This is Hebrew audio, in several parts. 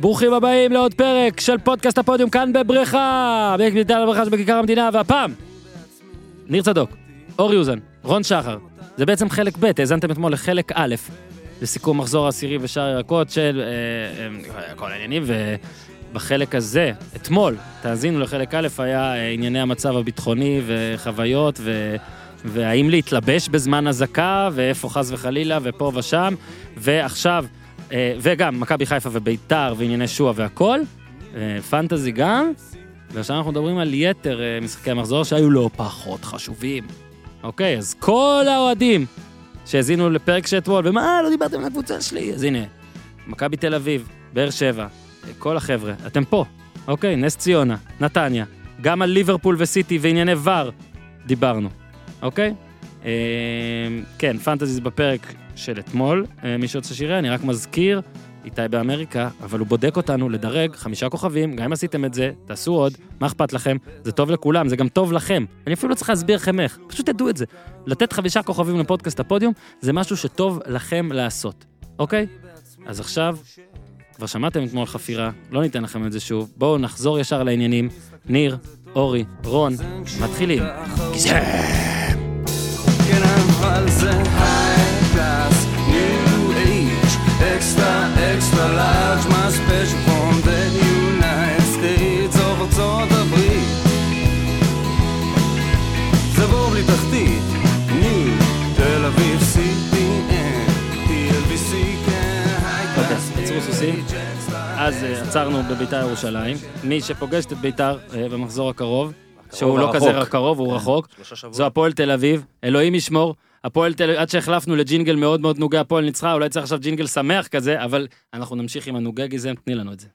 ברוכים הבאים לעוד פרק של פודקאסט הפודיום כאן בבריכה, בקליטה לבריכה שבכיכר המדינה, והפעם, ניר צדוק, אור יוזן, רון שחר. זה בעצם חלק ב', האזנתם אתמול לחלק א', לסיכום מחזור העשירי ושאר ירקות של אה, אה, כל העניינים, ובחלק הזה, אתמול, תאזינו לחלק א', היה אה, ענייני המצב הביטחוני וחוויות, ו... והאם להתלבש בזמן אזעקה, ואיפה חס וחלילה, ופה ושם, ועכשיו, אה, וגם מכבי חיפה וביתר וענייני שועה והכל, אה, פנטזי גם, ועכשיו אנחנו מדברים על יתר אה, משחקי המחזור שהיו לא פחות חשובים. אוקיי, אז כל האוהדים שהאזינו לפרק שאתמול, ומה, לא דיברתם על הקבוצה שלי? אז הנה, מכבי תל אביב, באר שבע, אה, כל החבר'ה, אתם פה, אוקיי? נס ציונה, נתניה, גם על ליברפול וסיטי וענייני ור, דיברנו, אוקיי? אה, כן, פנטזי זה בפרק של אתמול, אה, מי שרוצה שיראה, אני רק מזכיר, איתי באמריקה, אבל הוא בודק אותנו לדרג חמישה כוכבים, גם אם עשיתם את זה, תעשו עוד, מה אכפת לכם? זה טוב לכולם, זה גם טוב לכם. אני אפילו לא צריך להסביר לכם איך, פשוט תדעו את זה. לתת חמישה כוכבים לפודקאסט הפודיום, זה משהו שטוב לכם לעשות, אוקיי? אז עכשיו, כבר שמעתם אתמול חפירה, לא ניתן לכם את זה שוב, בואו נחזור ישר לעניינים. ניר, אורי, רון, מתחילים. כן, אבל זה high class, new age, extra, extra large, my special from the United States of ארצות הברית. זה בור בלי תחתית, ניו, תל אביב, CPN, TLBC, כן, high אוקיי, class, עצרו סוסים. new age, extra, אז אה, עצרנו בביתר ירושלים. מי שפוגשת את ביתר אה, במחזור הקרוב, שהוא לא הרחוק. כזה קרוב, הוא רחוק, כן, שלושה שבועות. זו הפועל תל אביב, אלוהים ישמור. הפועל תל אביב, עד שהחלפנו לג'ינגל מאוד מאוד נוגה, הפועל ניצחה, אולי צריך עכשיו ג'ינגל שמח כזה, אבל אנחנו נמשיך עם הנוגה גיזם, תני לנו את זה.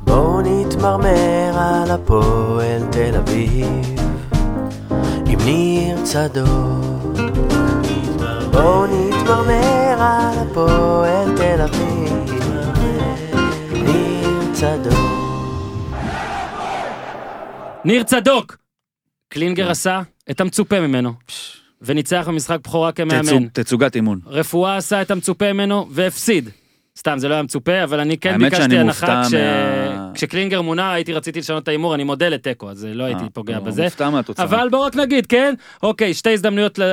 בואו נתמרמר על הפועל תל אביב עם ניר צדוק בואו נתמרמר על הפועל תל אביב עם ניר צדוק ניר צדוק! כן. קלינגר עשה את המצופה ממנו, וניצח במשחק בכורה כמאמן. תצוג- תצוגת אימון. רפואה עשה את המצופה ממנו והפסיד. סתם, זה לא היה מצופה, אבל אני כן האמת שאני ביקשתי הנחה מופתע כש... מה- כשקלינגר מונה, הייתי רציתי לשנות את ההימור, אני מודה לתיקו, אז לא הייתי אה, פוגע הוא בזה. מופתע מהתוצאה. אבל בואו רק נגיד, כן? אוקיי, שתי הזדמנויות ל-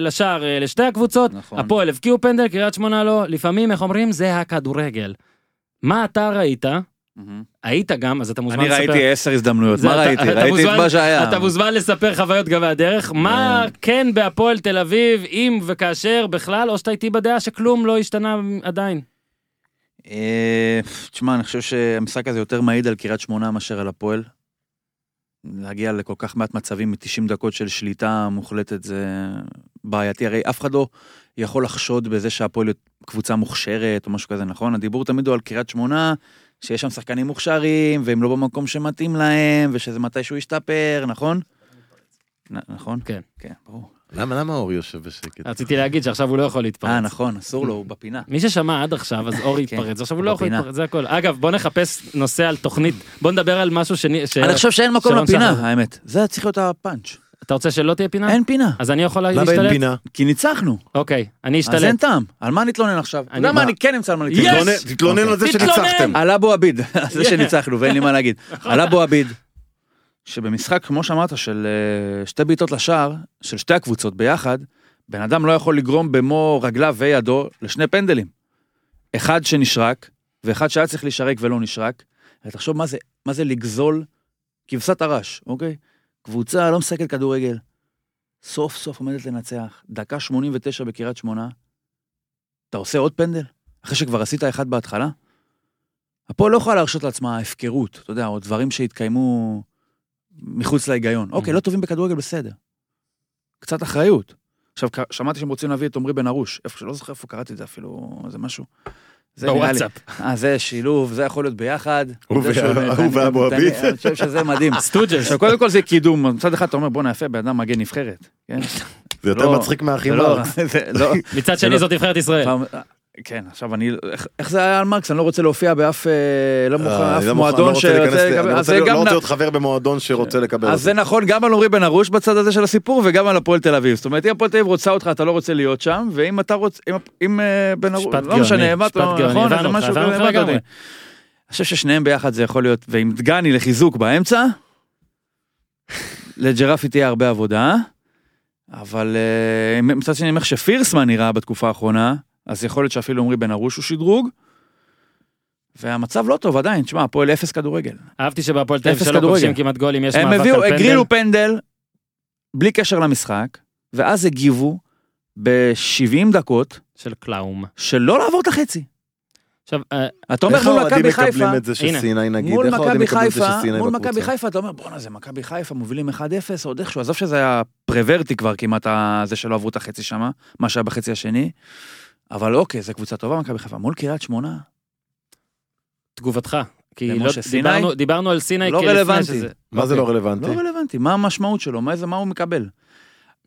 לשער אה, לשתי הקבוצות. נכון. הפועל הבקיעו פנדל, קריית שמונה לא. לפעמים, איך אומרים? זה הכדורגל. מה אתה ראית? מהמם. היית גם, אז אתה מוזמן אני לספר. ראיתי עשר הזדמנויות, זה מה אתה- ראיתי? אתה ראיתי מוזמן- את מה שהיה. אה. אתה מוזמן לספר חוויות גם מהדרך. מה כן בהפועל תל אביב, אם וכאשר בכלל, או שאתה איתי בדעה שכלום לא השתנה עדיין. אה, תשמע, אני חושב שהמשחק הזה יותר מעיד על קריית שמונה מאשר על הפועל. להגיע לכל כך מעט מצבים מ-90 דקות של שליטה מוחלטת זה בעייתי, הרי אף אחד לא יכול לחשוד בזה שהפועל קבוצה מוכשרת או משהו כזה, נכון? הדיבור תמיד הוא על קריית שמונה, שיש שם שחקנים מוכשרים, והם לא במקום שמתאים להם, ושזה מתישהו ישתפר, נכון? נ- נכון? כן. כן, ברור. למה למה אור יושב בשקט? רציתי להגיד שעכשיו הוא לא יכול להתפרץ. אה, נכון, אסור לו, הוא בפינה. מי ששמע עד עכשיו, אז אורי כן, התפרץ, עכשיו הוא לא יכול בפינה. להתפרץ, זה הכל. אגב, בוא נחפש נושא על תוכנית, בוא נדבר על משהו שני... ש- אני חושב שאין מקום שרון לפינה, שחר. האמת. זה צריך להיות הפאנץ'. אתה רוצה שלא תהיה פינה? אין פינה. אז אני יכול למה אין להשתלט? פינה? כי ניצחנו. אוקיי, אני אז אין אשתלט. טעם. על מה נתלונן עכשיו? אתה יודע אני- מה, אני כן אמצא על מה יש! להתלונן. תתלונן- תתלונן על זה תתלונן! שניצחתם. על אבו עביד, על זה שניצחנו ואין לי מה להגיד. על אבו עביד, שבמשחק, כמו שאמרת, של אה, שתי בעיטות לשער, של שתי הקבוצות ביחד, בן אדם לא יכול לגרום במו רגליו וידו לשני פנדלים. אחד שנשרק, ואחד שהיה צריך להישרק ולא נשרק. ותחשוב מה זה, מה זה לגזול כבשת הרש, אוקיי? קבוצה לא משחקת כדורגל. סוף סוף עומדת לנצח, דקה 89 בקריית שמונה. אתה עושה עוד פנדל? אחרי שכבר עשית אחד בהתחלה? הפועל לא יכולה להרשות לעצמה הפקרות, אתה יודע, או דברים שהתקיימו מחוץ Mm-hmm. להיגיון. אוקיי, לא טובים בכדורגל, בסדר. קצת אחריות. עכשיו, ק- שמעתי שהם רוצים להביא את עמרי בן ארוש, איפה שלא זוכר איפה קראתי את זה אפילו, איזה משהו. זה נראה לי- בוואטסאפ. אה, זה שילוב, זה יכול להיות ביחד. הוא זה וה- שהוא- הוא אני- ואבו אני- עביד. אני חושב שזה מדהים. סטוג'ס. אה, עכשיו, קודם כל זה קידום, מצד אחד אתה אומר, בואנה יפה, בן אדם מגן נבחרת. כן? זה יותר לא, מצחיק זה מהאחים לא- מרקס. זה לא- מצד זה שני לא- זאת נבחרת ישראל. פעם- כן, עכשיו אני, איך- איך זה היה על מרקס? אני לא רוצה להופיע באף, אה, לא מוכן, אה, אף אני לא מוכן, מועדון לא רוצה להיכנס ל- שרוצה אני לקבל, אז רוצה זה להיות- גם לא רוצה נ- להיות חבר במועדון שרוצה לקבל אז אותו. זה נכון גם על עמרי בן ארוש בצד הזה של הסיפור וגם על הפועל תל אביב. זאת אומרת, אם הפועל תל אביב רוצה אותך, אתה לא רוצה להיות שם, ואם אתה רוצה, אם- אם אה, בן ארוש, משפט לא משנה, גאוני, מה משפט אתה, גאוני, נכון, הבנו זה אותך, משהו הבנו כזה, אותך הבנת לגמרי. אותי. אני חושב ששניהם ביחד זה יכול להיות, ועם דגני לחיזוק באמצע, לג'רפי תהיה הרבה עבודה, אבל אה, מצד שני, אני אומר שפירסמן נראה בתקופה האחרונה, אז יכול להיות שאפילו עמרי בן ארוש הוא שדרוג. והמצב לא טוב עדיין, תשמע, הפועל אפס כדורגל. אהבתי שבהפועל תל אביב אפס שלא כדורגל. כובשים כמעט גולים, יש הם מאבק על הביאו, פנדל. הגרילו פנדל, בלי קשר למשחק, ואז הגיבו ב-70 דקות של קלאום. שלא לעבור את החצי. עכשיו, אה, אתה אומר איך מול האוהדים מכבי חיפה, מקבלים את זה שסיני נגיד? מול איך האוהדים מכבי מקבלים את זה חיפה, שסיני מול בקבוצה? מכבי חיפה, אתה אומר, בואנה, זה מכבי חיפה, מובילים 1-0, עוד איכשהו, עזוב שזה היה פרוורטי כבר כמעט, ה- זה שלא עברו את החצי שמה, מה שהיה בחצי השני, אבל אוקיי, זו קבוצה טובה, מכבי חיפה. מול קריית שמונה, תגובתך. כי למשה לא- סיני? דיברנו- דיברנו על סיני לא כלפני רלוונטי. שזה- אוקיי, מה זה לא לא רלוונטי? רלוונטי, מה המשמעות שלו, מה זה- מה הוא מקבל?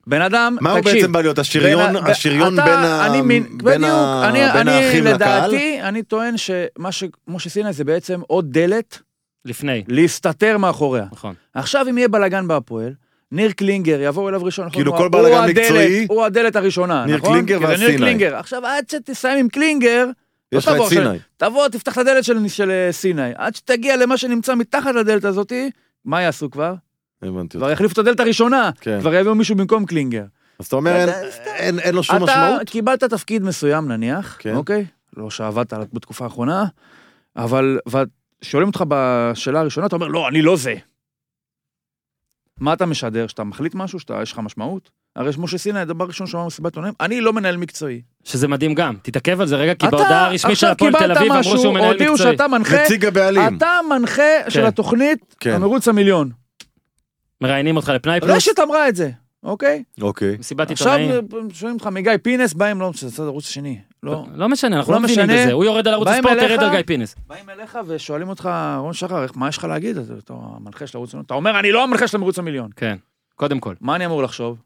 בן אדם, מה הוא תקשיב, בעצם בא להיות? השריון, בין ה- השריון אתה- בין ה- אני מין- בין בדיוק, ה- אני- בין אני האחים לקהל? לדעתי, אני טוען שמה שמשה סיני זה בעצם עוד דלת לפני, להסתתר מאחוריה. נכון. עכשיו אם יהיה בלאגן בהפועל, ניר קלינגר יבואו אליו ראשון. כאילו נכון? כל הוא בלאגן הדלת- מקצועי- הוא הדלת הראשונה, ניר נכון? קלינגר כאילו, ואז ניר סיני. קלינגר. עכשיו עד שתסיים עם קלינגר, יש לך לא את תבוא עכשיו- סיני. תבוא, תפתח את הדלת של, של אה, סיני. עד שתגיע למה שנמצא מתחת לדלת הזאתי, מה יעשו כבר? הבנתי אותך. כבר יחליפו את הדלת הראשונה. כן. כבר יביאו מישהו במקום קלינגר. אז אתה אומר, אין- אין- אין לו אתה שום משמעות? קיבלת תפקיד מסוים נניח, כן. אוקיי? לא שעבדת עליו בתקופה האחרונה, אבל ו- שואלים אותך בשאלה הראשונה, אתה אומר, לא, אני לא זה. מה אתה משדר? שאתה מחליט משהו? שאתה, יש לך משמעות? הרי משה סיני, הדבר הראשון שאמר במסיבת עיתונאים, אני לא מנהל מקצועי. שזה מדהים גם, תתעכב על זה רגע, כי אתה בהודעה הרשמית של עכשיו הפועל תל קיבלת אביב אמרו משהו, שהוא מנהל הודיעו מקצועי. שאתה מנחה, נציג הבעלים. אתה מנחה של כן. התוכנית, כן. המרוץ המיליון. מראיינים אותך לפנאי פלוס, רשת אמרה את זה, אוקיי? אוקיי. מסיבת לא עכשיו כן. אה, עיתונאים. שואלים אותך, מגיא פינס, בא עם לא, זה הצד הערוץ השני. לא, לא משנה, אנחנו לא לא מבינים משנה. בזה. הוא יורד על ערוץ באים הספורט, אליך? ירד על גיא פינס. באים אליך ושואלים אותך, רון שחר, איך- מה יש לך להגיד? אתה- אתה המנחה של ערוץ המיליון. אתה אומר, אני לא המנחה של המרוץ המיליון. כן, קודם כל. מה אני אמור לחשוב?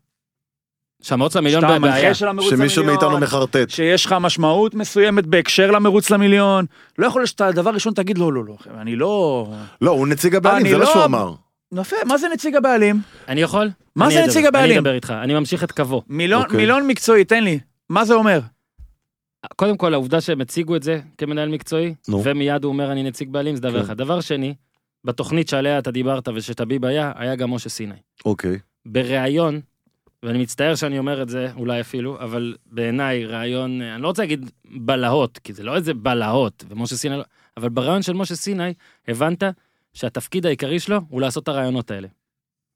שהמרוץ למיליון שאתה בבעיה. המנחה של המרוץ המיליון. שמישהו מאיתנו מחרטט. שיש לך משמעות מסוימת בהקשר למרוץ למיליון. לא יכול להיות שאתה דבר ראשון תגיד, לא, לא, לא, חבר'ה, אני לא... לא, הוא נציג אני הבעלים, זה לא- מה שהוא אמר. יפה, מה זה נציג הבעלים? אני יכול? מה אני זה אדבר, נציג הבעלים? אני אדבר איתך, אני ממשיך את קוו. מיליון, אוקיי. מיליון מקצועי, תן לי. מה זה אומר? קודם כל, העובדה שהם הציגו את זה כמנהל מקצועי, נו. ומיד הוא אומר אני נציג בעלים, זה דבר כן. אחד. דבר שני, בתוכנית שעליה אתה דיברת ושטביב היה, היה גם משה סיני. אוקיי. בריאיון, ואני מצטער שאני אומר את זה, אולי אפילו, אבל בעיניי ריאיון, אה, אני לא רוצה להגיד בלהות, כי זה לא איזה בלהות, ומשה סיני לא... אבל בריאיון של משה סיני, הבנת שהתפקיד העיקרי שלו הוא לעשות את הרעיונות האלה.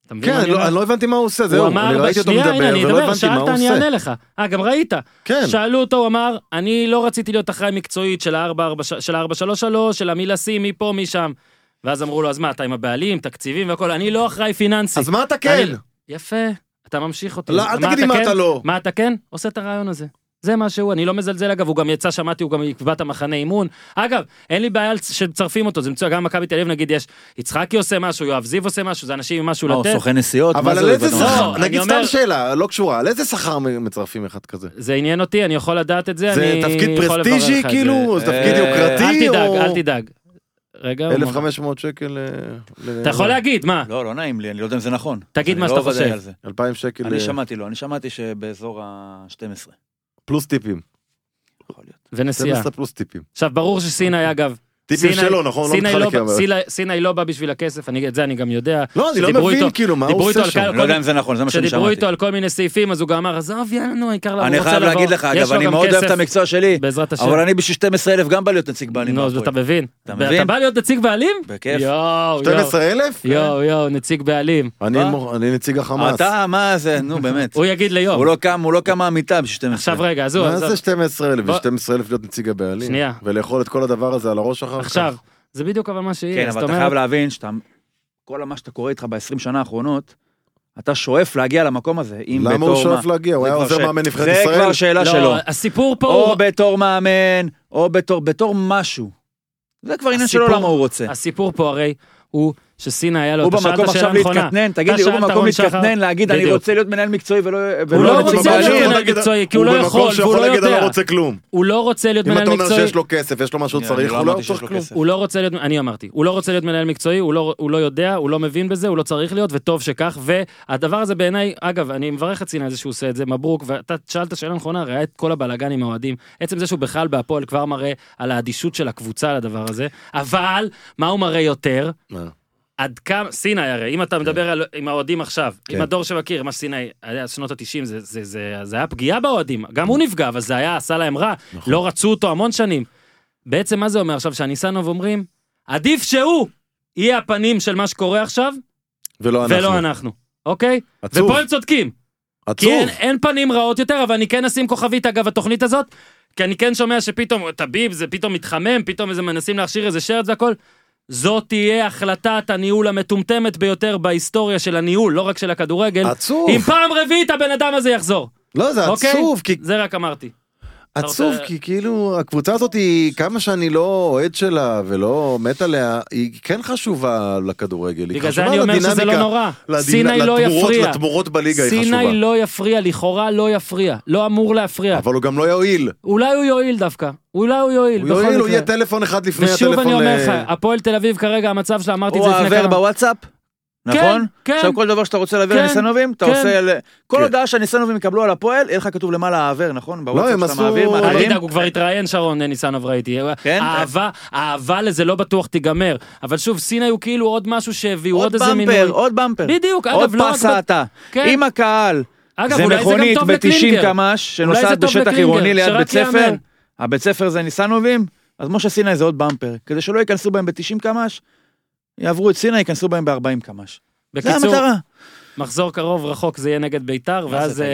אתה מבין כן, מה אני לא- אומר? אני לא הבנתי מה הוא עושה, הוא זהו. אמר, אני ראיתי אותו שנייה, הנה, מדבר אני ולא אדבר, הבנתי מה שאלת, הוא אני עושה. אענה לך. אה, גם ראית. כן. שאלו אותו, הוא אמר, אני לא רציתי להיות אחראי מקצועית של ה-433, של המי לשים, מי פה, מי שם. ואז אמרו לו, אז מה, אתה עם הבעלים, תקציבים והכל, אני לא אחראי פיננסי. אז מה אתה אני- כן? יפה, אתה ממשיך אותי. לא, אל תגיד לי מה כן? אתה לא. מה אתה כן? עושה את הרעיון הזה. זה מה שהוא, אני לא מזלזל אגב, הוא גם יצא, שמעתי, הוא גם יקבע את המחנה אימון. אגב, אין לי בעיה שמצרפים אותו, זה מצוין, גם מכבי תל אביב נגיד יש, יצחקי עושה משהו, יואב זיו עושה משהו, זה אנשים עם משהו מה, אה, הוא לתת. לא, סוכן נסיעות? מה אבל זה על הוא איזה יבוא? לא, שכר, אני נגיד אומר- סתם שאלה, לא קשורה, על איזה שכר מצרפים אחד כזה? זה עניין אותי, אני יכול לדעת את זה, זה אני תפקיד יכול לברר פרסטיג'י לך את כאילו? זה. זה תפקיד אה, אל יוקרתי? תדאג, או- אל תדאג. רגע, הוא אמר. 1,500 שקל... אה, ל- אתה יכול להגיד, מה? לא, לא נעים לי, אני לא יודע אם זה נכון. תגיד אני מה לא שאתה ודאי חושב. כאילו- על זה. 2,000 שקל אני אה, שמעתי לו, אני שמעתי שבאזור ה-12. פלוס טיפים. יכול להיות. ונסיעה. 12 פלוס טיפים. עכשיו, ברור אוקיי. שסיני, אגב, טיפים סיני- שלו, נכון? לא סיני לא מתחלק עם בא- סיני- סיני לא בא בשביל הכסף, אני- את זה אני גם יודע. לא, אני לא שדיברו מבין איתו- כאילו מה הוא דיברו עושה איתו על שם. קהל- אני לא יודע אם זה נכון, זה מה שאני כשדיברו שמעתי. איתו על כל מיני סעיפים, אז הוא גם אמר, עזוב, יאללה, העיקר לבוא, אני לא, הוא רוצה חייב לבוא." להגיד לך, יש אגב, לו אני גם מאוד אוהב את כסף, המקצוע שלי, בעזרת השם. אבל אני בשביל 12,000 גם בא להיות נציג בעלים. נו, אז בהפועל. אתה מבין. אתה מבין? אתה בא להיות נציג בעלים? בכיף. יואו, יואו. 12,000? יואו, יואו, נציג בעלים. אני מה? מור- אני נציג החמאס. אתה, מה זה, נו באמת. הוא יגיד ליום. הוא לא קם, הוא לא קם מהמיטה בשביל 12. עכשיו רגע, עזוב, מה עזוב. זה 12,000? בוא- ו-12,000 להיות נציג הבעלים? שנייה. ולאכול את כל הדבר הזה על הראש אחר כך? עכשיו, זה בדיוק אבל מה שיהיה. כן, זאת אבל אתה אומרת- חייב להבין שאתה, כל מה שאתה קורא איתך ב-20 שנה האחרונות, אתה שואף להגיע למקום הזה, אם בתור מה. למה הוא שואף להגיע? הוא זה היה כבר עוזר ש- מאמן נבחרת זה כבר ישראל? שאלה שלו. לא, הסיפור פה הוא... או בתור מאמן, או בתור, בתור משהו. זה כבר עניין שלו הסיפור- למה הוא רוצה. הסיפור פה הרי הוא שסינה היה לו, הוא לא, אתה שאלת במקום שאלה עכשיו נכונה. להתקטנן, תגיד אתה לי, הוא שאלת, במקום רון שחר. להתקטנן, להגיד, אני בדיוק. רוצה להיות מנהל מקצועי ולא... הוא ולא לא אצבע רוצה בעלים." להיות יכול מנהל להגיד- מקצועי, כי הוא לא במקום יכול, שיכול והוא לא להגיד, אני יודע. רוצה כלום. הוא לא רוצה להיות אם מנהל אתה אומר מקצועי. שיש לו כסף, יש לו מה שהוא אני צריך, לא הוא לא אמרתי שיש צריך לו כלום. כסף. הוא לא רוצה להיות, אני אמרתי, הוא לא רוצה להיות מנהל מקצועי, הוא לא, הוא לא יודע, הוא לא מבין בזה, הוא לא צריך להיות, וטוב שכך, והדבר הזה בעיניי, אגב, אני מברך את סיני על זה שהוא עושה את זה, מברוק, ואתה שאלת שאלה נכונה, ראה את כל הבלאגן עם האוהדים, עצם זה שהוא בכלל בהפועל כבר מראה על האדישות של הקבוצה לדבר הזה, אבל מה הוא מראה יותר? מה? עד כמה, סיני הרי, אם אתה מדבר על, עם האוהדים עכשיו, עם כן. הדור שמכיר, מה סיני, היה שנות ה-90, זה, זה, זה, זה היה פגיעה באוהדים, גם הוא נפגע, אבל זה היה, עשה להם רע, נכון. לא רצו אותו המון שנים. בעצם מה זה אומר עכשיו, שהניסנוב אומרים, עדיף שהוא יהיה הפנים של מה שקורה עכשיו, ולא לא אנחנו. ולא אנחנו, כן. אוקיי? עצוב, ופה הם צודקים, כי עצוב. אין, אין פנים רעות יותר, אבל אני כן אשים כוכבית אגב התוכנית הזאת, כי אני כן שומע שפתאום טביב זה פתאום מתחמם, פתאום איזה מנסים להכשיר איזה שרץ והכל. זאת תהיה החלטת הניהול המטומטמת ביותר בהיסטוריה של הניהול, לא רק של הכדורגל. עצוב. אם פעם רביעית הבן אדם הזה יחזור, לא, זה אוקיי? עצוב, כי זה רק אמרתי. עצוב רוצה- כי כאילו הקבוצה הזאת היא כמה שאני לא אוהד שלה ולא מת עליה היא כן חשובה לכדורגל היא בגלל זה חשובה אני אומר שזה לא לדינמיקה, נורא. לדינ- סיני לא לתמורות- יפריע. לתמורות בליגה היא חשובה סיני לא יפריע, לכאורה לא יפריע, לא אמור להפריע. אבל הוא גם לא יועיל אולי הוא יועיל דווקא, אולי הוא יועיל. הוא בכל יועיל הוא מקרה. יהיה טלפון אחד לפני הטלפון ושוב אני אומר ל- לך, הפועל תל אביב כרגע המצב שלה, אמרתי את הוא זה לפני העבר כמה... בוואטסאפ, נכון? כן. עכשיו כל דבר שאתה רוצה להעביר כן, לניסנובים, אתה כן. עושה... ל- כל כן. הודעה שהניסנובים יקבלו על הפועל, יהיה לך כתוב למעלה העבר, נכון? לא, הם בוואטסאפ שאתה עשו- מעביר אל אל מאחרים. תדאג, הוא כבר התראיין, שרון אה, ניסנוב, ראיתי. כן? אהבה, אהבה לזה לא בטוח תיגמר. אבל שוב, סיני הוא כאילו עוד משהו שהביאו, עוד עוד איזה במפר, מינוי. עוד במפר. בדיוק, עוד אגב, לא רק... ב- פסאטה. כן. עם הקהל. אגב, זה אולי גם מכונית טוב ב-90 לקלינגר. קמ"ש אולי זה שנוסעת טוב בשטח לקלינגר, עירוני ליד שרק בית ספר. יאמן. הבית ספר זה ניסנובים, אז משה סיני זה עוד במפר. כדי שלא ייכנסו בהם ב-90 קמ"ש, יעברו את סיני, ייכנסו בהם ב-40 קמ"ש. זה בקיצור, המטרה. מחזור קרוב רחוק זה יהיה נגד ביתר, מה ואז... זה,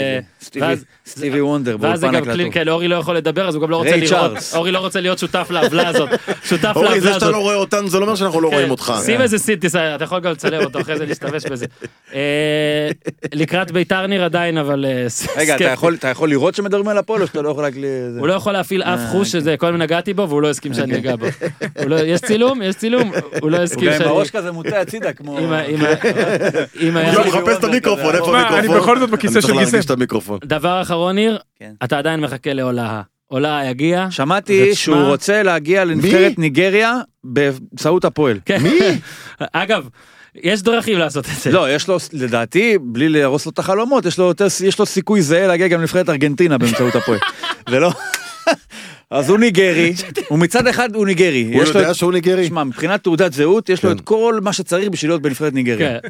תגיד לי? אה, סטיבי- ואז- סטיבי וונדר ואז זה באולפן גם קלינגר, הקלטות. כן, אורי לא יכול לדבר, אז הוא גם לא רוצה ריי לראות, צ'ארלס. אורי לא רוצה להיות שותף לעוולה הזאת. שותף אורי זה לעוולה שאתה הזאת. לא רואה אותנו זה לא אומר שאנחנו לא כן, רואים אותך שים איזה סינטיס, אתה יכול גם לצלם אותו, אחרי זה להשתמש בזה. אה, לקראת ביתר ניר עדיין, אבל... אה, ס- רגע, אתה סקפטי. יכול- אתה יכול לראות שמדברים על הפועל או שאתה לא יכול רק... ל- זה? הוא לא יכול להפעיל אף אה, כן. חוש שזה, כל הזמן נגעתי בו והוא לא הסכים שאני אגע בו. הוא לא- יש צילום? יש צילום? הוא לא הוא הסכים גם עם שאני... הראש כן. כזה מוטה הצידה כמו... אם ה- אם ה- אם היה... הוא לא גם מחפש את המיקרופון איפה מה, אני המיקרופון בכל זאת בכיסא של אני צריך גיסם. להרגיש את המיקרופון דבר אחרון, ניר, כן. אתה עדיין מחכה להולאה. הולאה יגיע. שמעתי ותשמע- שהוא רוצה להגיע לנבחרת ניגריה באמצעות הפועל. מי? כן. אגב, יש דרכים לעשות כן. את זה. לא, יש לו, לדעתי, בלי להרוס לו את החלומות, יש לו יותר, יש לו סיכוי זהה להגיע גם לנבחרת ארגנטינה באמצעות הפועל. זה לא... אז הוא ניגרי, הוא מצד אחד הוא ניגרי. הוא יש לו יודע את- שהוא ניגרי שמע, מבחינת תעודת זהות, יש לו כן. את כל מה שצריך בשביל להיות בנבחרת ניגריה. כן.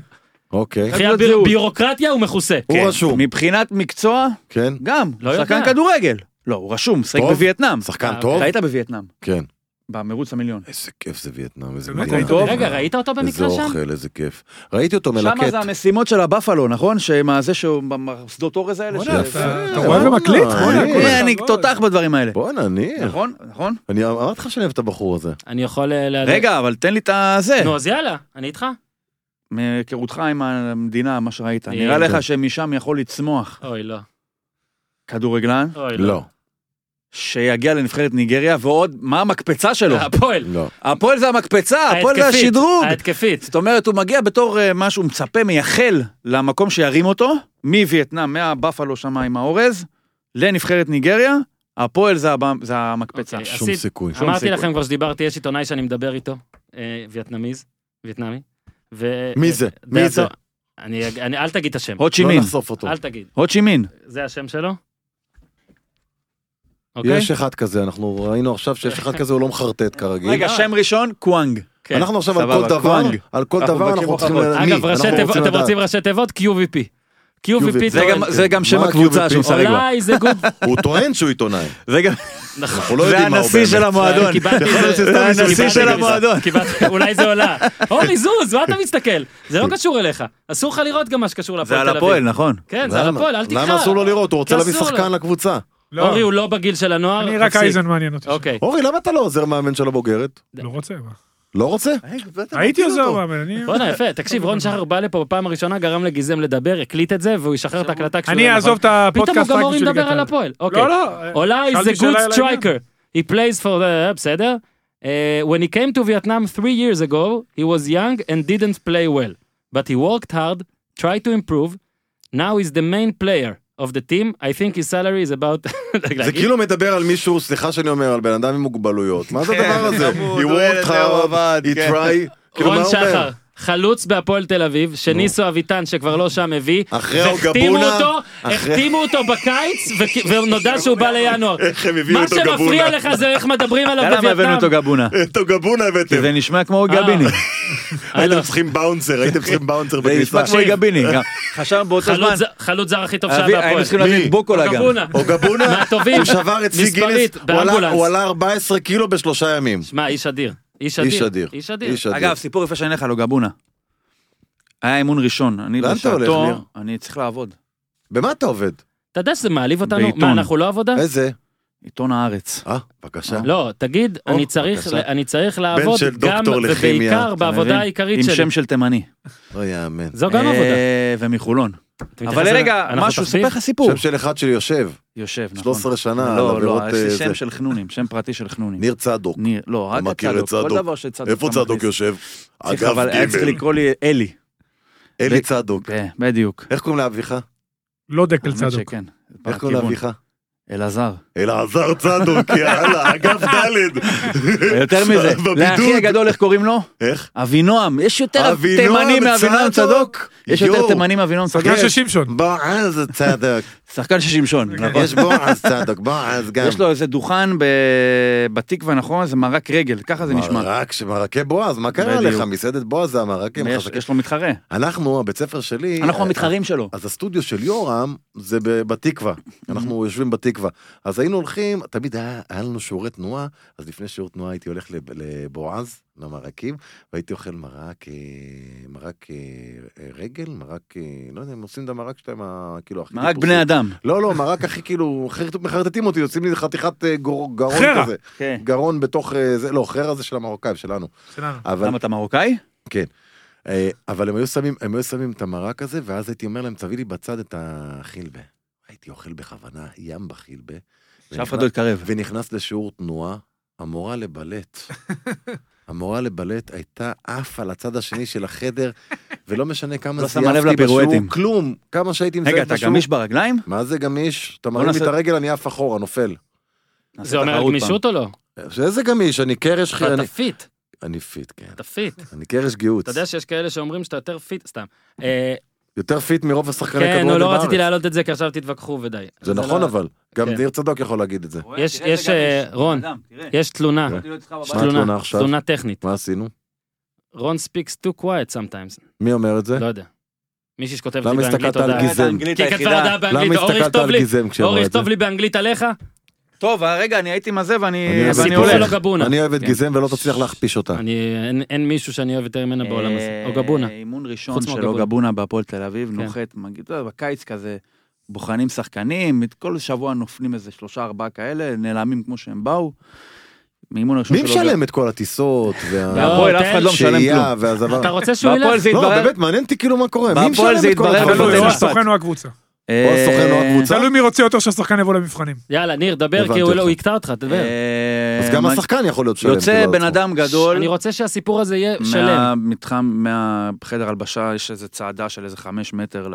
אוקיי מבחינת תעודת לא זהות. ביורוקרטיה הוא מכוסה. הוא רשום כן. מבחינת מקצוע, כן גם, לא יודע. שחקן כדורגל. לא, הוא רשום, משחק טוב. בווייטנאם. שחקן אה, טוב ראית בווייטנאם, כן במרוץ המיליון. איזה כיף זה וייטנאם איזה באמת, מדינה הוא לא- טוב. רגע, ראית אותו איזה במקרה שם? אוכל איזה כיף ראיתי אותו שם מלקט זה המשימות של הבאפלו, נכון? שהם הזה שהוא, שדות אורז האלה. בואנה, ש- אתה- אתה אה, רואה בואנה, ומקליט? אה, בואנה, אה, כל אה, אני הכבוד. תותח בדברים האלה. בואנה ניר נכון, נכון. אני אמרתי לך שאני אוהב את הבחור הזה אני יכול... אה, לה- רגע, אבל תן לי את הזה. נו, אז יאללה, אני איתך. מהיכרותך עם המדינה, מה שראית. אה, נראה כן. לך שמשם יכול לצמוח אוי, לא. כדורגלן, אוי, לא. לא שיגיע לנבחרת ניגריה, ועוד, מה המקפצה שלו? הפועל. לא הפועל זה המקפצה, הפועל זה ההתקפית, השדרוג. ההתקפית. זאת אומרת, הוא מגיע בתור אה, משהו, הוא מצפה, מייחל למקום שירים אותו, מווייטנאם, מהבאפלו שם עם האורז, לנבחרת ניגריה, הפועל זה הבא- זה המקפצה. אוקיי, שום עשית- סיכוי שום אמרתי סיכוי. לכם כבר שדיברתי, יש עיתונאי שאני מדבר איתו, אה, וייטנמיז, וייטנמי. ו- מי זה? אה, מי זה? דעתו- אני, אני, אל תגיד את השם, הו צ'י לא מין, נחשוף אותו אל תגיד. הו צ'י מין. זה השם שלו? אוקיי? יש אחד כזה אנחנו ראינו עכשיו שיש אחד כזה הוא לא מחרטט כרגיל רגע, שם ראשון, קוואנג. אה, כן. אנחנו עכשיו על סבבה, כל דבר, קוואנג. על כל אנחנו דבר מבקשים אנחנו צריכים הוכחות. לדעת. אגב, מי? ראשי אנחנו תיבות, רוצים אתם לדעת. רוצים ראשי תיבות? QVP. QVP זה זה טוען. גם- זה גם שם מה הקבוצה QVP? שהוא משחק בה. אולי זה גוד... הוא טוען שהוא עיתונאי, זה גם... אנחנו לא יודעים מה הוא באמת. המועדון. כן, קיבלתי יכול להיות את זה- שסתם קיבלתי מישהו את זה של מזה. המועדון. קיבלתי- אולי זה עולה. אורי זוז, מה אתה מסתכל? זה לא קשור אליך. אסור לך לראות גם מה שקשור זה להפועל על תל אביב. הפועל, נכון. כן, זה על למה? הפועל, אל תקרא. למה אסור לו לראות? הוא רוצה כי להביא אסור שחקן לקבוצה. לא, אורי הוא לא בגיל של הנוער. אני רק תפסיק. אייזן מעניין אותי. אוקיי. אורי, למה אתה לא עוזר מאמן של הבוגרת? לא רוצה. מה. לא רוצה? אה, הייתי עוזר מאמן, אני... בואנה יפה, תקשיב, רון שחר בא לפה בפעם הראשונה, גרם לגיזם לדבר, הקליט את זה, והוא ישחרר את ההקלטה כשהוא... אני יהיה אעזוב נכון. את הפודקאסט רק פתאום הוא גם אורי בשביל מדבר לגעת על לה. הפועל. אוקיי. לא, לא. אולי זה שאלתי שאלה גוד אליי גם. סטרייקר. He plays for the... אה, בסדר? Uh, when he came to Vietnam three years ago, he was young and didn't play well. But he worked hard, tried to improve. Now he's the main player of the team. I think his salary is about... זה כאילו מדבר על מישהו, סליחה שאני אומר, על בן אדם עם מוגבלויות. מה זה כן, הדבר הזה? חמוד, He הוא ילד, worked הוא hard, עבד, he כן. try. כאילו, מה לא רון הוא שחר, אומר? חלוץ בהפועל תל אביב, שניסו אביטן שכבר לא שם הביא, אחרי והחתימו אוגבונה, אותו, אחרי- החתימו אותו בקיץ, וכי- ונודע שהוא בא לינואר. איך הם הביאו מה אותו גבונה? שמפריע לך זה איך מדברים עליו למה הבאנו אותו לא, בווייטנאם. גבונה? אותו גבונה כן. כי הבאתם. זה נשמע כמו אה. גביני. הייתם צריכים באונסר, הייתם צריכים באונסר זה נשמע בכניסה. כמו גביני. אה, גם חשבנו באותו זמן, חלוץ ז- חלוץ זר הכי טוב שהיה אבי- היינו בהפועל. צריכים להביא את בוקולה גם. אוגבונה. אוגבונה, מהטובים. הוא שבר את שיא גינס, מספרית, הוא עלה- באמבולנס. הוא עלה 14 קילו בשלושה ימים. שמע, איש אדיר. איש אדיר. איש אדיר. איש אדיר. אגב, סיפור יפה שאני לך, לא גבונה. היה אימון ראשון, אני לאן אתה בשעתו, הולך, ניר? אני צריך לעבוד. במה אתה עובד? אה. אתה יודע שזה מעליב אותנו? בעיתון. מה, אנחנו לא עבודה? איזה? עיתון הארץ. אה, בבקשה. לא, תגיד, אני צריך- בבקשה. אני צריך לעבוד של גם דוקטור לכימיה. ובעיקר אתה בעבודה מבין? העיקרית עם שלי. שם של תימני. לא יאמן. זו גם עבודה. אה, ומחולון. אתה מתייחס אבל אליי? רגע, אנחנו משהו, תחביב? ספר לך סיפור. שם של אחד שלי יושב, יושב, נכון. 13 שנה, על לא, עבירות... לא, יש לי אה, שם זה. של חנונים, שם פרטי של חנונים. ניר צדוק. ניר, לא, רק אתה מכיר את הצדוק, כל צדוק? דבר שצדוק. איפה אתה צדוק מכניס. יושב? צריך, אגב אבל היה צריך ג', לקרוא לי אלי. אלי צדוק. כן, בדיוק. איך קוראים לאביך? לא דקל האמת צדוק. שכן. איך קוראים בכיוון. לאביך? אלעזר. אלעזר צדוק, יאללה, אגף ד'. אה, יותר מזה, בבידוד. לאחי הגדול איך קוראים לו? איך? אבינועם. יש יותר אבינועם תימני מאבינועם צדוק? יש יותר יואו. תימני מאבינועם צדוק? כן. סגן של שמשון. בועז צדוק. שחקן של שמשון. נכון. יש בועז צדוק, בועז גם. יש לו איזה דוכן ב- בתקווה, נכון? זה מרק רגל, ככה זה נשמע. מרק, כן, מרקי בועז, מה קרה בדיוק. לך? מסעדת בועז זה המרקים. ויש- חזקים. יש לו מתחרה. אנחנו, הבית ספר שלי... אנחנו אה, המתחרים שלו. אז הסטודיו של יורם זה ב- בתקווה, Mm-hmm. אנחנו יושבים בתקווה. אז היינו הולכים, תמיד היה, היה לנו שיעורי תנועה, אז לפני שיעור תנועה הייתי הולך לב- לבועז, למרקים, והייתי אוכל מרק, אה, מרק אה, אה, רגל, מרק, אה, לא יודע, הם עושים את המרק שלהם, ה- כאילו, הכי... מרק טיפוסי. בני אדם. לא, לא, מרק הכי כאילו, חרט- מחרטטים אותי, יוצאים לי חתיכת אה, גור- גרון חרא. כזה. כן. גרון בתוך, אה, זה, לא, חרא זה של המרוקאים, שלנו. שלנו. אבל למה אתה מרוקאי? אה, אבל הם היו שמים, הם היו שמים את המרק הזה, ואז הייתי אומר להם, תביא לי בצד את החילבה. הייתי אוכל בכוונה ים בחילבה. שאף אחד ונכנס- לא יתקרב. ונכנס לשיעור תנועה, המורה לבלט. המורה לבלט הייתה עף על הצד השני של החדר, ולא משנה כמה לא שמה לב זייפתי לפירואטים. בשיעור, כלום, כמה שהייתי מזייף רגע, אתה בשיעור. גמיש ברגליים? מה זה גמיש? אתה בוא מרים לי נעשה- את הרגל, אני עף אחורה, נופל. נעשה זה אומר על תחרות פעם. גמישות או לא? איזה גמיש, אני קרש חי... אתה אני- פיט, אני פיט, כן. אתה פיט. אני קרש גאות. אתה יודע שיש כאלה שאומרים שאתה יותר פיט, סתם. אה, יותר פיט מרוב השחקני כן, כדורגל נו, בארץ. לא רציתי להעלות את זה כי עכשיו תתווכחו ודי. זה נכון לא- אבל, גם כן. ניר צדוק יכול להגיד את זה. יש- תראה יש, איזה גמיש. אה, רון. אדם, תראה. לא יש תלונה, כן. מה מה התלונה תלונה, עכשיו? תלונה טכנית. מה עשינו? רון speaks too quiet sometimes, מי אומר את זה? לא יודע. מישהי שכותבת לי אה? למה באנגלית הסתכלת על הודעה. גז- גיזם? האנגלית כי היא כתבה היחידה. הודעה למה באנגלית, אור הסתכלת יכתוב על לי, גיזם אור כשאמרה את זה? יכתוב לי באנגלית עליך, טוב, אה, רגע, אני הייתי עם הזה ואני אני ואני הסיפור שלו הולך. גבונה. אני אוהב את כן. גיזם ולא תצליח להכפיש אותה. אני- אין- אין מישהו שאני אוהב יותר ממנה בעולם הזה, אה, או גבונה. אימון ראשון חוץ של מאוגבונה. אוגבונה בהפועל תל אביב, כן. נוחת, מגיד, אתה יודע, בקיץ כזה, בוחנים שחקנים, את כל שבוע נופלים איזה שלושה ארבעה כאלה, נעלמים כמו שהם באו. מאימון ראשון מי של משלם את כל הטיסות לא, וה- בהפועל אף תן אחד לא משלם שהייה כלום. והזבה? אתה רוצה שהוא בהפועל ילך? זה לא, התברר, באמת, מעניין אותי כאילו מה קורה. מי בהפועל משלם זה את כל התברר הדברים לא, בבתי תלוי, האלה? או משפט. הסוכן או הקבוצה. או הסוכן או אה, הקבוצה. תלוי מי רוצה יותר שהשחקן יבוא למבחנים. יאללה, ניר, דבר, הבנתי כי הוא לא- הוא אותך. יקטע אותך, תדבר. אה, אז גם מה- השחקן יכול להיות שלם. יוצא כאילו, בן עצמו. אדם גדול. אני רוצה שהסיפור הזה יהיה שלם. מהמתחם, מהחדר הלבשה, יש איזה צעדה של איזה חמש מטר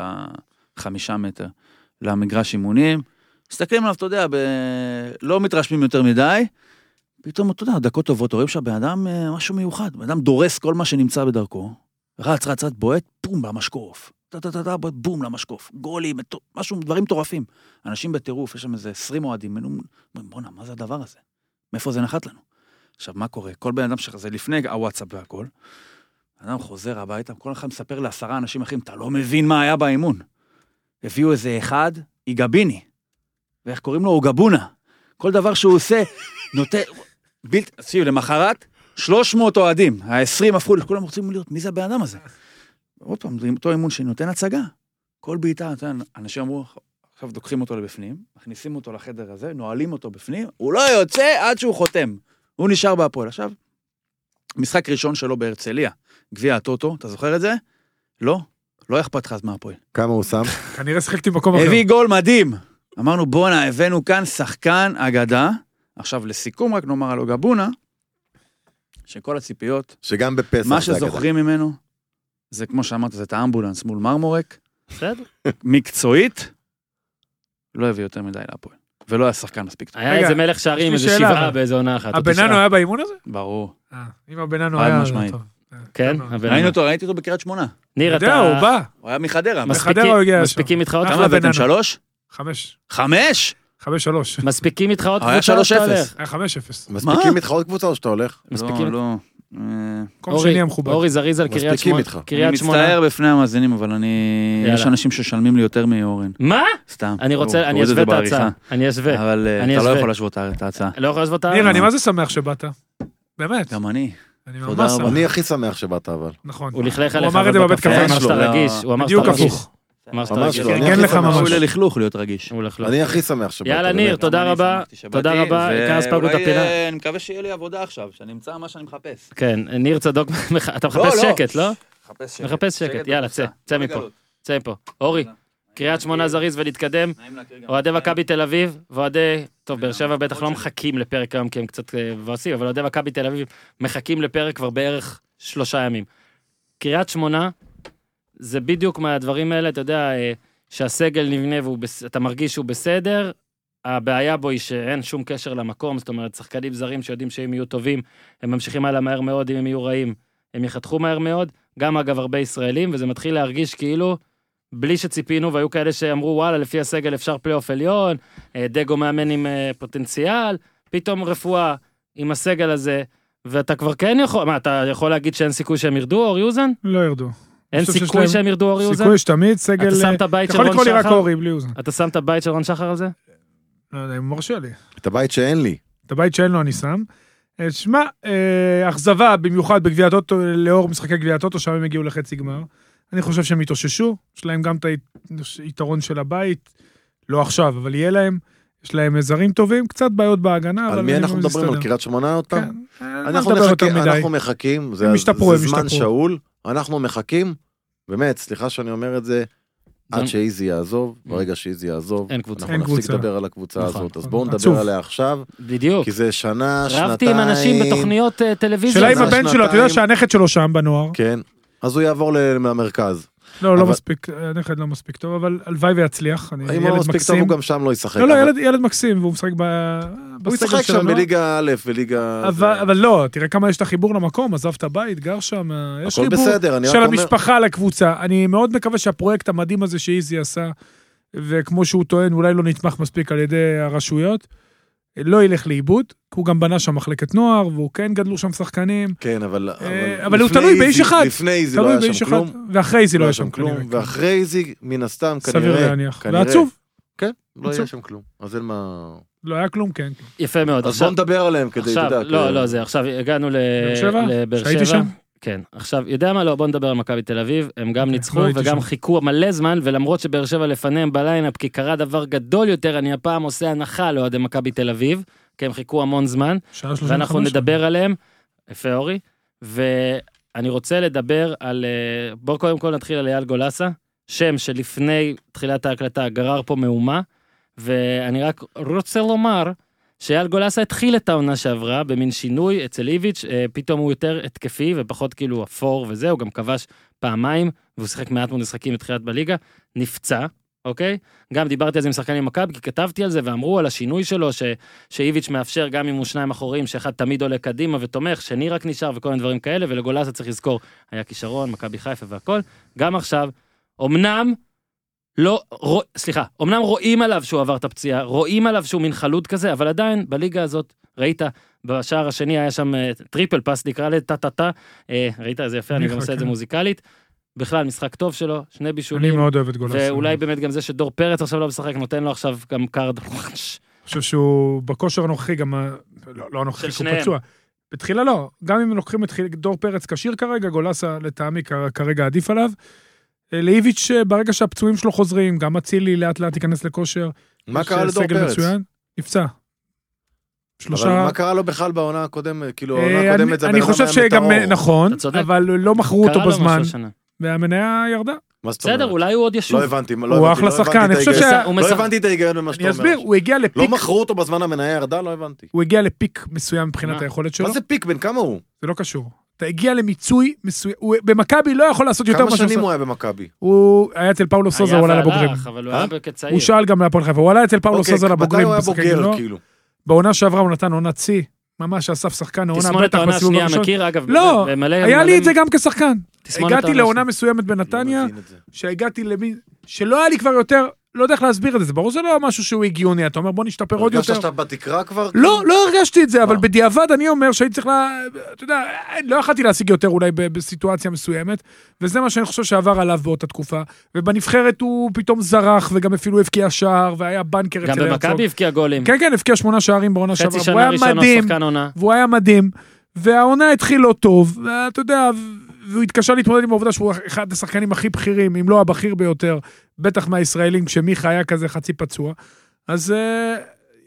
לחמישה מטר למגרש אימונים. מסתכלים עליו, אתה יודע, ב... לא מתרשמים יותר מדי. פתאום, אתה יודע, דקות טובות, רואים שהבן אדם אה, משהו מיוחד. בן אדם דורס כל מה שנמצא בדרכו, רץ, רץ, רץ, בועט, בום, למשקוף. טה-טה-טה, בועט, בום, למשקוף. גולים, מטו- משהו, דברים מטורפים. אנשים בטירוף, יש שם איזה 20 אוהדים, הם אומרים, בואנה, מה זה הדבר הזה? מאיפה זה נחת לנו? עכשיו, מה קורה? כל בן אדם שלך, זה לפני הוואטסאפ והכל. אדם חוזר הביתה, כל אחד מספר לעשרה אנשים אחרים, אתה לא מבין מה היה באימון. הביאו איזה אחד, איגביני, ואיך קוראים לו? אוגבונה. כל דבר שהוא עושה, נותן... בלתי... תקשיב, למחרת, 300 אוהדים, ה-20 הפכו, כולם רוצים להיות, מי זה הבן אדם הזה? עוד פעם, זה אותו אימון שנותן הצגה. כל בעיטה, אתה יודע, אנשים אמרו, עכשיו לוקחים אותו לבפנים, מכניסים אותו לחדר הזה, נועלים אותו בפנים, הוא לא יוצא עד שהוא חותם. הוא נשאר בהפועל. עכשיו, משחק ראשון שלו בהרצליה, גביע הטוטו, אתה זוכר את זה? לא, לא היה אכפת לך אז מהפועל. כמה הוא שם? כנראה שיחקתי במקום אחר. הביא גול מדהים. אמרנו, בואנה, הבאנו כאן שחקן אגדה. עכשיו, לסיכום, רק נאמר על אוגבונה, שכל הציפיות, שגם בפסח מה זה אגדה. שזוכרים ממנו, זה כמו שאמרת, זה את האמבולנס מול מרמורק, בסדר. מקצועית, לא הביא יותר מדי להפועל. ולא היה שחקן מספיק טוב, היה רגע, איזה מלך שערים, יש לי איזה שאלה, שבעה אבל. באיזה עונה אחת. או הבננו תשעה. היה באימון הזה? ברור. אה, אם הבננו חד היה... משמעית. טוב. כן, הבננו. הבננו. ראינו אותו, ראיתי אותו בקריית שמונה. ניר, אתה יודע, הוא אתה... בא. הוא היה מחדרה. מספיקים- מחדרה הוא הגיע מספיקים איתך עוד אחלה כמה הבאתם? בננה. שלוש? חמש. חמש? חמש שלוש. מספיקים איתך עוד היה קבוצה או שאתה 3-0. הולך? היה חמש אפס. מספיקים מה? איתך עוד קבוצה או שאתה הולך? מספיקים. לא, לא. אה, מקום אורי- שני המכובד. אורי זריז על קריית מספיקים שמונה. איתך. קריית אני שמונה. מצטער בפני המאזינים, אבל אני... יאללה. יש אנשים ששלמים לי יותר מאורן. מה? סתם. אני הוא- רוצה, אני תוריד אשווה זה את ההצעה. בעריכה. אני אשווה. אבל אה, אני אתה לא אשווה. יכול להשוות את ההצעה. לא יכול להשוות את ה... ניר, אני מה זה שמח שבאת. באמת. גם אני. אני תודה ממש רבה. שמח. אני הכי שמח שבאת אבל. נכון. הוא לכלך הוא עליך. אמר את זה אבל בבית בקפה, קפה הוא אמר שלו, שאתה לא. רגיש. הוא אמר בדיוק שאתה רגיש. הפוך. הוא אמר שאתה ממש רגיש. לא, אני כן, הכי לך שמח. ממש. ראוי ללכלוך להיות רגיש. הוא הולך לא. אני הכי שמח שבאת. יאללה, ניר, באמת. תודה גם אני רבה. שמחתי שבאתי, תודה רבה. ו- כאן הספקנו את ואולי, הפינה. אה, אני מקווה שיהיה לי עבודה עכשיו, שאני אמצא מה שאני מחפש. כן, ניר צדוק, אתה מחפש לא. שקט, לא? מחפש שקט. מחפש שקט, יאללה, צא, בקופסה. צא לא מפה. בגלות. צא מפה. אורי, קריית שמונה זריז ונתקדם. נעים להכיר גם אוהדי אותך. מכבי תל אביב ואוהדי, טוב, באר שבע בטח לא שלי. מחכים לפרק היום כי הם קצת אה, מבואסים, אבל אוהדי מכבי תל אביב מחכים לפרק כבר בערך שלושה ימים. קריית שמונה, זה בדיוק מהדברים האלה, אתה יודע, אה, שהסגל נבנה ואתה מרגיש שהוא בסדר, הבעיה בו היא שאין שום קשר למקום, זאת אומרת, שחקנים זרים שיודעים שאם יהיו טובים, הם ממשיכים הלאה מהר מאוד, אם הם יהיו רעים, הם יחתכו מהר מאוד. גם, אגב, הרבה ישראלים, וזה מתחיל להרגיש כאילו... בלי שציפינו, והיו כאלה שאמרו, וואלה, לפי הסגל אפשר פלייאוף עליון, אה, דגו מאמן עם אה, פוטנציאל, פתאום רפואה עם הסגל הזה, ואתה כבר כן יכול, מה, אתה יכול להגיד שאין סיכוי שהם ירדו, אור יוזן? לא ירדו. אין חושב שיש סיכוי להם שהם ירדו, אור יוזן? סיכוי שתמיד סגל... אה, אתה שם את הבית אתה של יכול לקרוא רון לי רק שחר? אורי בלי אוזן. אתה שם את הבית של רון שחר על זה? לא יודע, הוא מרשה לי. את הבית שאין לי. את הבית שאין לו אני שם. אה, שמע, אה, אכזבה במיוחד בגביע הטוטו, לאור משחקי גביע הטוטו, שם הם הגיעו לחצי גמר. אני חושב שהם התאוששו, יש להם גם את היתרון של הבית, לא עכשיו, אבל יהיה להם. יש להם זרים טובים, קצת בעיות בהגנה, אבל על מי הם אנחנו מדברים? על מסתדר. קריית שמונה עוד פעם? כן, אה, לא אנחנו נדבר יותר מחכים, מדי. אנחנו מחכים, זה הם השתפרו, זה הם זמן השתפרו. שאול, אנחנו מחכים, באמת, סליחה שאני אומר את זה, זה- עד שאיזי יעזוב, ברגע שאיזי יעזוב, Mm. אין קבוצה. אין אנחנו נפסיק קבוצה. לדבר על הקבוצה נכון, הזאת, אז בואו עצוב. נדבר עליה עכשיו, בדיוק. כי זה שנה, שנתיים. רבתי עם אנשים בתוכניות אה, טלוויזיה. שאלה אם זה הבן שלו, אתה שנתיים. יודע שהנכד שלו שם בנוער. כן, אז הוא יעבור ל- מהמרכז. לא, לא אבל- מספיק, הנכד לא מספיק טוב, אבל הלוואי ויצליח. אני- אם הוא אה, ילד לא מספיק טוב, מקסים. הוא גם שם לא ישחק. לא, לא, אבל ילד- ילד מקסים, והוא משחק ב... הוא בסגל ישחק של שם הנוער. בליגה א', בליגה... אבל, אבל לא, תראה כמה יש את החיבור למקום, עזב את הבית, גר שם, אה, יש הכל חיבור בסדר, אני רק של אומר- המשפחה לקבוצה. אני מאוד מקווה שהפרויקט המדהים הזה שאיזי עשה, וכמו שהוא טוען, אולי לא נתמך מספיק על ידי הרשויות, לא ילך לאיבוד, כי הוא גם בנה שם מחלקת נוער, והוא כן גדלו שם שחקנים, כן, אבל... אה, אבל הוא לפני תלוי באיש איזי- אחד. לפני איזי לא תלוי היה באיש שם אחד, כלום. ואחרי איזי לא היה שם כלום, ואחרי זה, מן הסתם, כנראה, סביר להניח, כנראה, ועצוב, כן, לא עצוב. יהיה שם כלום. אז אין מה... לא היה כלום, כן. יפה מאוד. אז בוא נדבר עליהם כדי, אתה עכשיו, יודע. לא, כדי- לא, זה עכשיו, הגענו ל- באר שבע? לבאר שבע. שהייתי שם? כן. עכשיו, יודע מה? לא, בוא נדבר על מכבי תל אביב. הם גם אוקיי, ניצחו לא הייתי וגם שם. חיכו מלא זמן, ולמרות שבאר שבע לפניהם בליינאפ, כי קרה דבר גדול יותר, אני הפעם עושה הנחה לאוהדי מכבי תל אביב, כי הם חיכו המון זמן. שעה 35. ואנחנו נדבר עליהם, יפה אורי, ואני רוצה לדבר על, אה, בואו קודם כל נתחיל על אייל גולסה, שם שלפני תחילת ההקלטה גרר פה מהומה, ואני רק רוצה לומר שאייל גולסה התחיל את העונה שעברה במין שינוי אצל איביץ', אה, פתאום הוא יותר התקפי ופחות כאילו אפור וזה, הוא גם כבש פעמיים, והוא שיחק מעט מאוד משחקים מתחילת בליגה, נפצע. אוקיי? גם דיברתי על זה עם שחקנים במכבי, כי כתבתי על זה ואמרו על השינוי שלו, ש, שאיביץ' מאפשר גם אם הוא שניים אחוריים, שאחד תמיד עולה קדימה ותומך, שני רק נשאר וכל מיני דברים כאלה, ולגולסה צריך לזכור, היה כישרון, מכבי חיפה והכל. גם עכשיו, אמנם לא, רוא, סליחה, אמנם רואים עליו שהוא עבר את הפציעה, רואים עליו שהוא מין חלוד כזה, אבל עדיין בליגה הזאת, ראית, בשער השני היה שם אה, טריפל פס, נקרא לזה, טה-טה-טה, אה, ראית איזה יפה, אני ניחא, גם עושה את זה כן. מוזיקלית. בכלל, משחק טוב שלו, שני אני בישולים, מאוד אוהב את גולסה. ואולי באמת גם זה שדור פרץ עכשיו לא משחק, נותן לו עכשיו גם קארד. אני חושב שהוא בכושר הנוכחי, גם ה- לא, לא הנוכחי, של כי הוא שניהם. פצוע. בתחילה לא, גם אם לוקחים את חיל- דור פרץ כשיר כרגע, גולסה לטעמי כ- כרגע עדיף עליו. אה, לאיביץ', אה, ברגע שהפצועים שלו חוזרים, גם אצילי לאט לאט ייכנס לכושר. מה יש, קרה אה, לדור סגל פרץ? מצוין, נפצע. אבל שלושה... מה קרה לו בכלל בעונה הקודמת? כאילו, אה, העונה אני- הקודמת זה הבן אני אדם חושב היה שגם, אה, מטאור. נכון, אתה צודק. אבל לא מכרו אותו קרה לו משהו בזמן, השנה. והמניה ירדה. מה זאת אומרת? בסדר, אולי הוא עוד ישוב. לא הבנתי, לא הוא הבנתי, אחלה לא הבנתי שחקן, את אני חושב ההיגיון. שה- הוא לא משחק- הבנתי את ההיגיון במה שאתה אני אומר. אסביר, הוא הגיע לא לפיק, מכרו אותו בזמן המניה ירדה? לא הבנתי. הוא הגיע לפיק מסוים מבחינת מה? היכולת שלו, מה זה פיק? בן כמה הוא? זה לא קשור. אתה הגיע למיצוי מסוים, הוא במכבי לא יכול לעשות יותר כמה מה שהוא שנים עושה. הוא היה במכבי? הוא היה אצל פאולו סוזה, הוא עלה לבוגרים. והלך, אבל הוא אה? היה בצעיר. הוא שאל גם להפועל חיפה, הוא עלה אצל פאולו אוקיי, סוזה מתי לבוגרים. הוא היה במשחקי בוגר, גילו. כאילו? בעונה שעברה הוא נתן עונת שיא, ממש אסף שחקן העונה, תסמונת בטח העונה בסיבוב השנייה, הראשון. מכיר אגב. לא, במלא- היה מלא- לי את זה גם כשחקן. תסמונת הגעתי העונה לעונה מסוימת בנתניה, לא מבין את זה. שהגעתי למין, שלא היה לי כבר יותר, לא יודע איך להסביר את זה, זה ברור שזה לא משהו שהוא הגיוני, אתה אומר בוא נשתפר עוד הרגשת יותר. שאתה בתקרה כבר? לא, לא הרגשתי את זה, אבל אה. בדיעבד אני אומר שהייתי צריך לה... אתה יודע, לא יכלתי להשיג יותר אולי ב- בסיטואציה מסוימת, וזה מה שאני חושב שעבר עליו באותה תקופה. ובנבחרת הוא פתאום זרח, וגם אפילו הבקיע שער, והיה בנקר גם אצל הרצוג. במכבי הבקיע גולים. כן, כן, הבקיע שמונה שערים בעונה שעברה. חצי הוא שנה היה ראשונה מדהים, שחקן עונה. והוא היה מדהים, והעונה התחיל לא טוב, ואתה יודע, ו- והוא התקשה להתמודד עם העובדה שהוא אחד השחקנים הכי בכירים, אם לא הבכיר ביותר, בטח מהישראלים, כשמיכה היה כזה חצי פצוע. אז אה,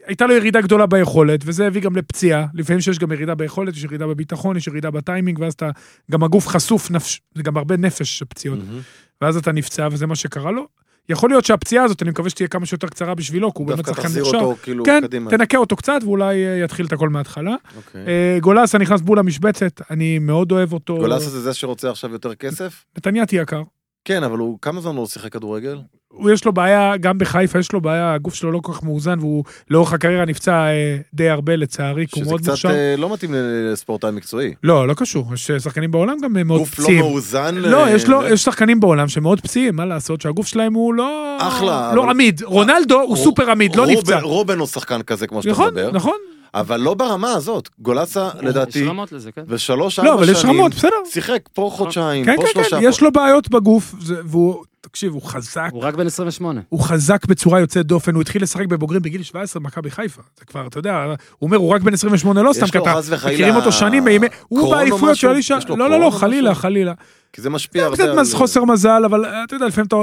הייתה לו ירידה גדולה ביכולת, וזה הביא גם לפציעה. לפעמים שיש גם ירידה ביכולת, יש ירידה בביטחון, יש ירידה בטיימינג, ואז אתה, גם הגוף חשוף, נפש, זה גם הרבה נפש פציעות. מהמם. ואז אתה נפצע, וזה מה שקרה לו. יכול להיות שהפציעה הזאת, אני מקווה שתהיה כמה שיותר קצרה בשבילו, כי הוא באמת דווקא שחקן תחזיר מוכשר. אותו כאילו כן, קדימה. תנקה אותו קצת ואולי אה, יתחיל את הכל מההתחלה. אוקיי. אה, גולסה נכנס בול למשבצת, אני מאוד אוהב אותו. גולסה זה זה שרוצה עכשיו יותר כסף? נתניאתי יקר. כן, אבל הוא כמה זמן הוא שיחק כדורגל? הוא יש לו בעיה, גם בחיפה יש לו בעיה, הגוף שלו לא כל כך מאוזן, והוא לאורך הקריירה נפצע אה, די הרבה לצערי, כי הוא שזה מאוד קצת מוכשר. אה, לא מתאים לספורטאי מקצועי. לא, לא קשור, יש אה, שחקנים בעולם גם אה, מאוד גוף לא פציעים. מאוזן. לא, אה, יש לו- זה- יש שחקנים בעולם שמאוד פציעים, מה לעשות, שהגוף שלהם הוא לא... אחלה, לא אבל- עמיד. רונלדו הוא רוב- סופר עמיד, לא רובן- נפצע. רובן הוא שחקן כזה כמו שאתה נכון, מדבר. נכון. אבל לא ברמה הזאת. גולסה, לדעתי, נכון, יש רמות נכון. לזה, כן. בשלוש, לא, ארבע אבל יש שנים, רמות, בסדר. שיחק פה חודשיים, כן, פה כן, שלושה. כן, פה- יש לו בעיות בגוף, זה- והוא, תקשיב, הוא חזק, הוא רק בן 28. הוא חזק בצורה יוצאת דופן, הוא התחיל לשחק בבוגרים בגיל 17 במכבי חיפה. זה כבר, אתה יודע, הוא אומר, הוא רק בן 28, לא יש סתם לו קטן. חס וחלילה מכירים אותו שנים, מימי... הוא קרון או באליפויות של משהו? אלישע... יש לו לא, קרון לא, לא, או חלילה, משהו? חלילה. כי זה משפיע הרבה. קצת על- מז- חוסר מזל, אבל אה, אתה יודע, לפעמים אתה...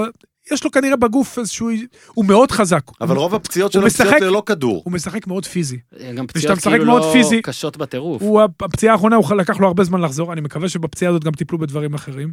יש לו כנראה בגוף איזשהו... הוא מאוד חזק. אבל רוב הפציעות הוא שלו הן פציעות משחק- ללא כדור. הוא משחק מאוד פיזי. גם ושאתה פציעות משחק כאילו מאוד לא פיזי. קשות בטירוף. הוא, הפציעה האחרונה, הוא לקח לו הרבה זמן לחזור, אני מקווה שבפציעה הזאת גם טיפלו בדברים אחרים.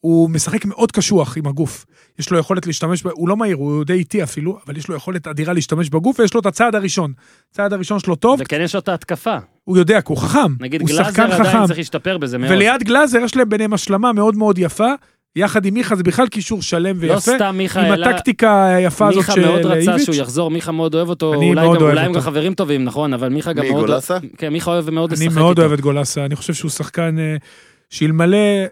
הוא משחק מאוד קשוח עם הגוף. יש לו יכולת להשתמש, ב... הוא לא מהיר, הוא די איטי אפילו, אבל יש לו יכולת אדירה להשתמש בגוף, ויש לו את הצעד הראשון. הצעד הראשון שלו טוב, וכן יש לו את ההתקפה. הוא יודע, כי הוא חכם. נגיד הוא גלאזר שחקן עדיין חכם. צריך להשתפר בזה מאוד. וליד גלאזר יש להם ביניהם השלמה מאוד מאוד יפה. יחד עם מיכה זה בכלל קישור שלם ויפה. לא סתם מיכה עם העלה... הטקטיקה היפה הזאת מיכה של אה, מאוד רצה איביץ'. שהוא יחזור, מיכה מאוד אוהב אותו. אני אולי מאוד גם- אוהב אולי הם אותו. גם חברים טובים, נכון, אבל מיכה גם מי, מאוד... גולסה? כן, מיכה אוהב מאוד לשחק אני איתו. מאוד אוהב את גולסה, אני חושב שהוא שחקן אה, שאלמלא, אה,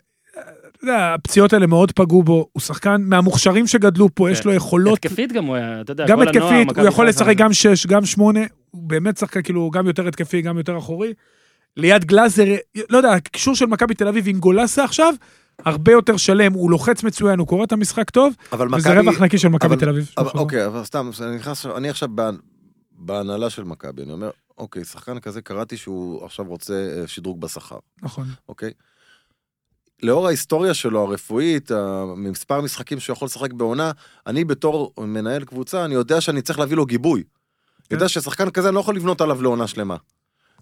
אתה יודע, הפציעות האלה מאוד פגעו בו, הוא שחקן מהמוכשרים שגדלו פה, יש לו יכולות, התקפית גם הוא היה, כן. אתה יודע, גם כל הנוער, התקפית, הוא מכבי יכול חיפה. לשחק גם שש, גם שמונה, הוא באמת שחקן כאילו הוא גם יותר התקפי, גם יותר אחורי. ליד גלאזר, לא יודע, הקישור של מכבי תל אביב עם גולסה עכשיו, הרבה יותר שלם, הוא לוחץ מצוין, הוא קורא את המשחק טוב, אבל וזה מכבי... רווח נקי של מכבי אבל- תל אביב. נכון. אבל- אוקיי, אבל סתם, אני נכנס... אני עכשיו בה- בהנהלה של מכבי, אני אומר, אוקיי, שחקן כזה, קראתי שהוא עכשיו רוצה אה, שדרוג בשכר. נכון. אוקיי? לאור ההיסטוריה שלו, הרפואית, ה- מספר המשחקים שהוא יכול לשחק בעונה, אני בתור מנהל קבוצה, אני יודע שאני צריך להביא לו גיבוי. אני יודע ששחקן כזה אני לא יכול לבנות עליו לעונה שלמה.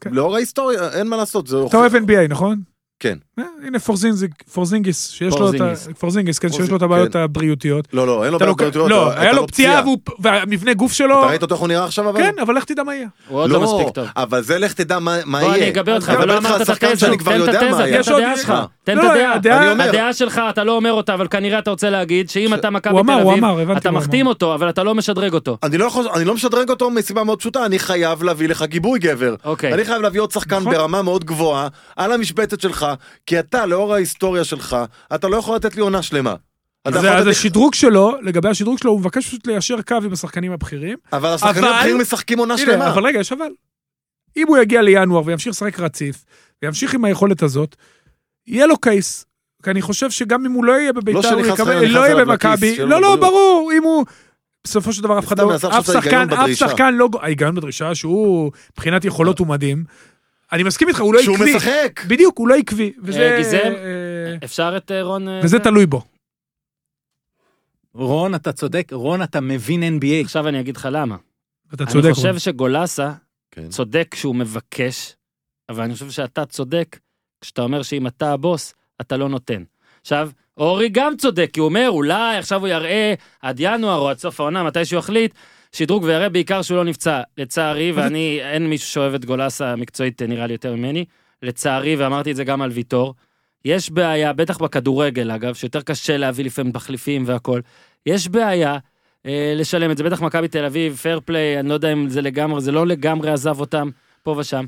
כן. לאור ההיסטוריה, אין מה לעשות, זה... אתה אוהב NBA, נכון? אוקיי. כן. אה, הנה פורזינגיס, פורזינגיס, שיש לו את ה... פורזינגיס. פורזינגיס, כן, שיש לו את פורזינג- הבעיות כן. הבריאותיות. לא, לא, אין לו אתה בעיות לוקח- בריאותיות, לא, הייתה היה לו לו פציעה פציעה. והוא- והמבנה גוף שלו... אתה ראית אותו איך הוא נראה עכשיו, אבל? כן, אבל לך תדע מה יהיה. הוא עוד לא מספיק טוב. אבל זה לך תדע מה מה יהיה. בוא, אני אגבה אותך, אני אבל לא מדבר איתך אמרת על את שחקן התזה. שאני כבר תן את יודע התזה, מה תן יהיה. את יש עוד- הדעה שלך. מה? תן את לא, הדעה- הדעה. אני אומר. הדעה שלך, אתה לא אומר אותה, אבל כנראה אתה רוצה להגיד שאם אתה מכבי הוא תל אמר, הוא אמר, אביב, הבנתי אתה מה הוא מחתים אותו, אבל אתה לא משדרג אותו. אני לא יכול, אני לא משדרג אותו מסיבה מאוד פשוטה, אני חייב להביא לך גיבוי גבר. אוקיי. אני חייב להביא עוד שחקן נכון. ברמה מאוד גבוהה, על המשבצת שלך, כי אתה, לאור ההיסטוריה שלך, אתה לא יכול לתת לי עונה שלמה. אתה אז יכול לתת אז לי- השדרוג שלו, לגבי השדרוג שלו, הוא מבקש פשוט ליישר קו עם השחקנים הבכירים. אבל השחקנים אבל- הבכירים משחקים עונה הנה, שלמה. אבל רגע, יש אבל. אם הוא יגיע לינואר וימשיך לשחק רציף, וימשיך עם היכולת הזאת, יהיה לו קייס. כי אני חושב שגם אם הוא לא יהיה לא בביתר, הוא שנכנס יקבל, חלילה, לא נכנס יהיה אליו במכבי, לכיס, לא, לא, שיהיה לו ברור, אם הוא... בסופו של דבר אף אחד סתם, לא, עזב אף עכשיו את שחקן, ההיגיון אף בדרישה. שחקן לא, ההיגיון בדרישה שהוא מבחינת יכולות הוא מדהים. אני מסכים איתך, הוא לא שהוא עקבי. משחק. בדיוק, הוא לא עקבי. וזה, אה, גיזם? אה, אפשר את אה, רון... אה, וזה זה? תלוי בו. רון, אתה צודק, רון, אתה מבין NBA. עכשיו אני אגיד לך למה. אתה צודק. אני רון. חושב שגולסה כן. צודק כשהוא מבקש, אבל אני חושב שאתה צודק כשאתה אומר שאם אתה הבוס, אתה לא נותן. עכשיו, אורי גם צודק, כי הוא אומר, אולי עכשיו הוא יראה עד ינואר או עד סוף העונה, מתי שהוא יחליט, שדרוג ויראה בעיקר שהוא לא נפצע. לצערי, ואני, אין מישהו שאוהב את גולסה מקצועית, נראה לי, יותר ממני. לצערי, ואמרתי את זה גם על ויטור, יש בעיה, בטח בכדורגל אגב, שיותר קשה להביא לפעמים מחליפים והכל, יש בעיה אה, לשלם את זה, בטח מכבי תל אביב, פייר פליי, אני לא יודע אם זה לגמרי, זה לא לגמרי עזב אותם פה ושם.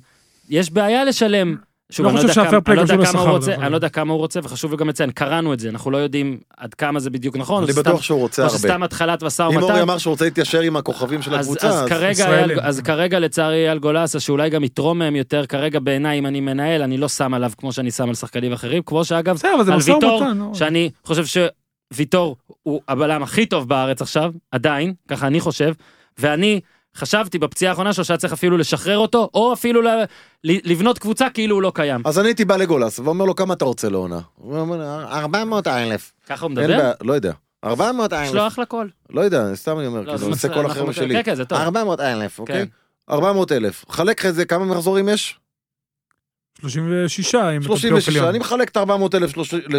יש בעיה לשלם. שוב, לא אני חושב יודע כמה- שהפייר פליי אני לא יודע קשור כמה הוא לשכר, רוצה- דרך אגב. אני לא יודע כמה הוא רוצה, וחשוב גם לציין, קראנו את זה, אנחנו לא יודעים עד כמה זה בדיוק נכון, אני או בטוח שסתם- שהוא רוצה או הרבה. שסתם התחלת משא אם אורי ומתן. אמר שהוא רוצה להתיישר עם הכוכבים של אז, הקבוצה, אז, אז... כרגע, ישראלים. אייל, אז כרגע לצערי אייל גולסה, שאולי גם יתרום מהם יותר, כרגע בעיניי אם אני מנהל, אני לא שם עליו כמו שאני שם על שחקנים אחרים, כמו שאגב, בסדר, אבל זה על משא ויטור, ומתן. נו. שאני חושב שוויטור הוא הבלם הכי טוב בארץ עכשיו, עדיין, ככה אני חושב, ואני חשבתי בפציעה האחרונה שלו שהיה צריך אפילו לשחרר אותו, או אפילו ל- ל- לבנות קבוצה כאילו הוא לא קיים. אז אני הייתי בא לגולס ואומר לו כמה אתה רוצה לעונה. הוא אומר 400 אלף. ככה הוא אין מדבר? בעיה, לא יודע. 400 יש לו אלף. אחלה קול. לא יודע, סתם אני אומר, לא, כאילו, זה אני עושה מצ- קול אנחנו אחר מכירים. משלי. כן, כן, זה טוב. 400 אלף, כן. אוקיי? 400 אלף. חלק לך את זה, כמה מחזורים יש? 36, אם אתה בפלייאוף 36, עליון. אני מחלק את 400 אלף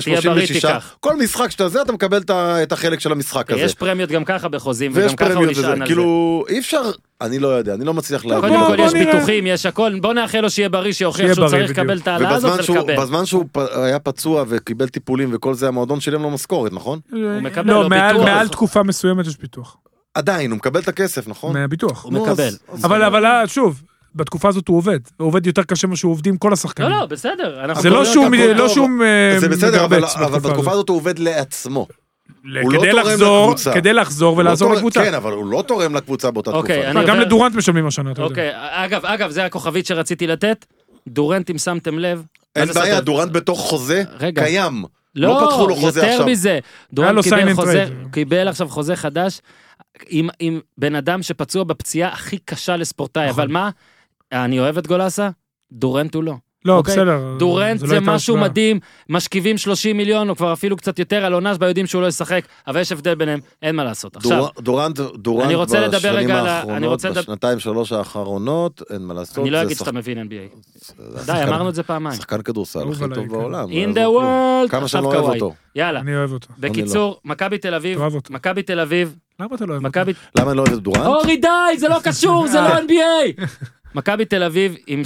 תהיה בריא, ל-36. תיקח. כל משחק שאתה זה, אתה מקבל את ה- את החלק של המשחק הזה. יש פרמיות גם ככה בחוזים, ויש וגם ככה הוא פרמיות וזה, נשען על זה. כאילו, אי אפשר, אני לא יודע, אני לא מצליח להבין. קודם בוא- כל בוא יש נראה. ביטוחים, יש הכל, בוא נאחל לו שיהיה בריא, שיוכיח שיהיה שהוא בריא, צריך לקבל בדיוק. את ההעלאה הזאת ובזמן שהוא, ולקבל. בזמן שהוא פ... היה פצוע וקיבל טיפולים וכל זה, המועדון שילם לו משכורת, נכון? הוא מקבל לו לא, מעל- ביטוח. מעל תקופה מסוימת יש ביטוח. עדיין, הוא מקבל את הכסף, נכון? מהביטוח. הוא מקבל. אבל אבל אה, שוב, בתקופה הזאת הוא עובד. הוא עובד יותר קשה ממה שעובדים כל השחקנים. לא, לא, בסדר. אנחנו זה לא קוראים שהוא אותם מ- כל לא טוב. שהוא אה, זה בסדר, אבל, מתרבץ אבל בתקופה הזאת. הזאת הוא עובד לעצמו. הוא לא כדי תורם לחזור, לקבוצה. כדי לחזור הוא לא ולעזור תורם- לקבוצה. כן, אבל הוא לא תורם לקבוצה באותה אוקיי, תקופה. אני גם עובר- לדורנט משלמים השנה, אתה יודע. אוקיי, אגב, אגב, זה הכוכבית שרציתי לתת. דורנט, אם שמתם לב. מה אין זה בעיה, סותר? דורנט בתוך חוזה רגע. קיים. לא פתחו לו חוזה יותר עכשיו. מזה. היה לו דורנט sign קיבל and חוזה, trade. קיבל עכשיו חוזה חדש עם, עם בן אדם שפצוע בפציעה הכי קשה לספורטאי, נכון. אבל מה, אני אוהב את גולסה? דורנט הוא לא. לא, אוקיי. בסדר. דורנט לא זה הייתה משהו השוואה. מדהים, משכיבים 30 מיליון, או כבר אפילו קצת יותר, על עונה שבה יודעים שהוא לא ישחק, אבל יש הבדל ביניהם, אין מה לעשות. עכשיו, דור- דורנט, אני דורנט רוצה לדבר בשנים רגע על ה- אני האחרונות, רוצה לדבר- בשנתיים שלוש האחרונות, אין מה לעשות. אני לא זה אגיד שאתה שחק- מבין NBA. זה די, שחקן- אמרנו את זה פעמיים. שחקן כדורסל אהוב הכי עליי, טוב כן. בעולם. לא In יעזור the כלום. world, כמה עכשיו שאני לא אוהב קוואי. אותו. לא. יאללה, אני אוהב אותו. בקיצור, מכבי תל אביב, תאהב אותו. מכבי תל אביב, למה אתה לא אוהב אותו? מכבי... למה אני לא אוהב את דורנט? אורי די, זה לא קשור, זה אה. לא NBA! מכבי תל אביב עם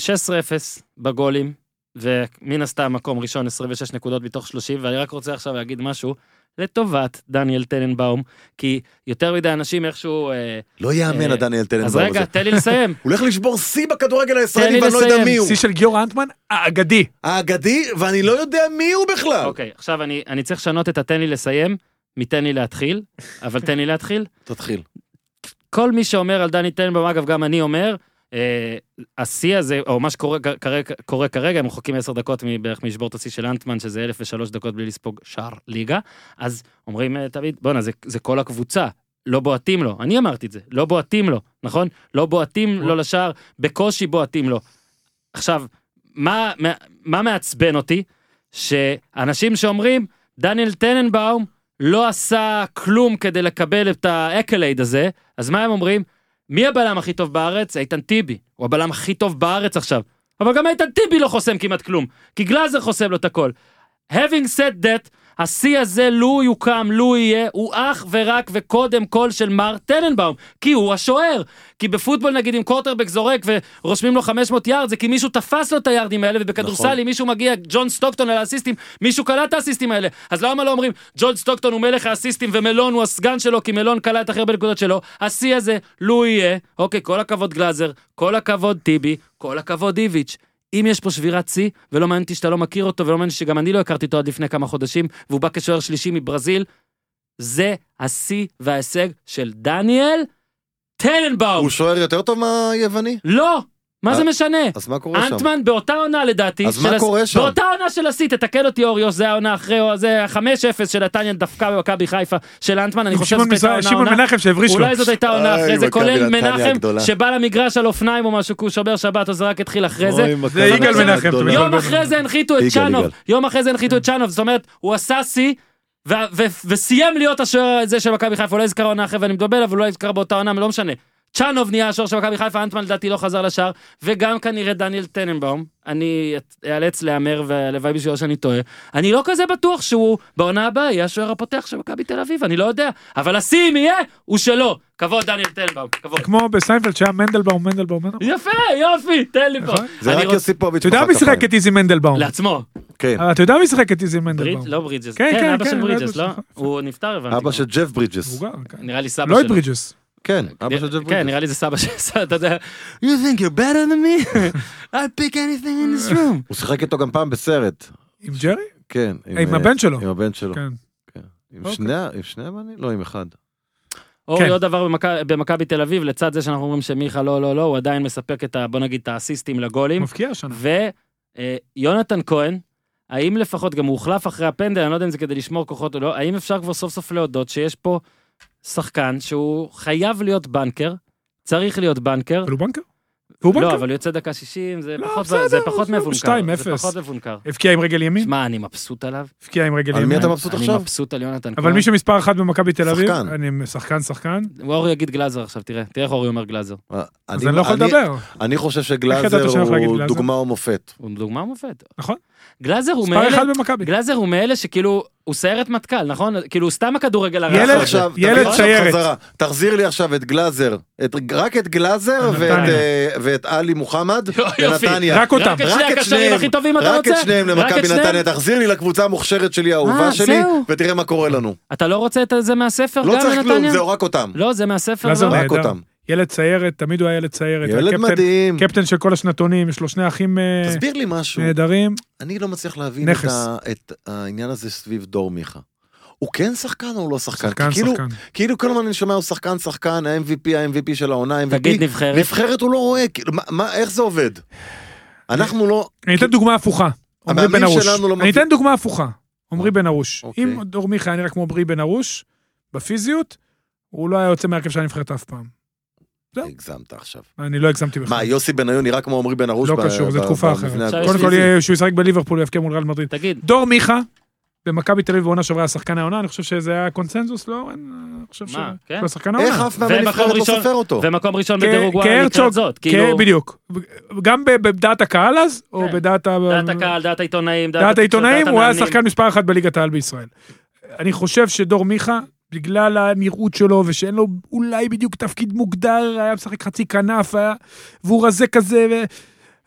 16-0 בגולים, ומן הסתם מקום ראשון 26 נקודות מתוך 30, ואני רק רוצה עכשיו להגיד משהו לטובת דניאל טננבאום, כי יותר מדי אנשים איכשהו... אה, לא יאמן אה, הדניאל אז טננבאום הזה. רגע, תן לי לסיים. הוא הולך לשבור שיא בכדורגל תן לי הישראלי ואני לא יודע לסיים. מי הוא. שיא של גיורא אנטמן האגדי. האגדי, ואני לא יודע מי הוא בכלל. אוקיי, עכשיו אני אני צריך לשנות את התן לי לסיים, מתן לי להתחיל, אבל תן לי להתחיל. תתחיל. כל מי שאומר על דני טננבאום, אגב, גם אני אומר, אה, השיא הזה, או מה שקורה כ- כרגע- קורה כרגע, הם רחוקים 10 דקות מבערך מלשבור את השיא של אנטמן, שזה 1003 דקות בלי לספוג שער ליגה, אז אומרים אה, תמיד, בואנה, זה, זה כל הקבוצה, לא בועטים לו. אני אמרתי את זה, לא בועטים לו, נכון? לא בועטים לו לשער, בקושי בועטים לו. עכשיו, מה, מה, מה מעצבן אותי? שאנשים שאומרים, דניאל טננבאום לא עשה כלום כדי לקבל את האקלייד הזה, אז מה הם אומרים? מי הבלם הכי טוב בארץ? איתן טיבי. הוא הבלם הכי טוב בארץ עכשיו. אבל גם איתן טיבי לא חוסם כמעט כלום, כי גלאזר חוסם לו את הכל. Having said that, השיא הזה, לו יוקם, לו יהיה, הוא אך ורק וקודם כל של מר טננבאום, כי הוא השוער. כי בפוטבול נגיד אם קורטרבק זורק ורושמים לו 500 יארד, זה כי מישהו תפס לו את היארדים האלה, ובכדורסל נכון. אם מישהו מגיע, ג'ון סטוקטון על האסיסטים, מישהו קלע את האסיסטים האלה. אז למה לא אומרים, ג'ון סטוקטון הוא מלך האסיסטים ומלון הוא הסגן שלו, כי מלון קלע את הכי הרבה נקודות שלו, השיא הזה, לו יהיה, אוקיי, כל הכבוד גלאזר, כל הכבוד טיבי, כל הכבוד איביץ'. אם יש פה שבירת שיא, ולא מעניין אותי שאתה לא מכיר אותו, ולא מעניין אותי שגם אני לא הכרתי אותו עד לפני כמה חודשים, והוא בא כשוער שלישי מברזיל, זה השיא וההישג של דניאל טננבאום. הוא שוער יותר טוב מהיווני? לא! מה זה משנה? אז מה קורה שם? אנטמן באותה עונה לדעתי. אז של מה הס- קורה שם? באותה עונה של השיא, תתקן אותי אורי, או זה העונה אחרי, או זה ה-5-0 של נתניה דפקה במכבי חיפה של אנטמן, אני עם חושב שמעון שזאת הייתה מזרח- העונה. שמעון העונה. מנחם שהבריש לו. אולי זאת הייתה עונה איי, אחרי זה, אה, מכבי כולל נתניה מנחם הגדולה. שבא למגרש על אופניים או משהו, כי הוא שומר שבת או זה רק התחיל אחרי זה. זה יגאל מנחם. אתה יום מתבלבל. אחרי זה לא, הנחיתו את לא יגאל, צ'אנוב, יגאל. יום אחרי זה הנחיתו את צ'אנוב, זאת אומרת, הוא עשה שיא. ו- ו- וסיים להיות השוער הזה של מכבי חיפה, אולי יזכר עונה אחרת ואני מדבר, אבל אולי יזכר לא באותה עונה, לא משנה. צ'אנוב נהיה השוער של מכבי חיפה, אנטמן לדעתי לא חזר לשער, וגם כנראה דניאל טננבאום, אני את- אאלץ להמר, והלוואי בשבילו שאני טועה, אני לא כזה בטוח שהוא בעונה הבאה יהיה השוער הפותח של מכבי תל אביב, אני לא יודע, אבל השיא אם יהיה, הוא שלו. כבוד דניאל טננבאום, כבוד. כמו בסיינפלד שהיה מנדלבאום, מנדלבאום, מנדלבאום. יפה, יופי, תן לי פה. נכון. זה אני רק רוצה- יוסיפוביץ'. אתה יודע מחא מי שיחק אה, כפיים. את איזי מנדלבאום? לעצמו. כן. אבל אתה יודע מי שיחק את איזי בריד, מנדלבאום? לא ברידג'ס. כן, כן, כן, אבא כן, של ברידג'ס, ברידג'ס, לא? נכון. הוא נפטר, הבנתי. אבא גם. של ג'ף ברידג'ס. מבוגר, כן. נראה לי סבא לא את שלו. ברידג'ס. כן, אבא של ג'ף כן, ברידג'ס. נראה לי זה סבא של אתה יודע, You think you're better than me? I pick anything in this room. הוא שיחק איתו גם פעם בסרט. עם ג'רי? כן. עם אה, הבן שלו. עם הבן שלו. כן. עם אוקיי. שני ה- עם שני הבנים? לא, עם אחד. אורי, כן. עוד דבר במכ- במכבי תל אביב, לצד זה שאנחנו אומרים שמיכה לא, לא, לא, הוא עדיין מספק את ה... בוא נגיד, את האסיסטים לגולים. מבקיע השנה. ויונתן כהן, האם לפחות, גם הוא הוחלף אחרי הפנדל, אני לא יודע אם זה כדי לשמור כוחות או לא, האם אפשר כבר סוף סוף להודות שיש פה שחקן שהוא חייב להיות בנקר, צריך להיות בנקר. אבל הוא בנקר? והוא לא, בנקר? אבל יוצא דקה 60, זה לא, פחות, בסדר, זה פחות עזוב, מבונקר. 2-0. זה פחות מבונקר. הבקיע עם רגל ימין? שמע, אני מבסוט עליו. הבקיע עם רגל על ימין. מי אתה מבסוט אני עכשיו? מבסוט על יונתן כהן. אבל מי שמספר אחת במכבי תל אביב, שחקן. אני שחקן שחקן, אורי יגיד גלאזר עכשיו, תראה, תראה איך אורי אומר גלאזר. אה, אז אני לא יכול לדבר. אני חושב ידעת שגלאזר שאני הולך להגיד הוא גלאזר? דוגמה ומופת. הוא דוגמה מופת. נכון. גלאזר הוא מספר מאלה, אחד במכבי. גלאזר הוא מאלה שכאילו, הוא סיירת מטכ"ל, נכון? כאילו, הוא סתם הכדורגל הרך. ילד- הזה. עכשיו, ילד תביא עכשיו סיירת. חזרה. תחזיר לי עכשיו את גלאזר, את- רק את גלאזר נתניה. ואת, אה, ואת עלי מוחמד יופי. ונתניה. רק אותם. רק את שני רק את הקשרים שניהם, הכי טובים אתה רק רוצה? את שניהם למכבי את שניהם? נתניה, תחזיר לי לקבוצה המוכשרת שלי, האהובה אה, שלי, זהו. ותראה מה קורה לנו. אתה לא רוצה את זה מהספר גם לא צריך כלום, לנתניה? זהו, רק אותם. לא, זה מהספר. גלאזר לא. רק נהדר. אותם. ילד סיירת, תמיד הוא היה ילד סיירת. ילד הקפטן- מדהים. לא, קפטן של כל השנתונים, יש לו שני אחים אה, תסביר לי משהו, נהדרים. אני לא מצליח להבין את נכס. ה- את העניין הזה סביב דור מיכה. הוא כן שחקן או לא שחקן? שחקן, כי כאילו- כן, שחקן. כאילו כל הזמן אני שומע הוא שחקן, שחקן, ה-MVP, ה-MVP של העונה, MVP. תגיד נבחרת. נבחרת הוא לא רואה, כאילו, מה- מה, איך זה עובד? אנחנו לא... אני אתן דוגמה הפוכה. עמרי המאמנים בן ארוש. שלנו לא אני מבין. אתן דוגמה הפוכה. עמרי בן ארוש. אוקיי. אם דור מיכה היה נראה כמו עמרי בן ארוש, בפיזיות, הוא לא היה יוצא מהרכב של הנבחרת אף פעם. לא. הגזמת עכשיו. אני לא הגזמתי בכלל. מה, יוסי בניון נראה כמו עמרי בן ארוש? לא ב- קשור, זו ב- תקופה במבנה אחרת. הזה? יש קודם לי כל, זה. יהיה- שהוא ישחק בליברפול, הוא יבקיע מול ריאל מדריד. תגיד, דור מיכה, במכבי תל אביב בעונה שעברה היה שחקן העונה, אני חושב שזה היה קונצנזוס, לא? אין, אני חושב ש... מה, כן? לא שחקן איך העונה. אף מאמן ומקום נבחרת לא ראשון. סופר אותו? ומקום ראשון כ- בדירוג וואי לקראת זאת. כאילו, כ- כן, בדיוק. גם ב- בדעת הקהל אז, או כן. בדעת ה... דעת הקהל, דעת העיתונאים, דעת העיתונאים, דעת הוא היה המאמנים. שחקן מספר אחת בליגת העל בישראל. אני חושב שדור מיכה, בגלל הנראות שלו, ושאין לו אולי בדיוק תפקיד מוגדר, היה משחק חצי כנף, היה- והוא רזה כזה, ו...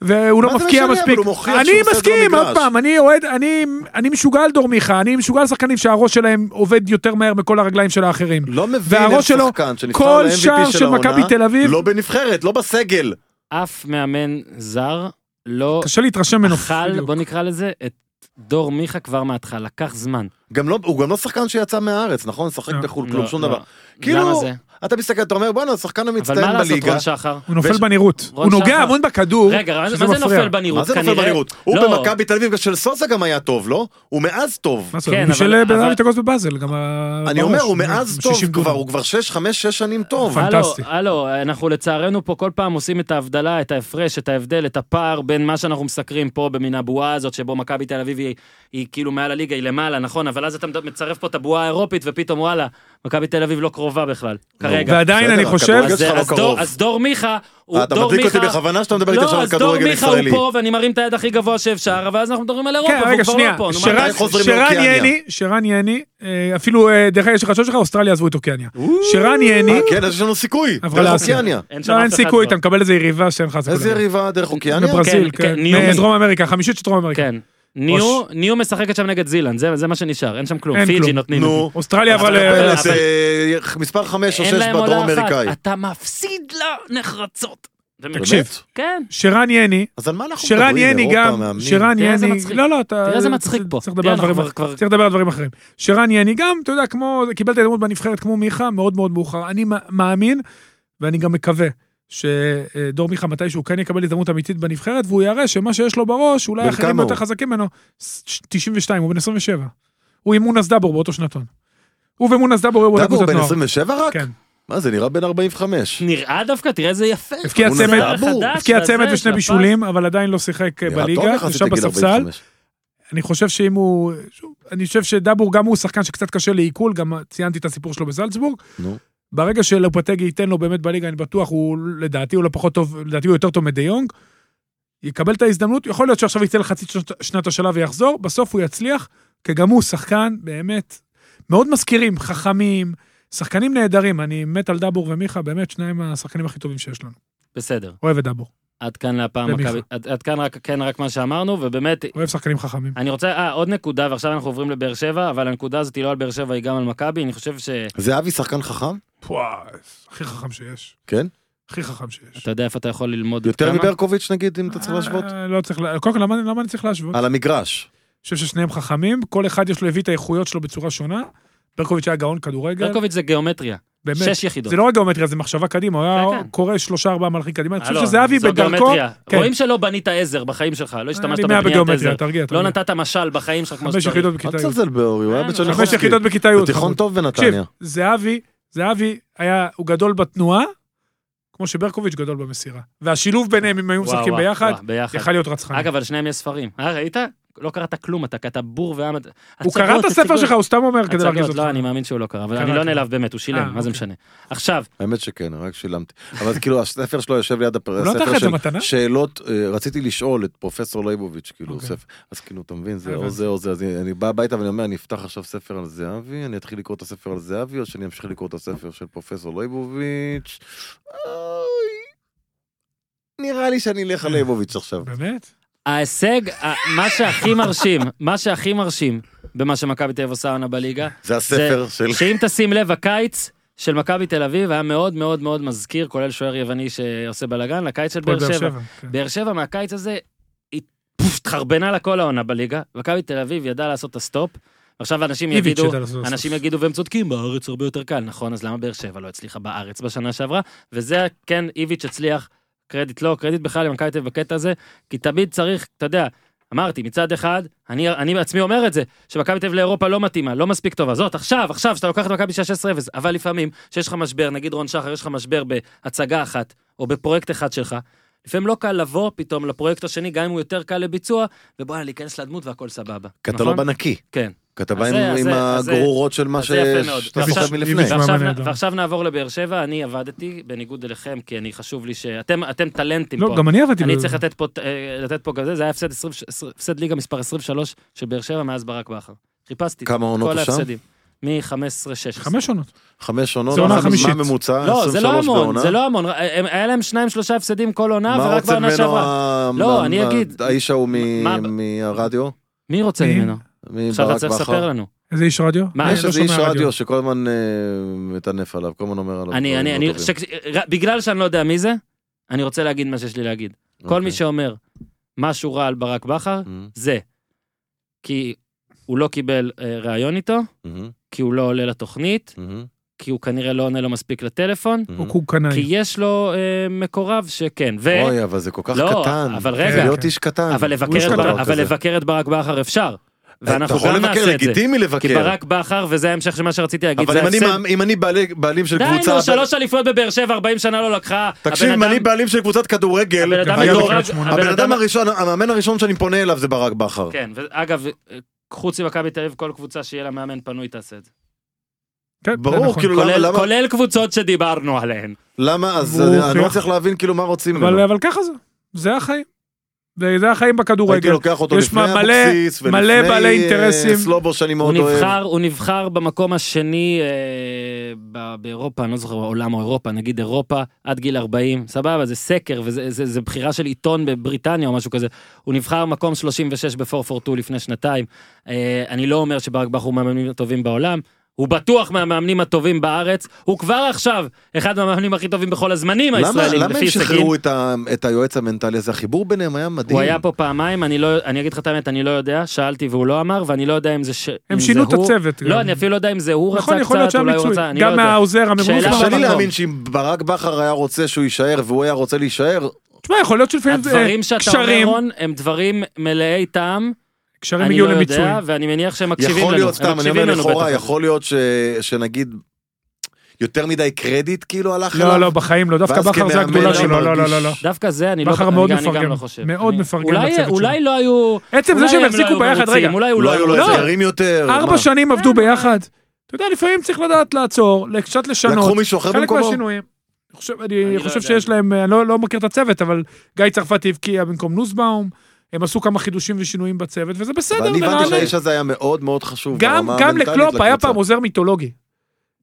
והוא לא מה זה מפקיע משנה? אבל מספיק. הוא מוכיח אני שהוא עושה את זה מסכים, במגרש. עוד פעם, אני אוהד, אני, אני משוגע על דור מיכה, אני משוגע על שחקנים שהראש שלהם עובד יותר מהר מכל הרגליים של האחרים. לא מבין איך והראש שלו, שחקן שנבחר כל ל-MVP שער של של מכבי העונה, תל אביב, לא בנבחרת, לא בסגל. אף מאמן זר לא קשה להתרשם ממנו. אכל, בדיוק. בוא נקרא לזה, את דור מיכה כבר מההתחלה, לקח זמן. גם לא, הוא גם לא שחקן שיצא מהארץ, נכון? שחק לא, בחו"ל, כלום, לא, שום לא. דבר. למה כאילו, זה? אתה מסתכל, אתה אומר, בואנה, השחקן אבל מה המצטיין לעשות, בליגה. רון שחר? הוא נופל ויש- בנראות. רון הוא נוגע שחר. המון בכדור, רגע, מה שזה זה מה זה מפריע. נופל בנראות? מה זה נופל כנראה- בנראות? הוא לא. במכבי תל אביב של סוזה גם היה טוב, לא? הוא מאז טוב. מה זאת כן, אומרת? הוא אבל- של בן אבל- אדם מתאגוז בבאזל, גם ה... אני בראש, אומר, הוא מ- מאז מ- טוב 60 כבר, דונם. הוא כבר 6-5-6 שנים טוב. אבל- פנטסטי. הלו, הלו, אנחנו לצערנו פה כל פעם עושים את ההבדלה, את ההפרש, את ההבדל, את הפער בין מה שאנחנו מסקרים פה במין הבועה הזאת, שבו מכבי תל אביב היא, היא כאילו מעל הליגה, היא למעלה, נכון? אבל אז אתה מצרף פה את הבועה האירופית, ופתאום וואלה, מכבי תל אביב לא קרובה בכלל, כרגע. ועדיין בסדר, אני הכדורגל חושב... שלך אז, לא אז, קרוב. דור, אז דור מיכה, הוא אה, אתה דור מדליק מיכה... אותי בכוונה שאתה מדבר איתי עכשיו לא, על אז דור כדורגל מיכה הוא ישראלי. פה, ואני מרים את היד הכי גבוה שאפשר, אבל אז אנחנו מדברים על אירופה, כן, והוא רגע, כבר שנייה. לא פה. נו, מה שרן- אתה- מתי חוזרים שרן לאוקיאניה? יני, שרן יני, אה, אפילו, אה, דרך אגב, יש לך חשוב שלך, אוסטרליה עזבו את אוקיאניה. שרן יני, אה, כן, אז יש לנו סיכוי. עברה דרך לאסיה. אוקיאניה. אין שם לא, אין אף אחד סיכוי, כבר. אתה מקבל איזה יריבה שאין לך אז איזה כולם. יריבה דרך אוקיאניה? בברזיל, כן, כן. כן, ניומי. מדרום אמריקה, חמישית של דרום אמריקה. כן. ניו, ניו משחקת שם נגד זילנד, זה, זה מה שנשאר, אין שם כלום. אין פיג'י כלום. נותנים. נו. אוסטרליה אבל... אבל אה, אבל- זה אה, מספר 5 או 6 אין להם הודעה בדרום אחת, אמריקאי. אתה מפסיד לה נחרצות. תקשיב. באמת? כן, שרן יני, אז על מה אנחנו מדברים? שרן יני אירופה, גם, מאמנים? שרן תראה איזה יני, מצחיק. לא לא, אתה, תראה איזה מצחיק פה. צריך לדבר תראה, על דברים, אנחנו אחרים. כבר- כבר- צריך לדבר על דברים אחרים. שרן יני גם, אתה יודע, כמו, קיבל את ההזדמנות בנבחרת כמו מיכה, מאוד מאוד מאוחר. אני מא- מאמין, ואני גם מקווה, שדור מיכה מתישהו כן יקבל הזדמנות אמיתית בנבחרת, והוא יראה שמה שיש לו בראש, אולי בן אחרים כמה יותר הוא? חזקים ממנו, ש- 92, הוא בן 27. הוא עם מונס דאבור באותו שנתון. הוא ומונס דאבור היו באותה דאבור קבוצת בן נוער. 27 רק? כן. מה זה נראה בן 45. נראה דווקא, תראה איזה יפה. הבקיע הוא צמד, נראה חדש, הבקיע וזה, צמד של ושני הפס. בישולים, אבל עדיין לא שיחק נראה טוב בליגה, יחסית ישב לגיל בספסל. 45. אני חושב שאם הוא... שוב, אני חושב שדאבור גם הוא שחקן שקצת קשה לעיכול, גם ציינתי את הסיפור שלו בזלצבורג. נו. ברגע שלופטגי ייתן לו באמת בליגה, אני בטוח, הוא לדעתי הוא לא פחות טוב, לדעתי הוא יותר טוב מדי יונג, יקבל את ההזדמנות, יכול להיות שעכשיו יצא לחצי שנת, שנת השלב ויחזור, בסוף הוא יצליח, כי גם הוא שחקן באמת מאוד מזכירים, חכמים, שחקנים נהדרים, אני מת על דאבור ומיכה, באמת שניים השחקנים הכי טובים שיש לנו. בסדר. אוהב את דאבור, עד כאן להפעם ומיכה. מכבי... עד, עד כאן רק, כן, רק מה שאמרנו, ובאמת, אוהב שחקנים חכמים. אני רוצה, אה, עוד נקודה, ועכשיו אנחנו עוברים לבאר שבע, אבל הנקודה הזאת היא לא על באר שבע, היא גם על מכבי, אני חושב ש... זהבי שחקן חכם? וואי, הכי חכם שיש, כן? הכי חכם שיש. אתה יודע איפה אתה יכול ללמוד עד יותר כמה? מברקוביץ' נגיד, אם אתה צריך להשוות? אה. אה, לא צריך, לה- קודם כל, למה למה אני צריך להשוות? על המגרש. אני חושב ששניהם חכמים, כל אחד יש לו, הביא את האיכויות שלו בצורה שונה. ברקוביץ' היה גאון כדורגל, ברקוביץ' זה גיאומטריה, באמת. שש יחידות. זה לא רק גיאומטריה, זה מחשבה קדימה, הוא היה כן, כן. קורא שלושה ארבעה מהלכים קדימה. אני אה, חושב לא, שזהבי זו בדרכו, גיאומטריה. כן. אה, רואים שלא בנית עזר בחיים שלך, לא השתמשת אני מאה בבניית עזר. בגיאומטריה, תרגיע, לא תרגיע. נתת משל בחיים שלך כמו חמש שצריך. יחידות אל בכיתה י'. תצלזל לא באורי, הוא היה אה, בצ'רניחובסקי. חמש יחידות בכיתה י'. הוא תיכון חמוד. טוב תקשיב, בנתניה. זהבי, זהבי היה, הוא גדול בתנועה, כמו שברקוביץ' גדול במסירה. והשילוב ביניהם, אם היו וואו, משחקים וואו, ביחד, וואו, ביחד. יכל להיות רצחני. אגב, על שניהם יש ספרים. אה, ראית? לא קראת כלום, אתה קטע בור ועם... הוא קרא את הספר שלך, הוא סתם אומר כדי להרגיז הצגות, אותך. לא, אני מאמין שהוא לא קרא, אבל אני קרא, לא קרא. נעלב באמת, הוא אה, שילם, מה זה אוקיי. משנה. עכשיו, האמת שכן, רק שילמתי. אבל כאילו, הספר שלו יושב ליד הפ- הוא לא נתן לך הספר את זה של מתנה? שאלות, אה, רציתי לשאול את פרופסור ליבוביץ', כאילו, אוקיי. ספר. אז כאילו, אתה מבין, זה הבנתי. או זה או זה. אז אני אני בא הביתה ואני אומר, אני אפתח עכשיו ספר על זהבי, אני אתחיל לקרוא את הספר על זהבי, או שאני אמשיך לקרוא את הספר של פרופסור ליבוביץ'. אוי, נראה לי שאני כן. אלך על ליבוביץ' עכשיו. באמת? ההישג, ה- מה שהכי מרשים, מה שהכי מרשים במה שמכבי תל אביב עושה העונה בליגה, זה הספר של... שאם תשים לב, הקיץ של מכבי תל אביב היה מאוד מאוד מאוד מזכיר, כולל שוער יווני שעושה בלאגן, לקיץ של באר שבע. כן. באר שבע מהקיץ הזה, היא פוף, התחרבנה לה כל העונה בליגה, מכבי תל אביב ידעה לעשות את הסטופ, עכשיו אנשים איביץ' יגידו, ידע לעשות את אנשים הסטופ. יגידו והם צודקים, בארץ הרבה יותר קל, נכון, אז למה באר שבע לא הצליחה בארץ בשנה שעברה? וזה, כן, איביץ' הצליח, קרדיט לא, קרדיט בכלל למכבי תל אביב בקטע הזה, כי תמיד צריך, אתה יודע, אמרתי, מצד אחד, אני, אני בעצמי אומר את זה, שמכבי תל אביב לאירופה לא מתאימה, לא מספיק טובה. זאת, עכשיו, עכשיו, שאתה לוקח את מכבי 16-0, אבל לפעמים, שיש לך משבר, נגיד רון שחר, יש לך משבר בהצגה אחת, או בפרויקט אחד שלך, לפעמים לא קל לבוא פתאום לפרויקט השני, גם אם הוא יותר קל לביצוע, ובואנה, להיכנס לדמות והכל סבבה. כי אתה נכון? לא בנקי. כן. כתבה אז עם, זה- אז עם זה- אז זה- הגרורות של מה אז ש... זה יפה מאוד. שאתה ועכשיו- זוכר מלפני. איביץ'. ועכשיו, מאמן נ- נהדר. ועכשיו נעבור לבאר שבע, אני עבדתי, בניגוד אליכם, כי אני חשוב לי שאתם אתם טלנטים פה. לא, גם אני עבדתי. אני ב- צריך לתת פה, אה, לתת פה גם זה, זה היה הפסד, 20, הפסד ליגה מספר 23 של באר שבע מאז ברק בכר. חיפשתי את כמה עונות כל הוא שם? ההפסדים. מ-15-16. חמש עונות. חמש עונות? זה עונה מה- חמישית. מה הממוצע? לא, זה לא 23 המון, אה, בעונה? זה לא המון. הם- היה להם שניים, שלושה הפסדים כל עונה, מה ורק רוצה בעונה ממנו שעברה. ה- לא, ה- אני ה- אגיד- האיש ההוא מ- מה- מהרדיו? מי רוצה מי? ממנו? עכשיו אתה מברק צריך לספר בכר? לנו. איזה איש רדיו? מה, אני יש לא איזה שומע איש רדיו שכל הזמן אה, מטנף עליו, כל הזמן אומר עליו. אני, דברים אני, לא אני, טובים. שק- ר- בגלל שאני לא יודע מי זה, אני רוצה להגיד מה שיש לי להגיד. כל מי אוקיי. שאומר משהו רע על ברק בכר, Mhm, זה. כי הוא לא קיבל אה, ראיון איתו, mhm, כי הוא לא עולה לתוכנית, mhm, כי הוא כנראה לא עונה לו מספיק לטלפון, mhm. הוא קוב Mm-hmm. כי קנאי. יש לו אה, מקורב שכן. ו... אוי, אבל זה כל כך לא, קטן. אבל כן, זה רגע, להיות איש קטן. אבל לבקר יש את דבר בר- אבל כזה. לבקר את ברק בכר אפשר. אתה ואנחנו יכול גם לבקר, נעשה את זה. לגיטימי כי לבקר. ברק בכר, וזה ההמשך של מה שרציתי להגיד, אבל זה אם אני ההפסד. מאמ- אם אני בעלי- בעלים של די קבוצה... נו, שלוש אליפויות בבאר שבע, 40 שנה לא לקחה. תקשיב, הבן אם אדם- אני בעלים של קבוצת כדורגל, הבן אדם היום- מקורב- מדורג, הבן הבן אדם הראשון, המאמן הראשון שאני פונה אליו זה ברק בכר. כן, ואגב, חוץ ממכבי תל אביב, כל קבוצה שיהיה לה מאמן פנוי תעשה את זה. כן, זה ברור, נכון. כאילו למה- כולל- למה- כולל קבוצות שדיברנו עליהן. למה, אז הוא אני- הוכיח. אני לא מצליח להבין כאילו מה רוצים אבל- לא. ממנו. אבל ככה זה. זה החיים. זה- זה החיים הייתי בכדורגל. לוקח אותו יש לפני מה- מלא- אבוקסיס, מלא ולפני בעלי אה, אינטרסים. סלובו שאני הוא מאוד אוהב. נבחר, הוא נבחר במקום השני אה, ב- באירופה, אני לא זוכר, עולם או אירופה, נגיד אירופה, עד גיל 40, סבבה, זה סקר, וזה זה- זה בחירה של עיתון בבריטניה או משהו כזה. הוא נבחר מקום 36 ב-442 לפני שנתיים. אה, אני לא אומר שברק בכר הוא מהמאמנים הטובים בעולם, הוא בטוח מהמאמנים הטובים בארץ, הוא כבר עכשיו אחד מהמאמנים הכי טובים בכל הזמנים למה הישראלים, למה לפי הם הישגים. שחררו את ה- את היועץ המנטלי הזה? החיבור ביניהם היה מדהים. הוא היה פה פעמיים, אני לא, אני אגיד לך את האמת, אני לא יודע, שאלתי והוא לא אמר, ואני לא יודע אם זה ש... אם הם זה שינו את הוא. הצוות. לא, גם. אני אפילו לא יודע אם זה הוא רצה נכון, יכול להיות קצת, שהיה אולי הוא מקצועי. רצה, אני לא גם יודע. מהעוזר המבוגר. שאלה לא- קשה לי במקום. להאמין שאם ברק בכר היה רוצה שהוא יישאר והוא היה רוצה להישאר, תשמע, יכול להיות שלפעמים זה הדברים שאתה אומר, קשרים, רון, הם דברים מלאי טעם, קשרים אני הגיעו לא יודע, למיצוי. ואני מניח שהם מקשיבים לנו. יכול להיות, הם סתם, אני מקשיבים אומר לנו לכאורה, בטח. יכול להיות ש- שנגיד יותר מדי קרדיט כאילו הלך אליו. לא, לא, בחיים לא. דווקא ואז בכר זה כמאמן הגדולה אני שלו. לא, לא, מרגיש- לא, לא. דווקא זה, אני לא בכר אני מאוד גם- אני גם מפרגן. לא חושב. מאוד אני- מפרגן אולי- לצוות שלו. אולי לא היו... עצם זה אולי שהם הם לא החזיקו היו ביחד, מרוצים, רגע, אולי הוא לא היו לו לא... הסדרים יותר. ארבע מה? שנים עבדו ביחד. אתה יודע, לפעמים צריך לדעת לעצור, קצת לשנות. לקחו מישהו אחר חלק במקומו? מהשינויים. אני חושב, אני אני חושב שיש להם, אני לא, לא מכיר את הצוות, אבל גיא צרפתי הבקיע במקום נוסבאום, הם עשו כמה חידושים ושינויים בצוות, וזה בסדר, ואני זה הבנתי נעלה. שהאיש הזה היה מאוד מאוד חשוב. גם, ברמה גם המנטלית לקלופ היה לקבוצה. פעם עוזר מיתולוגי.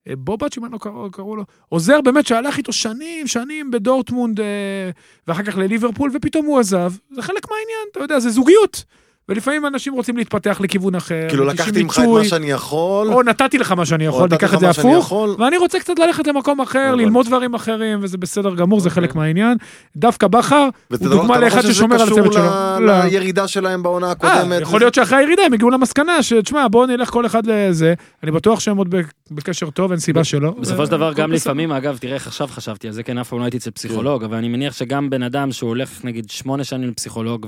אה, בובץ', אם אני לא קראו, קראו לו, עוזר באמת שהלך איתו שנים, שנים בדורטמונד, אה, ואחר כך לליברפול, ופתאום הוא עזב. זה חלק מהעניין, אתה יודע, זה זוגיות. ולפעמים אנשים רוצים להתפתח לכיוון אחר. כאילו מרגישים לקחתי ממך את מיצוי. מה שאני יכול, או נתתי לך מה שאני יכול, נתתי ניקח לך את זה מה שאני הפוך, יכול. ואני רוצה קצת ללכת למקום נכון. אחר, הבנתי. ללמוד דברים אחרים, וזה בסדר גמור, זה חלק מהעניין. דווקא בכר הוא אוקיי. וזה לא- דוגמה אתה לא לאחד חושב שזה ששומר על קשור הצוות שלו. ל- לא. לירידה שלהם בעונה אה, הקודמת. יכול להיות שאחרי הירידה הם הגיעו למסקנה שתשמע, בואו נלך כל אחד לזה, אני בטוח שהם עוד בק- בקשר טוב, אין סיבה שלא. אה, בסופו של דבר והכל גם בסדר. לפעמים, אגב, תראה איך עכשיו חשבתי על זה, כן, אף פעם לא הייתי אצל פסיכולוג, אבל אני מניח שגם בן אדם שהוא הולך נגיד שמונה שנים לפסיכולוג,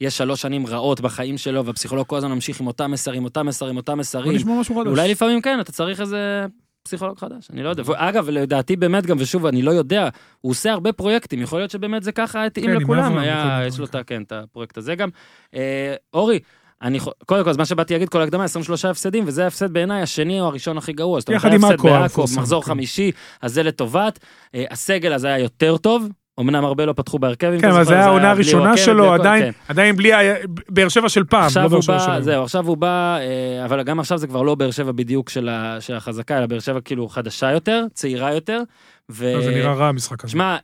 ויש שלוש שנים רעות בחיים שלו, והפסיכולוג כל הזמן ממשיך עם אותם מסרים, אותם מסרים, אותם בוא מסרים. נשמע משהו חדש. אולי לפעמים כן, אתה צריך איזה פסיכולוג חדש, אני לא יודע. אגב, לדעתי באמת גם, ושוב, אני לא יודע, הוא עושה הרבה פרויקטים, יכול להיות שבאמת זה ככה התאים כן, עם לכולם, אברהם אוקיי. היה, בקודם, יש לו את ה- כן, את הפרויקט הזה גם. אה, אורי, אני, חו- קודם כל, אז מה שבאתי להגיד, כל הקדמה, 23 הפסדים, וזה ההפסד בעיניי השני או הראשון הכי גרוע. זאת אומרת, יחד היה עם הפסד עכו, בעכו, המפורסם, מחזור כן. חמישי, אז זה לטובת. אה, הסגל אז היה יותר טוב, אמנם הרבה לא פתחו בהרכב, אם כן, אתה אבל זוכר, זה היה העונה בלי הראשונה וואקמה, בלי שלו, הכל, עדיין כן. עדיין בלי ה- באר שבע של פעם. לא עכשיו באר הוא שבע של בא, היום. זהו, עכשיו הוא בא, אה, אבל גם עכשיו זה כבר לא באר שבע בדיוק של ה- של החזקה, אלא באר שבע כאילו חדשה יותר, צעירה יותר. ו- לא, זה נראה רע המשחק הזה. אה, שמע,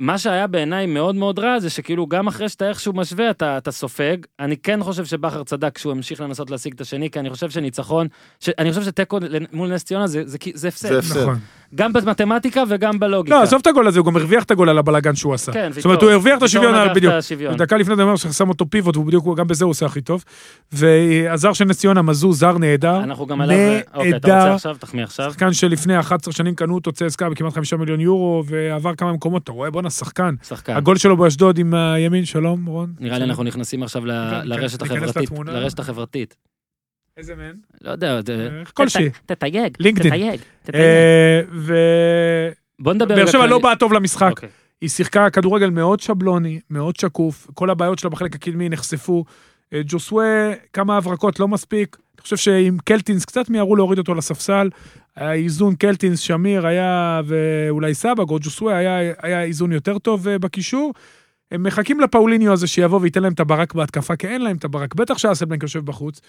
מה שהיה בעיניי מאוד מאוד רע זה שכאילו גם אחרי שאתה איכשהו משווה אתה, אתה סופג. אני כן חושב שבכר צדק כשהוא המשיך לנסות להשיג את השני, כי אני חושב שניצחון, ש... אני חושב שתיקו לנ- מול נס ציונה זה, זה, כי- זה הפסד. זה הפסד. נכון. גם במתמטיקה וגם בלוגיקה. לא, עזוב את הגול הזה, הוא גם הרוויח את הגול על הבלאגן שהוא עשה. כן, זאת אומרת, הוא הרוויח את השוויון, על- בדיוק. את השוויון. דקה לפני זה אמר ששם אותו פיבוט, והוא בדיוק, גם בזה הוא עושה הכי טוב. והזר של נס ציונה, מזוז, זר נהדר. אנחנו גם עליו... אוקיי, אתה נהדר. רוצה עכשיו? תחמיא עכשיו. שחקן שלפני 11 שנים קנו אותו צסקה בכמעט 5 מיליון יורו, ועבר כמה מקומות, אתה רואה, בואנה, שחקן. שחקן. הגול שלו באשדוד עם הימין, שלום, רון. כן. נראה לי אנחנו נכנסים עכשיו ל- כן, לרשת ניכנס החברתית. לתמונה. לרשת החברתית. איזה מן? לא יודע, אה, זה- כלשהי. תתייג. לינקדאין. תתייג. תתייג. אה, בוא נדבר... ובאר שבע בכללי- לא באה טוב למשחק. אוקיי. היא שיחקה כדורגל מאוד שבלוני, מאוד שקוף, כל הבעיות שלה בחלק הקדמי נחשפו. אה, ג'וסווה, כמה הברקות לא מספיק. אני חושב שעם קלטינס קצת מיהרו להוריד אותו לספסל. היה איזון קלטינס, שמיר היה, ואולי סבג או ג'וסווה, היה, היה איזון יותר טוב אה, בקישור. הם מחכים לפאוליניו הזה שיבוא וייתן להם את הברק בהתקפה, כי אין להם את הברק, בטח שאסלבנק יושב בחוץ.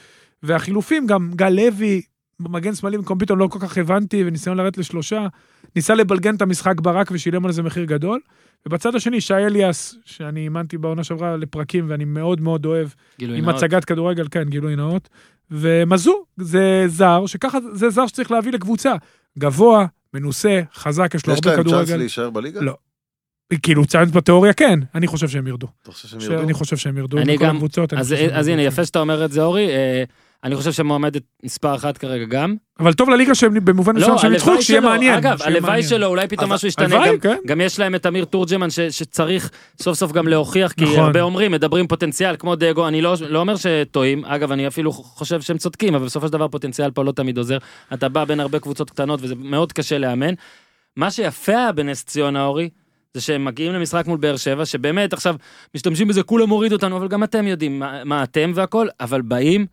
והחילופים, גם גל לוי, מגן שמאלי במקום ביטון, לא כל כך הבנתי, וניסיון לרדת לשלושה. ניסה לבלגן את המשחק ברק ושילם על זה מחיר גדול. ובצד השני, שי אליאס, שאני אימנתי בעונה שעברה לפרקים ואני מאוד מאוד אוהב, גילוי עם נאות. הצגת כדורגל, כן, גילוי נאות. ומזו, זה זר, שככה, זה זר שצריך להביא לקבוצה. גבוה, מנוסה, חזק, יש לו יש הרבה להם צ'אנס כדורגל. להישאר בליגה? לא. כאילו צאנס בתיאוריה כן, אני חושב שהם ירדו. אתה חושב שהם ירדו? אני חושב שהם ירדו. אני מכל גם- הקבוצות, אני אז, אה, חושב שהם אז ירדו, הנה, כן. יפה שאתה אומר את זה, אורי. אה, אני חושב שמועמדת מספר אחת כרגע גם. אבל טוב לליגה שהם במובן מסוים שהם ניצחו, שיהיה מעניין. לא, אגב, שיהיה הלוואי מעניין. שלו, אולי פתאום אבל- משהו ישתנה. הלוואי, גם- כן. גם יש להם את אמיר תורג'מן ש- שצריך סוף סוף גם להוכיח, כי נכון. הרבה אומרים, מדברים פוטנציאל, כמו דאגו, אני לא לא אומר שטועים, אגב, אני אפילו חושב שהם צודקים, אבל בסופו של דבר פוטנציאל פה לא תמיד עוזר. אתה בא בין הרבה קבוצות קטנות וזה מאוד קשה לאמן. מה שיפה היה בנס ציונה, אורי, זה שהם מגיעים למשחק מול באר שבע, שבאמת עכשיו משתמשים בזה, כולם הורידו אותנו, אבל גם אתם יודעים מה, מה אתם והכל, אבל באים,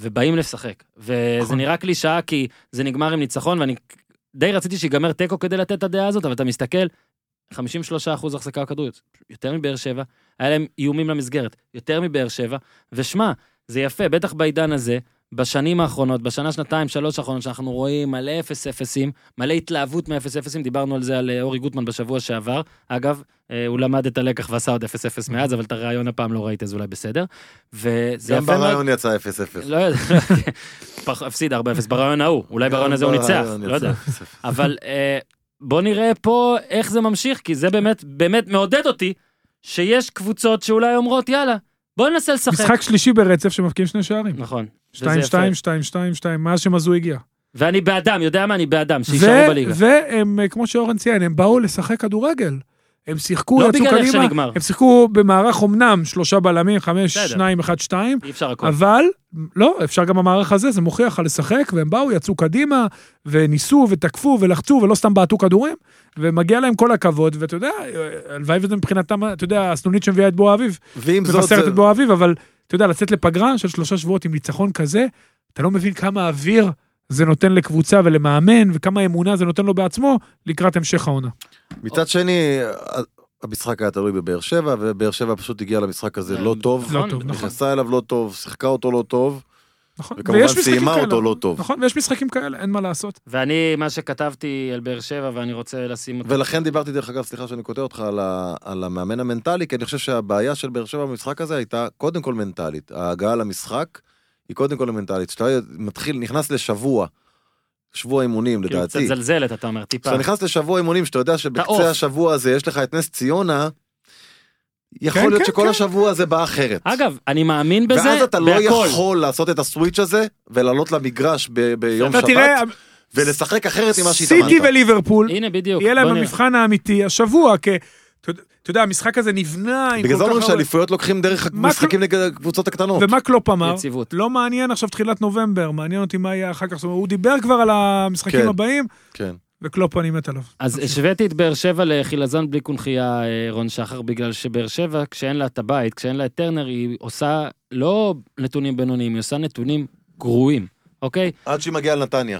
ובאים לשחק. וזה נכון. נראה קלישאה, כי זה נגמר עם ניצחון, ואני די רציתי שיגמר תיקו כדי לתת את הדעה הזאת, אבל אתה מסתכל, 53% החזקה בכדור, יותר מבאר שבע, היה להם איומים למסגרת, יותר מבאר שבע, ושמע, זה יפה, בטח בעידן הזה, בשנים האחרונות, בשנה, שנתיים, שלוש האחרונות, שאנחנו רואים מלא אפס אפסים, מלא התלהבות מאפס אפסים, דיברנו על זה על אה, אורי גוטמן בשבוע שעבר. אגב, אה, הוא למד את הלקח ועשה עוד אפס אפס מאז, אבל את הרעיון הפעם לא ראית, אז אולי בסדר. וזה גם יפה מאוד. ברעיון יצא 0-0. לא יודע, פח- הפסיד 4-0 ברעיון ההוא, אולי ברעיון הזה הוא ניצח, לא יודע. אבל אה, בוא נראה פה איך זה ממשיך, כי זה באמת, באמת מעודד אותי שיש קבוצות שאולי אומרות, יאללה, בוא ננסה לשחק. משחק שלישי ברצף שמבקיעים שני שערים. נכון. וזה 2-2, יפה. 2-2, 2-2, מאז שמזו הגיע. ואני באדם, יודע מה? אני באדם, ו- שיישארו בליגה. והם, אה, כמו שאורן ציין, הם באו לשחק כדורגל. הם שיחקו, לא יצאו בגלל איך קדימה, שנגמר. הם שיחקו במערך אמנם שלושה בלמים, חמש, בסדר. שניים, אחד, שתיים, אי אפשר הכל. אבל לא, אפשר גם המערך הזה, זה מוכיח לך לשחק, והם באו, יצאו קדימה, וניסו, ותקפו, ולחצו, ולא סתם בעטו כדורים, ומגיע להם כל הכבוד, ואתה יודע, אה, הלוואי וזה מבחינתם, אתה יודע, הסנונית שמביאה את בוא האביב, ואם זאת... אה, מבשרת זה- את בוא האביב, אבל אתה יודע, לצאת לפגרה של שלושה שבועות עם ניצחון כזה, אתה לא מבין כמה אוויר זה נותן לקבוצה ולמאמן, וכמה אמונה זה נותן לו בעצמו לקראת המשך העונה. מצד שני, ה- המשחק היה תלוי בבאר שבע, ובאר שבע פשוט הגיעה למשחק הזה לא טוב. לא טוב, נכון. נכנסה אליו לא טוב, שיחקה אותו לא טוב, נכון. וכמובן ויש משחקים סיימה כאלה. אותו לא טוב. נכון, ויש משחקים כאלה, אין מה לעשות. ואני, מה שכתבתי על באר שבע, ואני רוצה לשים אותו... ולכן דיברתי, דרך אגב, סליחה שאני קוטע אותך, על, ה, על המאמן המנטלי, כי אני חושב שהבעיה של באר שבע במשחק הזה הייתה קודם כל מנטלית. ההגעה למשחק היא קודם כל מנטלית. כשאתה מתחיל, נכנס לשבוע, שבוע אימונים כאילו, קצת לדעתי. זלזלת, אתה אומר, טיפה. כשאתה נכנס לשבוע אימונים, שאתה יודע אתה שבקצה עוף. השבוע הזה יש לך את נס ציונה, יכול כן, להיות כן, שכל כן. השבוע הזה בא אחרת. אגב, אני מאמין בזה, ואז אתה לא בהכל. יכול לעשות את הסוויץ' הזה ולעלות למגרש ב- ביום אתה שבת תראה, ולשחק אחרת ממה סיטי שהתאמנת. וליברפול, הנה, בדיוק. יהיה להם בוא נראה. המבחן האמיתי השבוע, כי אתה יודע- אתה יודע, המשחק הזה נבנה עם כל בגלל כך זה אומרים הרבה... שאליפויות לוקחים דרך מה המשחקים נגד הקבוצות הקטנות. ומה קלופ אמר? יציבות. לא מעניין עכשיו תחילת נובמבר, מעניין אותי מה יהיה אחר כך. זאת אומרת, הוא דיבר כבר על המשחקים כן. הבאים, כן. וקלופ אני מת עליו. אוקיי. אז השוויתי את באר שבע לחילזון בלי קונכייה, אה, רון שחר, בגלל שבאר שבע, כשאין לה את הבית, כשאין לה את טרנר, היא עושה לא נתונים בינוניים, היא עושה נתונים גרועים, אוקיי? עד שהיא מגיעה לנתניה.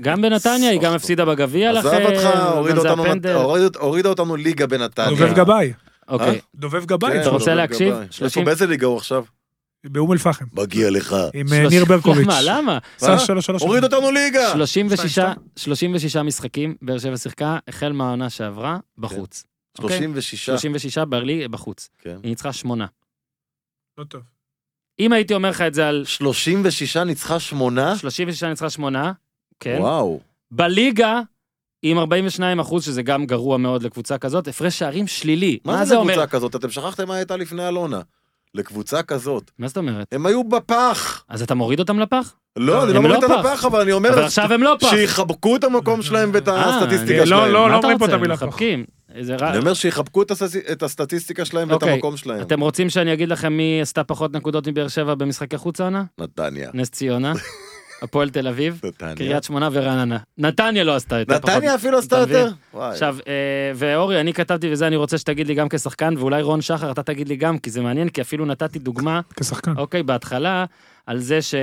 גם בנתניה, היא גם הפסידה בגביע לכם. עזב אותך, הוריד גם זה אותנו- הפנדל. הוריד- הורידה אותנו ליגה בנתניה. דובב גבאי, אוקיי. דובב גבאי, כן, אתה רוצה דובב להקשיב? גבאי. איפה, שלושים- באיזה ליגה הוא עכשיו? באום אל-פחם, מגיע לך. עם אה, ניר ברקוביץ'. למה? למה? מה? עשה שלוש שלוש. הוריד אותנו ליגה! 36 שתיים, 36 משחקים, באר שבע שיחקה, החל מהעונה שעברה, בחוץ. אוקיי? 36. 36 ברלי, בחוץ. כן. היא ניצחה שמונה. לא טוב. אם הייתי אומר לך את זה על 36 ניצחה שמונה? 36 ניצחה שמונה, כן. אה? וואו. בליגה, עם 42 אחוז, שזה גם גרוע מאוד לקבוצה כזאת, הפרש שערים שלילי. מה זה לקבוצה כזאת? אתם שכחתם מה הייתה לפני אלונה. לקבוצה כזאת. מה זאת אומרת? הם היו בפח. אז אתה מוריד אותם לפח? לא, אני הם לא מוריד לא אותם פח. לפח, אבל אני אומר... אבל לך עכשיו הם לא פח. שיחבקו את המקום שלהם ואת אה, הסטטיסטיקה אני- לא, שלהם. לא, מה אתה אומרים פה את רוצה? המילה פח. מחבקים. זה רע. אני אומר שיחבקו את הסטטיס- את הסטטיסטיקה שלהם ואת אוקיי. המקום שלהם. אתם רוצים שאני אגיד לכם מי עשתה פחות נקודות מבאר שבע במשחקי חוץ העונה? נתניה. נס ציונה, הפועל תל אביב, נתניה. קריית שמונה ורעננה. נתניה לא עשתה יותר פחות. נתניה אפילו עשתה אתה מבין? יותר. וואי. עכשיו, אה, ואורי, אני כתבתי וזה, אני רוצה שתגיד לי גם כשחקן, ואולי רון שחר, אתה תגיד לי גם, כי זה מעניין, כי אפילו נתתי דוגמה כשחקן. אוקיי, בהתחלה, על זה ש...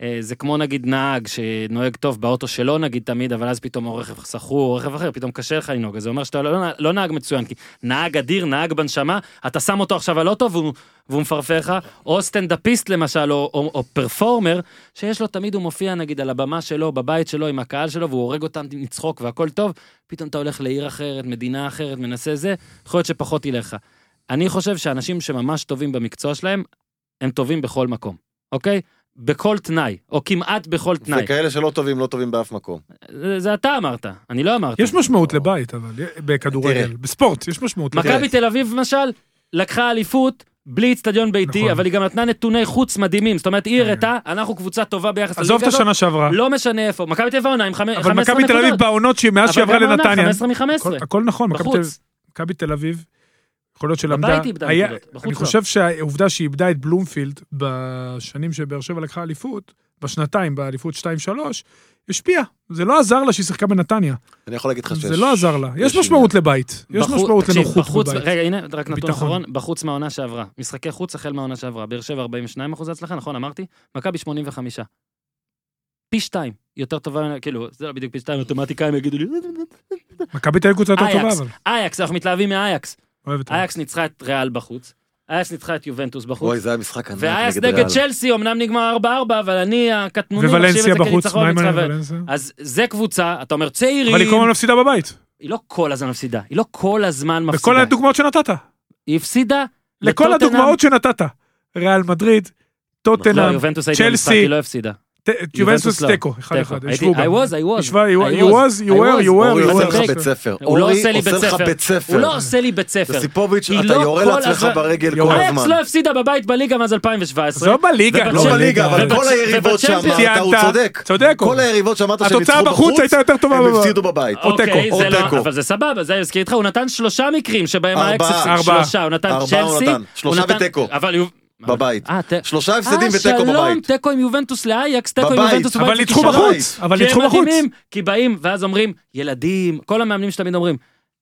אה, זה כמו נגיד נהג שנוהג טוב באוטו שלו נגיד תמיד, אבל אז פתאום הוא רכב סחור, או רכב אחר, פתאום קשה לך לנהוג, אז זה אומר שאתה לא, נהג- לא נהג מצוין, כי נהג אדיר, נהג בנשמה, אתה שם אותו עכשיו על אוטו והוא, והוא מפרפר לך, או סטנדאפיסט למשל, או, או, או פרפורמר, שיש לו תמיד, הוא מופיע נגיד על הבמה שלו, בבית שלו, עם הקהל שלו, והוא הורג אותם מצחוק והכל טוב, פתאום אתה הולך לעיר אחרת, מדינה אחרת, מנסה זה, יכול להיות שפחות ילך לך. אני חושב שאנשים שממש טובים במקצוע שלהם, הם טובים בכל מקום, אוקיי? בכל תנאי, או כמעט בכל תנאי. וכאלה שלא טובים, לא טובים באף מקום. זה, זה אתה אמרת, אני לא אמרתי. יש משמעות לבית, אבל אה, בכדורגל, בספורט, יש משמעות לבית. מכבי תל אביב, למשל, לקחה אליפות בלי אצטדיון ביתי, נכון. אבל היא גם נתנה נתוני חוץ מדהימים. זאת אומרת, היא כן. הראתה, אנחנו קבוצה טובה ביחס עזוב את לליגה הזאת, השנה שעברה, לא משנה איפה. מכבי תל אביב העונה עם חמ- 15 אבל נקודות. מכבי תל אביב בעונות שהיא- מאז אבל שהיא עברה גם העונה, לנתניה. 15 מ-15. הכל- הכל נכון, מכבי תל- בחוץ. מכבי תל אביב, יכול להיות שלמדה... בבית איבדה היה- נקודות, בחוץ אני לא. חושב שהעובדה שהיא איבדה את בלומפילד בשנים שבאר שבע לקחה אליפות, בשנתיים, באליפות 2-3, השפיעה. זה לא עזר לה שהיא שיחקה בנתניה. אני יכול להגיד לך שיש... זה לא עזר לה. יש יש משמעות לבית. יש בחוץ- משמעות תקשיב, לנוחות בחוץ- בבית. רגע, הנה, רק נתון ביטחון. אחרון, בחוץ מהעונה שעברה. משחקי חוץ החל מהעונה שעברה. באר שבע 42 אחוז הצלחה, נכון, אמרתי? מכבי 85. פי שתיים, יותר טובה, כאילו, זה לא בדיוק פי שתיים, אוטומטיקאים יגידו לי, "אה, מכבי תל אביב קבוצה יותר טובה, אייקס, אבל. כן. אייקס, אנחנו מתלהבים מאייקס. אוהב את זה. אייקס ניצחה את ריאל בחוץ, אייקס ניצחה את יובנטוס בחוץ, אוי, זה היה משחק ענק ואייקס נגד נגד ריאל. צ'לסי, אמנם נגמר 4-4, אבל אני הקטנוני מחשיב את ווולנסיה זה בחוץ, מה כניצחון. עם ניצחה ו- ווולנסיה? אז זה קבוצה, אתה אומר אבל היא צעירים, כל הזמן מפסידה בבית. היא לא כל הזמן מפסידה, היא לא כל הזמן בכל מפסידה. הדוגמאות שנתת. היא הפסידה לכל לטוטנהאם. הדוגמאות שנתת. ריאל מדריד, לא, טוטנאם, יובנטוס הייתי במשחק, צ'לסי. היא לא הפסידה. ת- יובנטוס לא. תיקו, אחד אחד, תיקו. ישבו הייתי- I גם. was, I was. ישבה, you I you was, you I was. were, you were, אורי you הוא עושה לא were. לך צודק. בית ספר. הוא לא אורי עושה לי בית עושה לך ספר. בית ספר. הוא לא עושה לי בית ספר. זה סיפוביץ', היא אתה לא יורה כל לעצמך הזמן- ברגל כל יורה. אייקס הזמן. לא הפסידה בבית בליגה מאז 2017. עזוב בליגה, ובצ'מפיונס- לא בליגה, אבל ובצ- כל היריבות ובצ'מפיונס- שאמרת, הוא ציינת, צודק. צודק, כל אורי. היריבות שאמרת שהם התוצאה ניצחו בחוץ בחוץ, הייתה יותר טובה הם בבית. הפסידו בבית. או אוקיי, תיקו, זה או לא- תיקו. אבל זה סבבה, זה הזכיר איתך, הוא נתן שלושה מקרים שבהם ארבעה. האקס הפסיד. ארבעה. שלושה, הוא נתן ארבעה הוא צ'לסי. נתן. שלושה הוא נתן- ותיקו. אבל יוב- בבית. אה, ת- שלושה הפסדים ותיקו אה, שלום, בבית. תיקו עם יובנטוס לאייקס, תיקו עם בבית. יובנטוס אבל בבית. ניצחו זה כישלון. בחוץ, אבל כי הם ניצחו בחוץ. מדהימים, כי באים, ואז אומרים, ילדים, כל המאמנים שתמיד אומרים,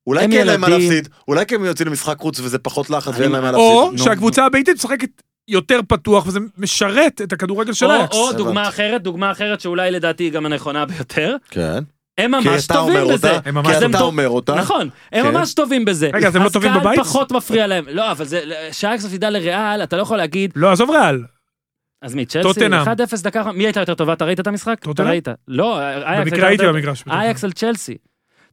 אולי הם כי אין להם מה ילדים. להפסיד, אולי כי הם יוצאים למשחק חוץ וזה פחות לחץ ואין להם מה או להפסיד. שהקבוצה הביתית משחקת יותר פתוח, וזה משרת את הכדורגל של או- אייקס. או דוגמה הבנתי. אחרת, דוגמה אחרת שאולי לדעתי היא גם הנכונה ביותר, כן. הם כי ממש אתה אומר טובים בזה. אותה, הם ממש- אז כי הם אתה טוב- אומר אותה. נכון, הם כן. ממש טובים בזה. רגע, אז הם לא טובים אז בבית? קהל פחות מפריע להם. לא, אבל זה, כשאייקס מפסידה לריאל, אתה לא יכול להגיד, לא, עזוב ריאל. אז מי, צ'לסי? טוטנהאם. 1-0 דקה, אחרונה. מי הייתה יותר טובה? אתה ראית את המשחק? אתה טוטנהאם? ראית. לא, אייקס במקרה הייתי במגרש. אייקס על צ'לסי.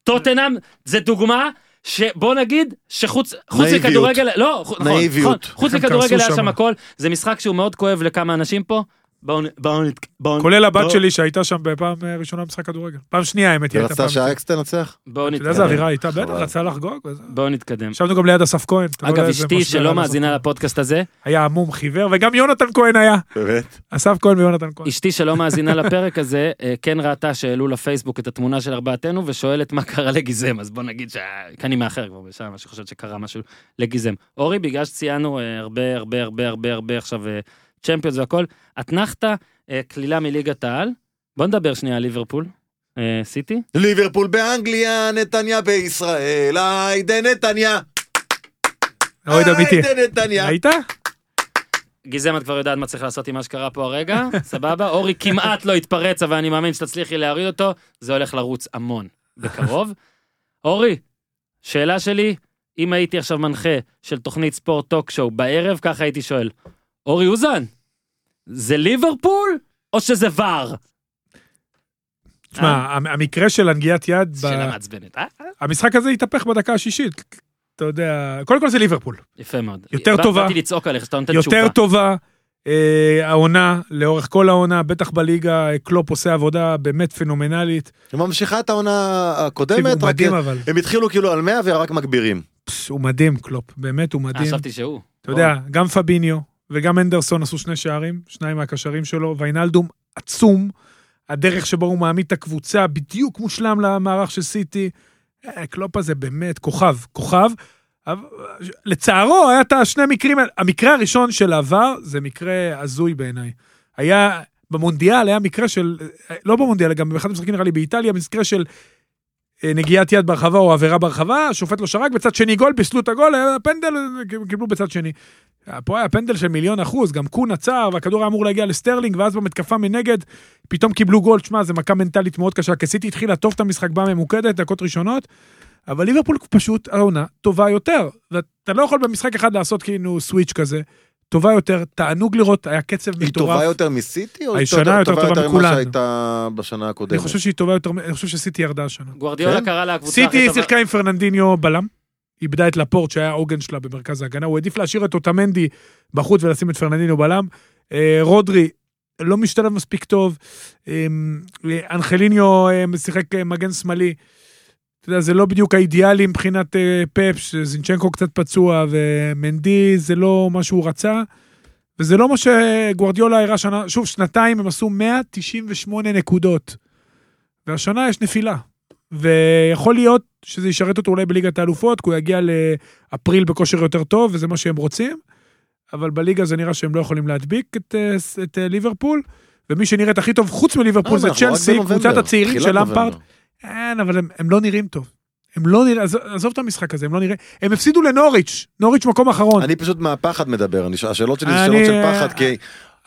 טוטנאם זה דוגמה שבוא נגיד שחוץ חוץ נאיביות. מכדורגל לא חו- נכון, נאיביות. נכון, חוץ הם מכדורגל קרסו היה שם. שם הכל זה משחק שהוא מאוד כואב לכמה אנשים פה. בואו נ- בואו נ- בואו- כולל הבת בואו- שלי שהייתה שם בפעם אה, ראשונה במשחק כדורגל. פעם שנייה, האמת, היא הייתה פעם. ורצתה שהאקס תנצח? בואו אתה יודע איזה נתקדם. אווירה הייתה, בטח, חבל. רצה לחגוג. וזה. בואו נתקדם. ישבנו גם ליד אסף כהן. אתה לא יודע אגב איזה אשתי משהו היה שלא לאסף כהן. מאזינה לפודקאסט הזה היה המום חיוור, וגם יונתן כהן היה. באמת? אסף כהן ויונתן כהן. אשתי שלא מאזינה לפרק הזה אה, כן ראתה שהעלו לפייסבוק את התמונה של ארבעתנו ושואלת מה קרה לגיזם אז בוא נגיד שאני מאחר כבר בשעה מה שחושבת שקרה משהו לגיזם. אורי בגלל שציינו אה, הרבה הרבה הרבה הרבה הרבה עכשיו אה, צ'מפיונס והכל אתנחתא אה, קלילה מליגת העל בוא נדבר שנייה על ליברפול אה, סיטי ליברפול באנגליה, נתניה בישראל, היידה נתניה, אוי דמיתי. היידה נתניה. היית? גיזם את כבר יודעת מה צריך לעשות עם מה שקרה פה הרגע סבבה אורי כמעט לא התפרץ אבל אני מאמין שתצליחי להוריד אותו זה הולך לרוץ המון בקרוב. אורי, שאלה שלי, אם הייתי עכשיו מנחה של תוכנית ספורט טוק שואו בערב, ככה הייתי שואל, אורי אוזן, זה ליברפול או שזה ור? תשמע, אה. המ- המקרה של הנגיעת יד, ב- שאלה מעצבנת, אה? המשחק הזה התהפך בדקה השישית. אתה יודע, קודם כל זה ליברפול. יפה מאוד. יותר בא- טובה. באתי לצעוק עליך שאתה נותן תשובה. יותר טובה. אה, העונה, לאורך כל העונה, בטח בליגה, אה, קלופ עושה עבודה באמת פנומנלית. היא ממשיכה את העונה תקשיב, הקודמת, הוא רק מדהים אבל. הם התחילו כאילו על 100 ורק מגבירים. פס, הוא מדהים, קלופ, באמת הוא אה, מדהים. חשבתי שהוא. אתה יודע, גם פביניו וגם הנדרסון עשו שני שערים, שניים מהקשרים שלו, ויינלדום עצום. הדרך שבו הוא מעמיד את הקבוצה בדיוק מושלם למערך של סיטי. אה, קלופ הזה באמת כוכב, כוכב. אבל- אה, לצערו, היה את השני מקרים, האלה. המקרה הראשון של העבר זה מקרה הזוי בעיניי. היה, במונדיאל היה מקרה של, לא במונדיאל, גם באחד המשחקים נראה לי באיטליה, מקרה של אה, נגיעת יד ברחבה או עבירה ברחבה, השופט לא שרק, בצד שני גול, פיסלו את הגול, היה פנדל, אה, קיבלו בצד שני. פה היה פנדל של מיליון אחוז, גם קון עצר, והכדור היה אמור להגיע לסטרלינג, ואז במתקפה מנגד, פתאום קיבלו גול, שמע, זו מכה מנטלית מאוד קשה, כי סיטי התחילה טוב את המשחק, באה ממוקדת, דקות ראשונות, אבל ליברפול פשוט העונה טובה יותר, ואתה לא יכול במשחק אחד לעשות כאילו סוויץ' כזה, טובה יותר, תענוג לראות, היה קצב מטורף. היא טובה יותר מסיטי או היא הישנה טובה יותר טובה טובה יותר ממה מכולן. שהייתה בשנה אני הקודמת? חושב שהיא טובה יותר, אני חושב שסיטי ירדה השנה. גוורדיאולה כן? קרא לה הקבוצה הכי סיטי טובה. שיחקה עם פרננדיניו בלם, איבדה את לפורט שהיה העוגן שלה במרכז ההגנה, הוא העדיף להשאיר את אוטמנדי בחוץ ולשים את פרננדיניו בלם. אה, רודרי לא משתלב מספיק טוב, אה, אנחליניו אה, משחק אה, מגן שמאלי. אתה יודע, זה לא בדיוק האידיאלי מבחינת אה, פאפ, שזינצ'נקו קצת פצוע, ומנדי זה לא מה שהוא רצה. וזה לא מה שגוורדיולה הראה שנה, שוב, שנתיים הם עשו 198 נקודות. והשנה יש נפילה. ויכול להיות שזה ישרת אותו אולי בליגת האלופות, כי הוא יגיע לאפריל בכושר יותר טוב, וזה מה שהם רוצים, אבל בליגה זה נראה שהם לא יכולים להדביק את, אה, ס- את אה, ליברפול, ומי שנראית הכי טוב חוץ אה, מליברפול זה אנחנו רק צ'לסי, בנובמבר, קבוצת הצעירים תחילת של נובמבר. אמפרט. אין, אבל הם, הם לא נראים טוב. הם לא נראים, עזוב- עזוב את המשחק הזה, הם לא נראים, הם הפסידו לנוריץ', נוריץ' מקום אחרון. אני פשוט מהפחד מדבר, אני- השאלות שלי זה שאלות אני- של פחד, כי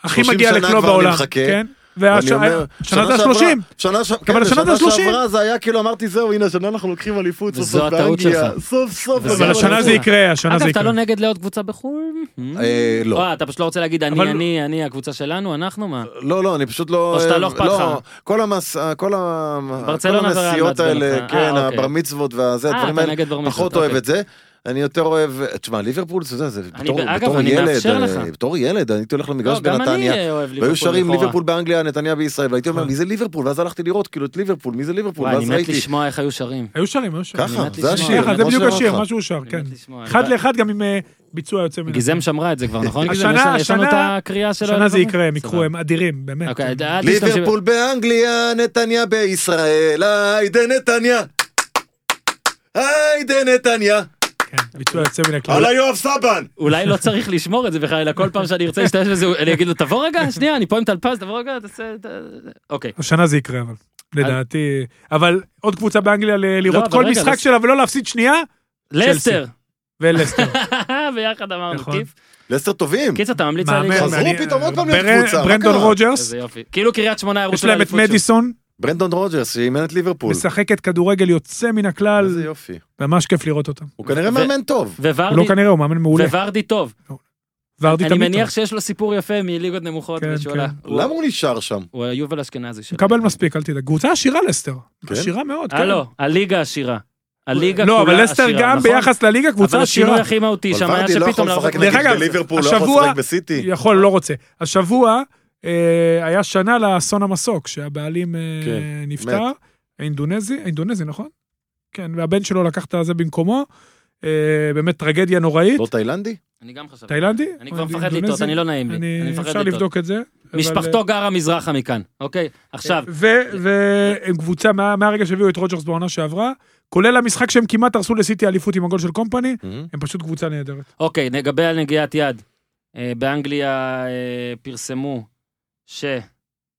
הכי 30 מגיע שנה כבר לקלוב אני בעולם. מחכה. כן. אני אומר, והשנה זה שעברה- השלושים. שנה ש- אבל כן, השנה זה בשנה השלושים. שעברה זה היה כאילו אמרתי זהו הנה השנה אנחנו לוקחים אליפות סוף וזו סוף הטעות באנגליה. שלך. סוף סוף. וזו אבל הגענו השנה אבל זה זה- לאליפות. יקרה, השנה אגב זה אתה יקרה. לא נגד לעוד קבוצה בחו"ל? אה, לא. אה, אתה פשוט לא רוצה להגיד אבל- אני אני אני הקבוצה שלנו אנחנו מה? לא לא אני פשוט לא. או שאתה לא אה, אכפת לך. כל המס... אה, כל ה... ברצלונה כל זה רעיון הנסיעות מעצבן האלה אותך. אה, כן אוקיי. הבר מצוות והזה אה, הדברים אתה האלה. נגד בר מצוות, פחות אוהב אוקיי. את זה. אני יותר אוהב, תשמע ליברפול אתה יודע, זה בתור אגב, בתור אני ילד, מאפשר אה, לך. בתור ילד הייתי הולך לא, למגרש גם אני בנתניה. אה, אוהב ליברפול. והיו שרים לכאורה. אה. ליברפול באנגליה, נתניה בישראל, והייתי אומר, מי זה ליברפול? ואז הלכתי לראות כאילו את ליברפול, מי זה ליברפול? וואי, אני ואז מת ראיתי, לשמוע איך היו שרים. היו שרים, היו שרים. ככה, מת זה לשמוע. השיר. ככה, ככה, זה כמו בדיוק שאמרתי השיר, לך. מה שהוא שר, אני כן. מת לשמוע. אחד אני- לאחד גם עם אה, ביצוע יוצא מן. הכלל. גיזם שמרה את זה כבר, נכון? גיזם? השנה- יש לנו- יש לנו את השנה- הקריאה שלו. השנה זה לפעמים? יקרה, הם יקחו, סבבה. הם אדירים, באמת. אוקיי, אל תשתמשי ב- ליברפול באנגליה, נתניה בישראל, היידה נתניה. היידה נתניה. כן, ביצוע יוצא מן הכלל. הלאה יואב סבן! אולי לא צריך לשמור את זה בכלל, אלא כל פעם שאני ארצה להשתמש בזה, אני אגיד לו, תבוא רגע, שנייה, אני פה עם טלפז, תבוא רגע, תעשה... את ה- אוקיי. השנה זה יקרה, אבל. לדעתי, אבל עוד קבוצה באנגליה ל- לראות לא, אבל כל רגע, משחק לס- שלה ולא להפסיד שנייה, לסטר. ולסטר. ביחד אמרנו נכון. כיף. לסטר טובים. קיצר, אתה ממליץ מאמן, עליהם? מאמן. חזרו אני- פתאום עוד פעם ברן- לקבוצה, מה ברנדון קרה? רוג'רס, איזה יופי. כאילו קריית שמונה יש ערוץ להם את מדיסון, ברנדון רוג'רס שאימן את ליברפול. משחקת כדורגל יוצא מן איזה הכלל, יופי. ממש כיף לראות אותם. הוא כנראה ו- מאמן טוב. הוא לא וורדי, כנראה, הוא מאמן מעולה. וורדי טוב. ורדי אני תמיד מניח טוב. שיש לו סיפור יפה מליגות נמוכות. כן, ושהוא כן. עלה. הוא- למה הוא נשאר שם? הוא היובל אשכנזי שלו. הוא מקבל מספיק, אל תדאג. קבוצה עשירה לסטר. כן? עשירה מאוד, כן. הלו, הליגה עשירה. אה, לא, הליגה כולה לא, עשירה, אבל לסטר גם נכון? ביחס לליגה קבוצה אבל השינוי עשירה. הכי מהותי אבל שם היה ורדי לא שפתאום יכול לשחק להרוג... נגד דרך אגב, בליברפול לא יכול השבוע- לשחק בסיטי. יכול, לא רוצה. השבוע אה, היה שנה לאסון המסוק, שהבעלים אה, כן, נפטר, האינדונזי, האינדונזי, נכון? כן, והבן שלו לקח את הזה במקומו, אה, באמת טרגדיה נוראית. לא תאילנדי? אני גם חשבתי. תאילנדי? אני כבר או מפחד אינדונזי? לטעות, אני לא נעים לי. אני מפחד אפשר לטעות. לבדוק את זה. אבל, אה, משפחתו גרה מזרחה מכאן, אוקיי? עכשיו, ו- והם קבוצה מה- מהרגע שהביאו את רוג'רס בעונה שעברה, כולל המשחק שהם כמעט הרסו לסיטי אליפות עם הגול של קומפני, הם פשוט קבוצה נהדרת. אוקיי, לגבי נגיעת יד. אה, באנגליה אה, פרסמו ש...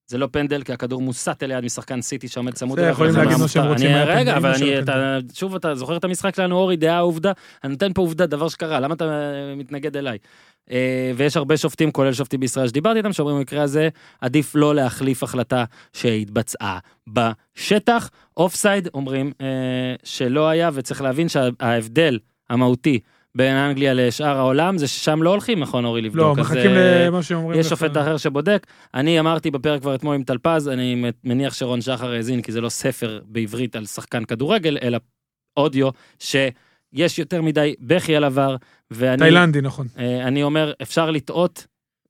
זה לא פנדל, כי הכדור מוסט אל יד משחקן סיטי שעומד צמוד. זה אליו, יכולים וזה להגיד לא מה שהם מותר. רוצים, אני- היה רגע, פנדל, אבל מה שלא אני... אתה- שוב, אתה זוכר את המשחק שלנו, אורי, דעה עובדה. אני נותן פה עובדה, דבר שקרה, למה אתה אה, מתנגד אליי? אה, ויש הרבה שופטים, כולל שופטים בישראל שדיברתי איתם, שאומרים במקרה הזה, עדיף לא להחליף החלטה שהתבצעה בשטח. אוף סייד אומרים אה, שלא היה, וצריך להבין שההבדל המהותי בין אנגליה לשאר העולם, זה ששם לא הולכים, נכון, אורי, לבדוק. לא, אז, מחכים אה, למה שאומרים. יש לך. שופט אחר שבודק. אני אמרתי בפרק כבר אתמול עם טלפז, אני מניח שרון שחר האזין, כי זה לא ספר בעברית על שחקן כדורגל, אלא אודיו, שיש יותר מדי בכי על עבר, ואני תאילנדי, נכון. אה, אני אומר, אפשר לטעות,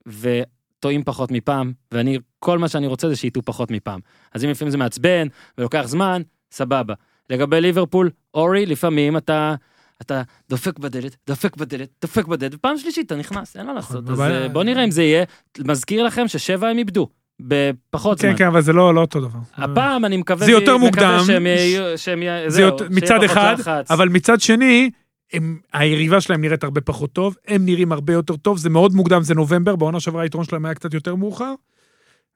וטועים פחות מפעם, ואני, כל מה שאני רוצה זה שיטעו פחות מפעם. אז אם לפעמים זה מעצבן, ולוקח זמן, סבבה. לגבי ליברפול, אורי, לפעמים אתה... אתה דופק בדלת, דופק בדלת, דופק בדלת, ופעם שלישית אתה נכנס, אין מה לעשות. אז נכון, אבל- אה, בוא נראה אם זה יהיה. מזכיר לכם ששבע הם איבדו, בפחות זמן. כן, כן, אבל זה לא לא אותו דבר. הפעם אני מקווה... זה יותר מקווה מוקדם. שהם יהיו... שהם יהיו... זה זהו, יותר- שיהיה מצד פחות אחד, לחץ. אבל מצד שני, הם, היריבה שלהם נראית הרבה פחות טוב, הם נראים הרבה יותר טוב, זה מאוד מוקדם, זה נובמבר, בעונה שעברה היתרון שלהם היה קצת יותר מאוחר.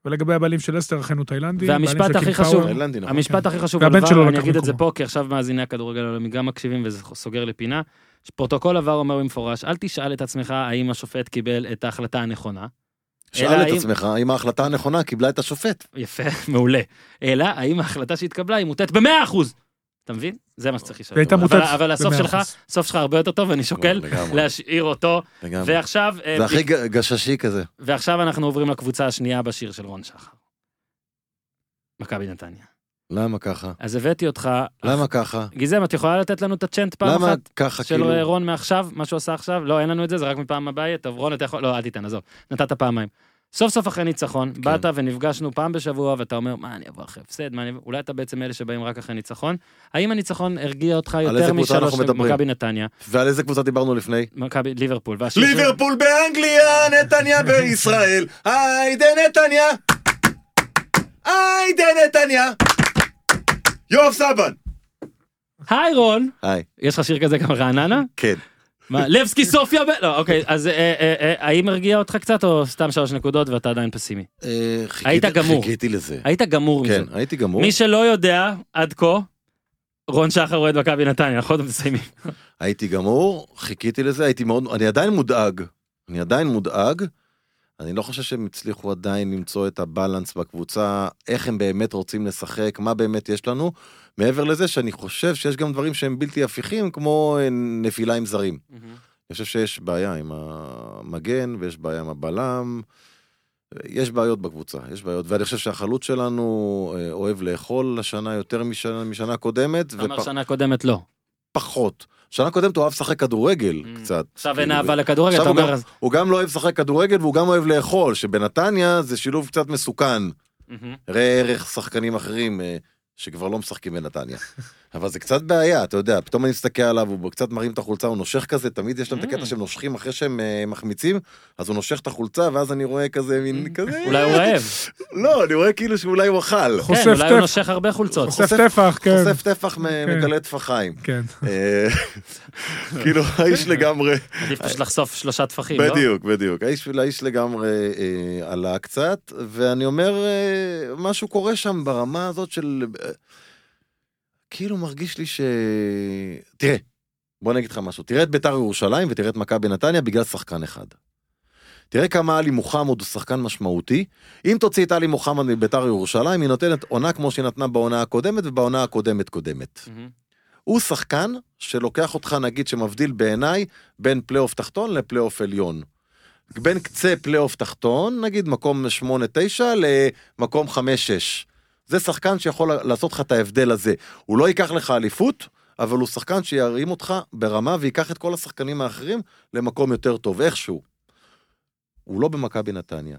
ולגבי הבעלים של אסטר, אכן הוא תאילנדי. והמשפט הבעלים של הכי קים חשוב, כן, פאוור. תאילנדי, נכון. המשפט הכי חשוב, והבן על שלו VAR, לקח אני אגיד את זה מקומו. פה, כי עכשיו מאזיני הכדורגל העולמי גם מקשיבים וזה סוגר לפינה. פרוטוקול עבר אומר במפורש, אל תשאל את עצמך האם השופט קיבל את ההחלטה הנכונה. אלא שאל האם- את עצמך אם ההחלטה הנכונה קיבלה את השופט. יפה, מעולה. אלא האם ההחלטה שהתקבלה היא מוטעת במאה אחוז. אתה מבין? זה מה שצריך לשאול. והיא הייתה אבל- מוטעת אבל הסוף ב- שלך, 100%. הסוף שלך הרבה יותר טוב, ואני שוקל לגמרי, להשאיר אותו. לגמרי. ועכשיו, אה, זה הכי ג- גששי כזה. ועכשיו אנחנו עוברים לקבוצה השנייה בשיר של רון שחר. מכבי נתניה. למה ככה? אז הבאתי אותך... למה ככה? גיזם, את יכולה לתת לנו את הצ'נט פעם למה אחת? ככה של כאילו? רון מעכשיו, מה שהוא עשה עכשיו, לא, אין לנו את זה, זה רק מפעם הבאה, טוב, רון, אתה יכול, לא, אל תיתן, עזוב, נתת פעמיים. סוף סוף אחרי ניצחון, כן. באת ונפגשנו פעם בשבוע, ואתה אומר, מה, אני אבוא אחרי הפסד, מה אני... אבוא-" אולי אתה בעצם אלה שבאים רק אחרי ניצחון. האם הניצחון הרגיע אותך יותר איזה קבוצה משלוש אנחנו מדברים? מכבי נתניה, ועל איזה קבוצה דיברנו לפני? מכבי ליברפול, והשיר של- ליברפול באנגליה, נתניה בישראל. היידה נתניה! היידה נתניה! יואב סבן! היי רון! היי, יש לך שיר כזה גם רעננה? כן. מה, לבסקי סופיה? ב- לא, אוקיי, אז אה, אה, אה, האם הרגיע אותך קצת, או סתם שלוש נקודות ואתה עדיין פסימי? אה, חיכיתי- היית גמור. חיכיתי לזה. היית גמור מזה. כן, הייתי גמור. מי שלא יודע, עד כה, רון שחר אוהד מכבי נתניה, אנחנו עוד מסיימים. הייתי גמור, חיכיתי לזה, הייתי מאוד, אני עדיין מודאג. אני עדיין מודאג. אני לא חושב שהם הצליחו עדיין למצוא את הבלנס בקבוצה, איך הם באמת רוצים לשחק, מה באמת יש לנו. מעבר לזה שאני חושב שיש גם דברים שהם בלתי הפיכים, כמו אה, נפילה עם זרים. אני חושב שיש בעיה עם המגן ויש בעיה עם הבלם. יש בעיות בקבוצה, יש בעיות. ואני חושב שהחלוץ שלנו אה, אוהב לאכול השנה יותר משנה, משנה קודמת, אתה אומר שנה קודמת לא. ופחות. שנה קודמת הוא אהב לשחק כדורגל Mm. קצת. עכשיו אין כאילו, אהבה לכדורגל, אתה עכשיו הוא אומר... גם- אז- הוא גם לא אוהב לשחק כדורגל והוא גם אוהב לאכול, שבנתניה זה שילוב קצת מסוכן. מהמם. ראה ערך שחקנים אחרים אה, שכבר לא משחקים בנתניה. אבל זה קצת בעיה, אתה יודע, פתאום אני מסתכל עליו, הוא קצת מרים את החולצה, הוא נושך כזה, תמיד יש להם את Mm. הקטע שהם נושכים אחרי שהם אה, מחמיצים, אז הוא נושך את החולצה, ואז אני רואה כזה מין כזה... Mm. אולי הוא רעב. לא, אני רואה כאילו שאולי הוא אכל. חושף כן, אולי הוא טפח. נושך הרבה חולצות. חושף טפח, כן. חושף טפח מגלה טפחיים. כן. אה, כאילו, האיש כן. לגמרי... עדיף פשוט לחשוף שלושה טפחים, לא? בדיוק, בדיוק. האיש, האיש לגמרי אה, עלה קצת, ואני אומר, אה, משהו קורה שם ברמה הזאת של... אה, כאילו מרגיש לי ש... תראה, בוא אני אגיד לך משהו. תראה את ביתר ירושלים ותראה את מכבי נתניה בגלל שחקן אחד. תראה כמה עלי מוחמד הוא שחקן משמעותי. אם תוציא את עלי מוחמד מביתר ירושלים, היא נותנת עונה כמו שהיא נתנה בעונה הקודמת ובעונה הקודמת קודמת. מהמם. הוא שחקן שלוקח אותך, נגיד, שמבדיל בעיניי בין פלייאוף תחתון לפלייאוף עליון. בין קצה פלייאוף תחתון, נגיד מקום 8-9 למקום 5-6. זה שחקן שיכול לעשות לך את ההבדל הזה. הוא לא ייקח לך אליפות, אבל הוא שחקן שירים אותך ברמה וייקח את כל השחקנים האחרים למקום יותר טוב, איכשהו. הוא לא במכבי נתניה.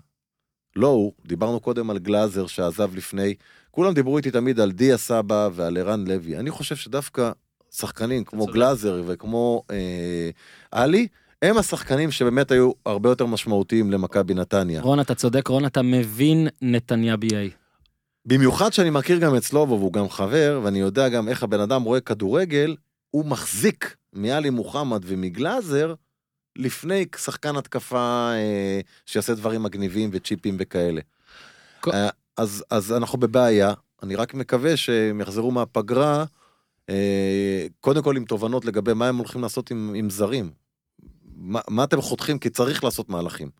לא הוא, דיברנו קודם על גלאזר שעזב לפני, כולם דיברו איתי תמיד על דיה סבא ועל ערן לוי. אני חושב שדווקא שחקנים כמו גלאזר וכמו אה, עלי, הם השחקנים שבאמת היו הרבה יותר משמעותיים למכבי נתניה. רון, אתה צודק, רון, אתה מבין נתניה BA. במיוחד שאני מכיר גם את סלובו והוא גם חבר, ואני יודע גם איך הבן אדם רואה כדורגל, הוא מחזיק מעלי מוחמד ומגלאזר לפני שחקן התקפה אה, שיעשה דברים מגניבים וצ'יפים וכאלה. כל- אה, אז, אז אנחנו בבעיה, אני רק מקווה שהם יחזרו מהפגרה, אה, קודם כל עם תובנות לגבי מה הם הולכים לעשות עם, עם זרים. מה, מה אתם חותכים? כי צריך לעשות מהלכים.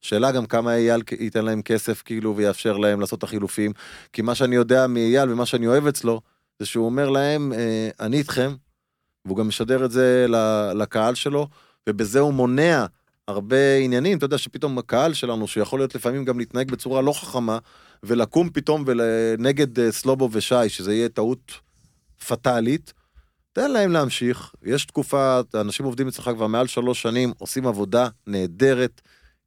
שאלה גם כמה אייל ייתן להם כסף כאילו ויאפשר להם לעשות את החילופים, כי מה שאני יודע מאייל ומה שאני אוהב אצלו, זה שהוא אומר להם, אה, אני איתכם, והוא גם משדר את זה ל- לקהל שלו, ובזה הוא מונע הרבה עניינים, אתה יודע שפתאום הקהל שלנו, שיכול להיות לפעמים גם להתנהג בצורה לא חכמה, ולקום פתאום ול- נגד אה, סלובו ושי, שזה יהיה טעות פטאלית, תן להם להמשיך, יש תקופה, אנשים עובדים אצלך כבר מעל שלוש שנים, עושים עבודה נהדרת,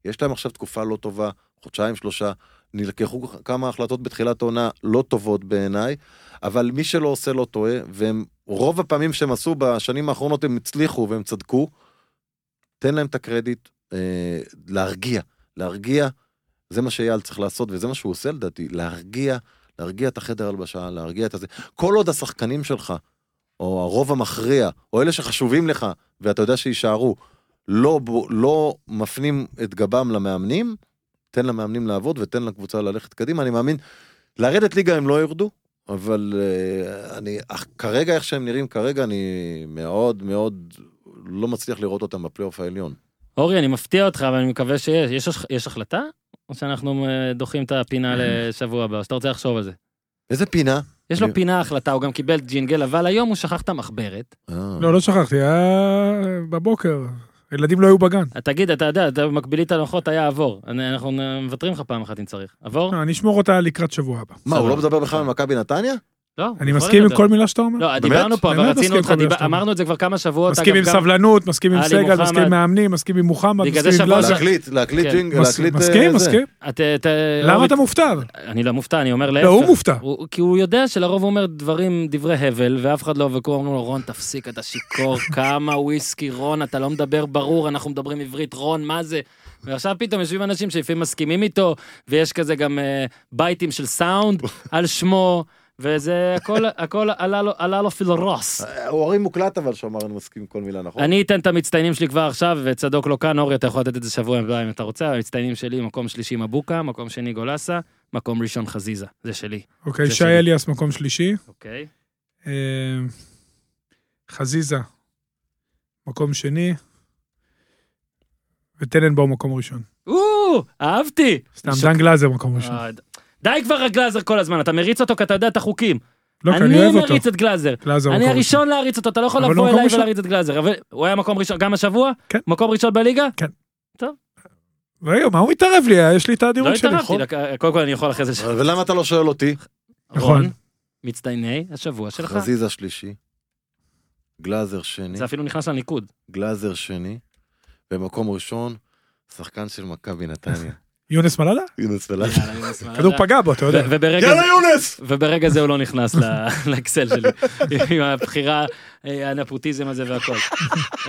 יש להם עכשיו תקופה לא טובה, חודשיים, שלושה, נלקחו כמה החלטות בתחילת העונה לא טובות בעיניי, אבל מי שלא עושה לא טועה, והם, רוב הפעמים שהם עשו בשנים האחרונות הם הצליחו והם צדקו, תן להם את הקרדיט, אה, להרגיע, להרגיע, זה מה שאייל צריך לעשות וזה מה שהוא עושה לדעתי, להרגיע, להרגיע את החדר הלבשה, להרגיע את הזה. כל עוד השחקנים שלך, או הרוב המכריע, או אלה שחשובים לך, ואתה יודע שיישארו, לא, בו- לא מפנים את גבם למאמנים, תן למאמנים לעבוד ותן לקבוצה ללכת קדימה, אני מאמין, לרדת ליגה הם לא ירדו, אבל אה, אני, אך, כרגע איך שהם נראים כרגע, אני מאוד מאוד לא מצליח לראות אותם בפלייאוף העליון. אורי, אני מפתיע אותך, אבל אני מקווה שיש. יש, הש- יש החלטה? או שאנחנו אה, דוחים את הפינה לשבוע הבא? או שאתה רוצה לחשוב על זה? איזה פינה? יש לו אה. אני- פינה החלטה, הוא גם קיבל ג'ינגל, אבל היום הוא שכח את המחברת. אה. לא, לא שכחתי, היה בבוקר. ילדים לא היו בגן. אה, תגיד, אתה יודע, אתה מקבילית הלוחות היה עבור. אני- אנחנו נ- מוותרים לך פעם אחת אם צריך. עבור? לא, אני אשמור אותה לקראת שבוע הבא. מה, הוא סבבה. לא מדבר בכלל כן. על מכבי נתניה? לא. אני יכול מסכים עם לדבר. כל מילה שאתה אומר? לא, דיברנו פה, אבל באמת רצינו מסכים אותך, עם כל דיבר- מה שאתה אומר. אמרנו את זה כבר כמה שבועות. מסכים אגב, עם גם- סבלנות, מסכים עם עלי סגל, מוחמד. מסכים עם מאמנים, מסכים עם מוחמד, בגלל זה מסכים עם שבוע גלאזר. שעבר- להקליט, להקליט כן. ג'ינג, מס- להקליט... אה, לא, מסכים, זה. מסכים. את, את, אה, למה אורי- אתה מופתע? אני לא מופתע, אני אומר להפך. לא, הוא מופתע. הוא- כי הוא יודע שלרוב הוא אומר דברים, דברי הבל, ואף אחד לא, וכולם אומרים לו, רון, תפסיק, אתה שיכור, כמה וויסקי, רון, אתה לא מדבר ברור, אנחנו מדברים עברית, רון, מה זה? ועכשיו פתאום יושבים אנשים שלפעמים מסכימים איתו, ויש כזה גם אה, בייטים של סאונד על שמו, וזה הכל, הכל עלה לו, עלה לו פילרוס. אה, הוא הרי מוקלט אבל שהוא אמר אני מסכים עם כל מילה נכון. אני אתן את המצטיינים שלי כבר עכשיו, וצדוק לא כאן, אורי, אתה יכול לתת את זה שבוע הבא אם אתה רוצה, המצטיינים שלי, מקום שלישי מבוקה, מקום שני גולסה, מקום ראשון חזיזה, זה שלי, אוקיי, זה שי שלי. אליאס מקום שלישי. אוקיי? אה, חזיזה מקום שני. וטננבאום מקום ראשון. או, אהבתי. סתם, דן גלאזר מקום ראשון. אה, די כבר הגלאזר כל הזמן, אתה מריץ אותו כי אתה יודע את החוקים. לא, כי אני אני אוהב אותו. מריץ את גלאזר. גלאזר אני מקום ראשון. הראשון להריץ אותו, אתה לא יכול אבל לבוא הוא מקום אליי ראשון. ולהריץ את גלאזר. אבל הוא היה מקום ראשון גם השבוע? כן. מקום ראשון בליגה? רגע, מה הוא התערב לי? יש לי את לא הדירוג שלי. התערבתי, נכון? דק- קודם כל אני יכול אחרי זה. ש- ולמה אתה לא שואל אותי? נכון. רון, מצטייני השבוע שלך. חזיזה שלישי, גלאזר שני, זה אפילו נכנס לניקוד. גלאזר שני, במקום ראשון, שחקן של מכבי נתניה. יונס מלאדה? יונס ולאט. יאללה, אני מסמל. כדור פגע בו, אתה יודע. ו- וברגע יאללה זה- יונס! וברגע זה הוא לא נכנס ל- לאקסל שלי, עם הבחירה, אה, הנפוטיזם הזה והכל.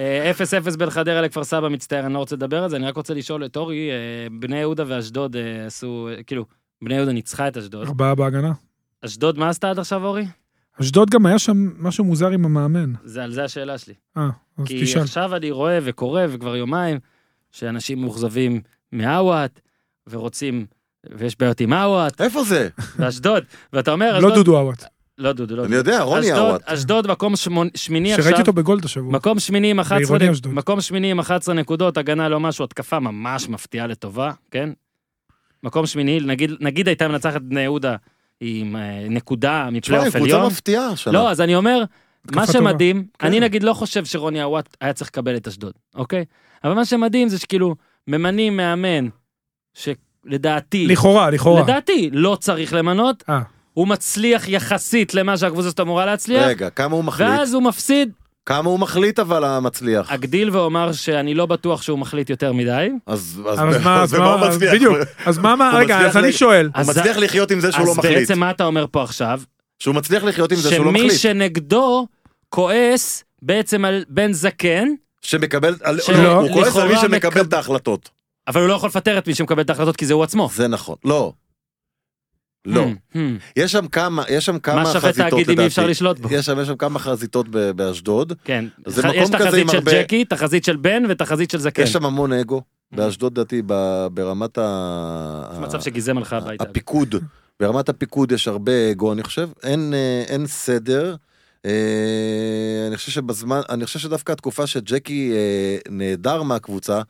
אה, 0-0 בין חדרה לכפר סבא, מצטער, אני לא רוצה לדבר על זה, אני רק רוצה לשאול את אורי, אה, בני יהודה ואשדוד אה, עשו, אה, כאילו, בני יהודה ניצחה את אשדוד. ארבעה בהגנה. אשדוד, מה עשתה עד עכשיו, אורי? אשדוד גם היה שם משהו מוזר עם המאמן. זה, על זה השאלה שלי. אה, אז כי תשאל. עכשיו אני רואה וקורא, וכבר יומיים, שאנשים מאוכזבים מהוואט, ורוצים, ויש בעיות עם הוואט, איפה זה? ואשדוד, ואתה אומר, לא אשדוד- דודו עוואט. לא דודו, לא אני יודע, רוני אשדוד- ארוואט. אשדוד מקום שמונ- שמיני עכשיו. שראיתי אותו בגולד השבוע. מקום שמיני עם 11 בעירוני נק- אשדוד. מקום שמיני עם 11 נקודות, הגנה לא משהו, התקפה ממש מפתיעה לטובה, כן? מקום שמיני, נגיד, נגיד הייתה מנצחת בני יהודה עם אה, נקודה תשמע, היא מפלייאוף קבוצה עליון. מפתיעה השנה. לא, אז אני אומר, מה טובה. כן. שמדהים, אני נגיד לא חושב שרוני ארוואט היה צריך לקבל את אשדוד, אוקיי? אבל מה שמדהים זה שכאילו, ממנים מאמן, שלדעתי, לכאורה, לכאורה. לדעתי, לא צריך למנות, אה. הוא מצליח יחסית למה שהקבוצה הזאת אמורה להצליח, רגע, כמה הוא מחליט? ואז הוא מפסיד כמה הוא מחליט אבל המצליח? אגדיל ואומר שאני לא בטוח שהוא מחליט יותר מדי. אז אז מה, אז מה, הוא לא מצליח? בדיוק. אז מה, מה, הוא רגע, מצליח אז אני ל- שואל. הוא מצליח לחיות עם זה שהוא לא אז מחליט. בעצם מה אתה אומר פה עכשיו? שהוא מצליח לחיות עם זה שהוא לא שמי מחליט. שנגדו כועס בעצם על בן זקן, שמקבל, על- שלא. לא, הוא כועס על מי לכאורה שמקבל מקב- את ההחלטות. אבל הוא לא יכול לפטר את מי שמקבל את ההחלטות כי זה הוא עצמו. זה נכון. לא. לא. Hmm, hmm. יש שם כמה, יש שם כמה מה חזיתות שווה לדעתי. תאגיד אם אי אפשר לשלוט בו? יש שם, יש שם כמה חזיתות ב- באשדוד. כן. זה ח- מקום יש כזה עם תחזית של הרבה- ג'קי, תחזית של בן ותחזית של זקן. יש שם המון אגו. באשדוד דעתי ב- ברמת ה... Hmm. יש מצב שגיזם הלכה אה, הביתה. הפיקוד, ברמת הפיקוד יש הרבה אגו, אני חושב, אין, אה, אין סדר. אה, אני חושב שבזמן, אני חושב שדווקא התקופה שג'קי אה, נעדר מהקבוצה,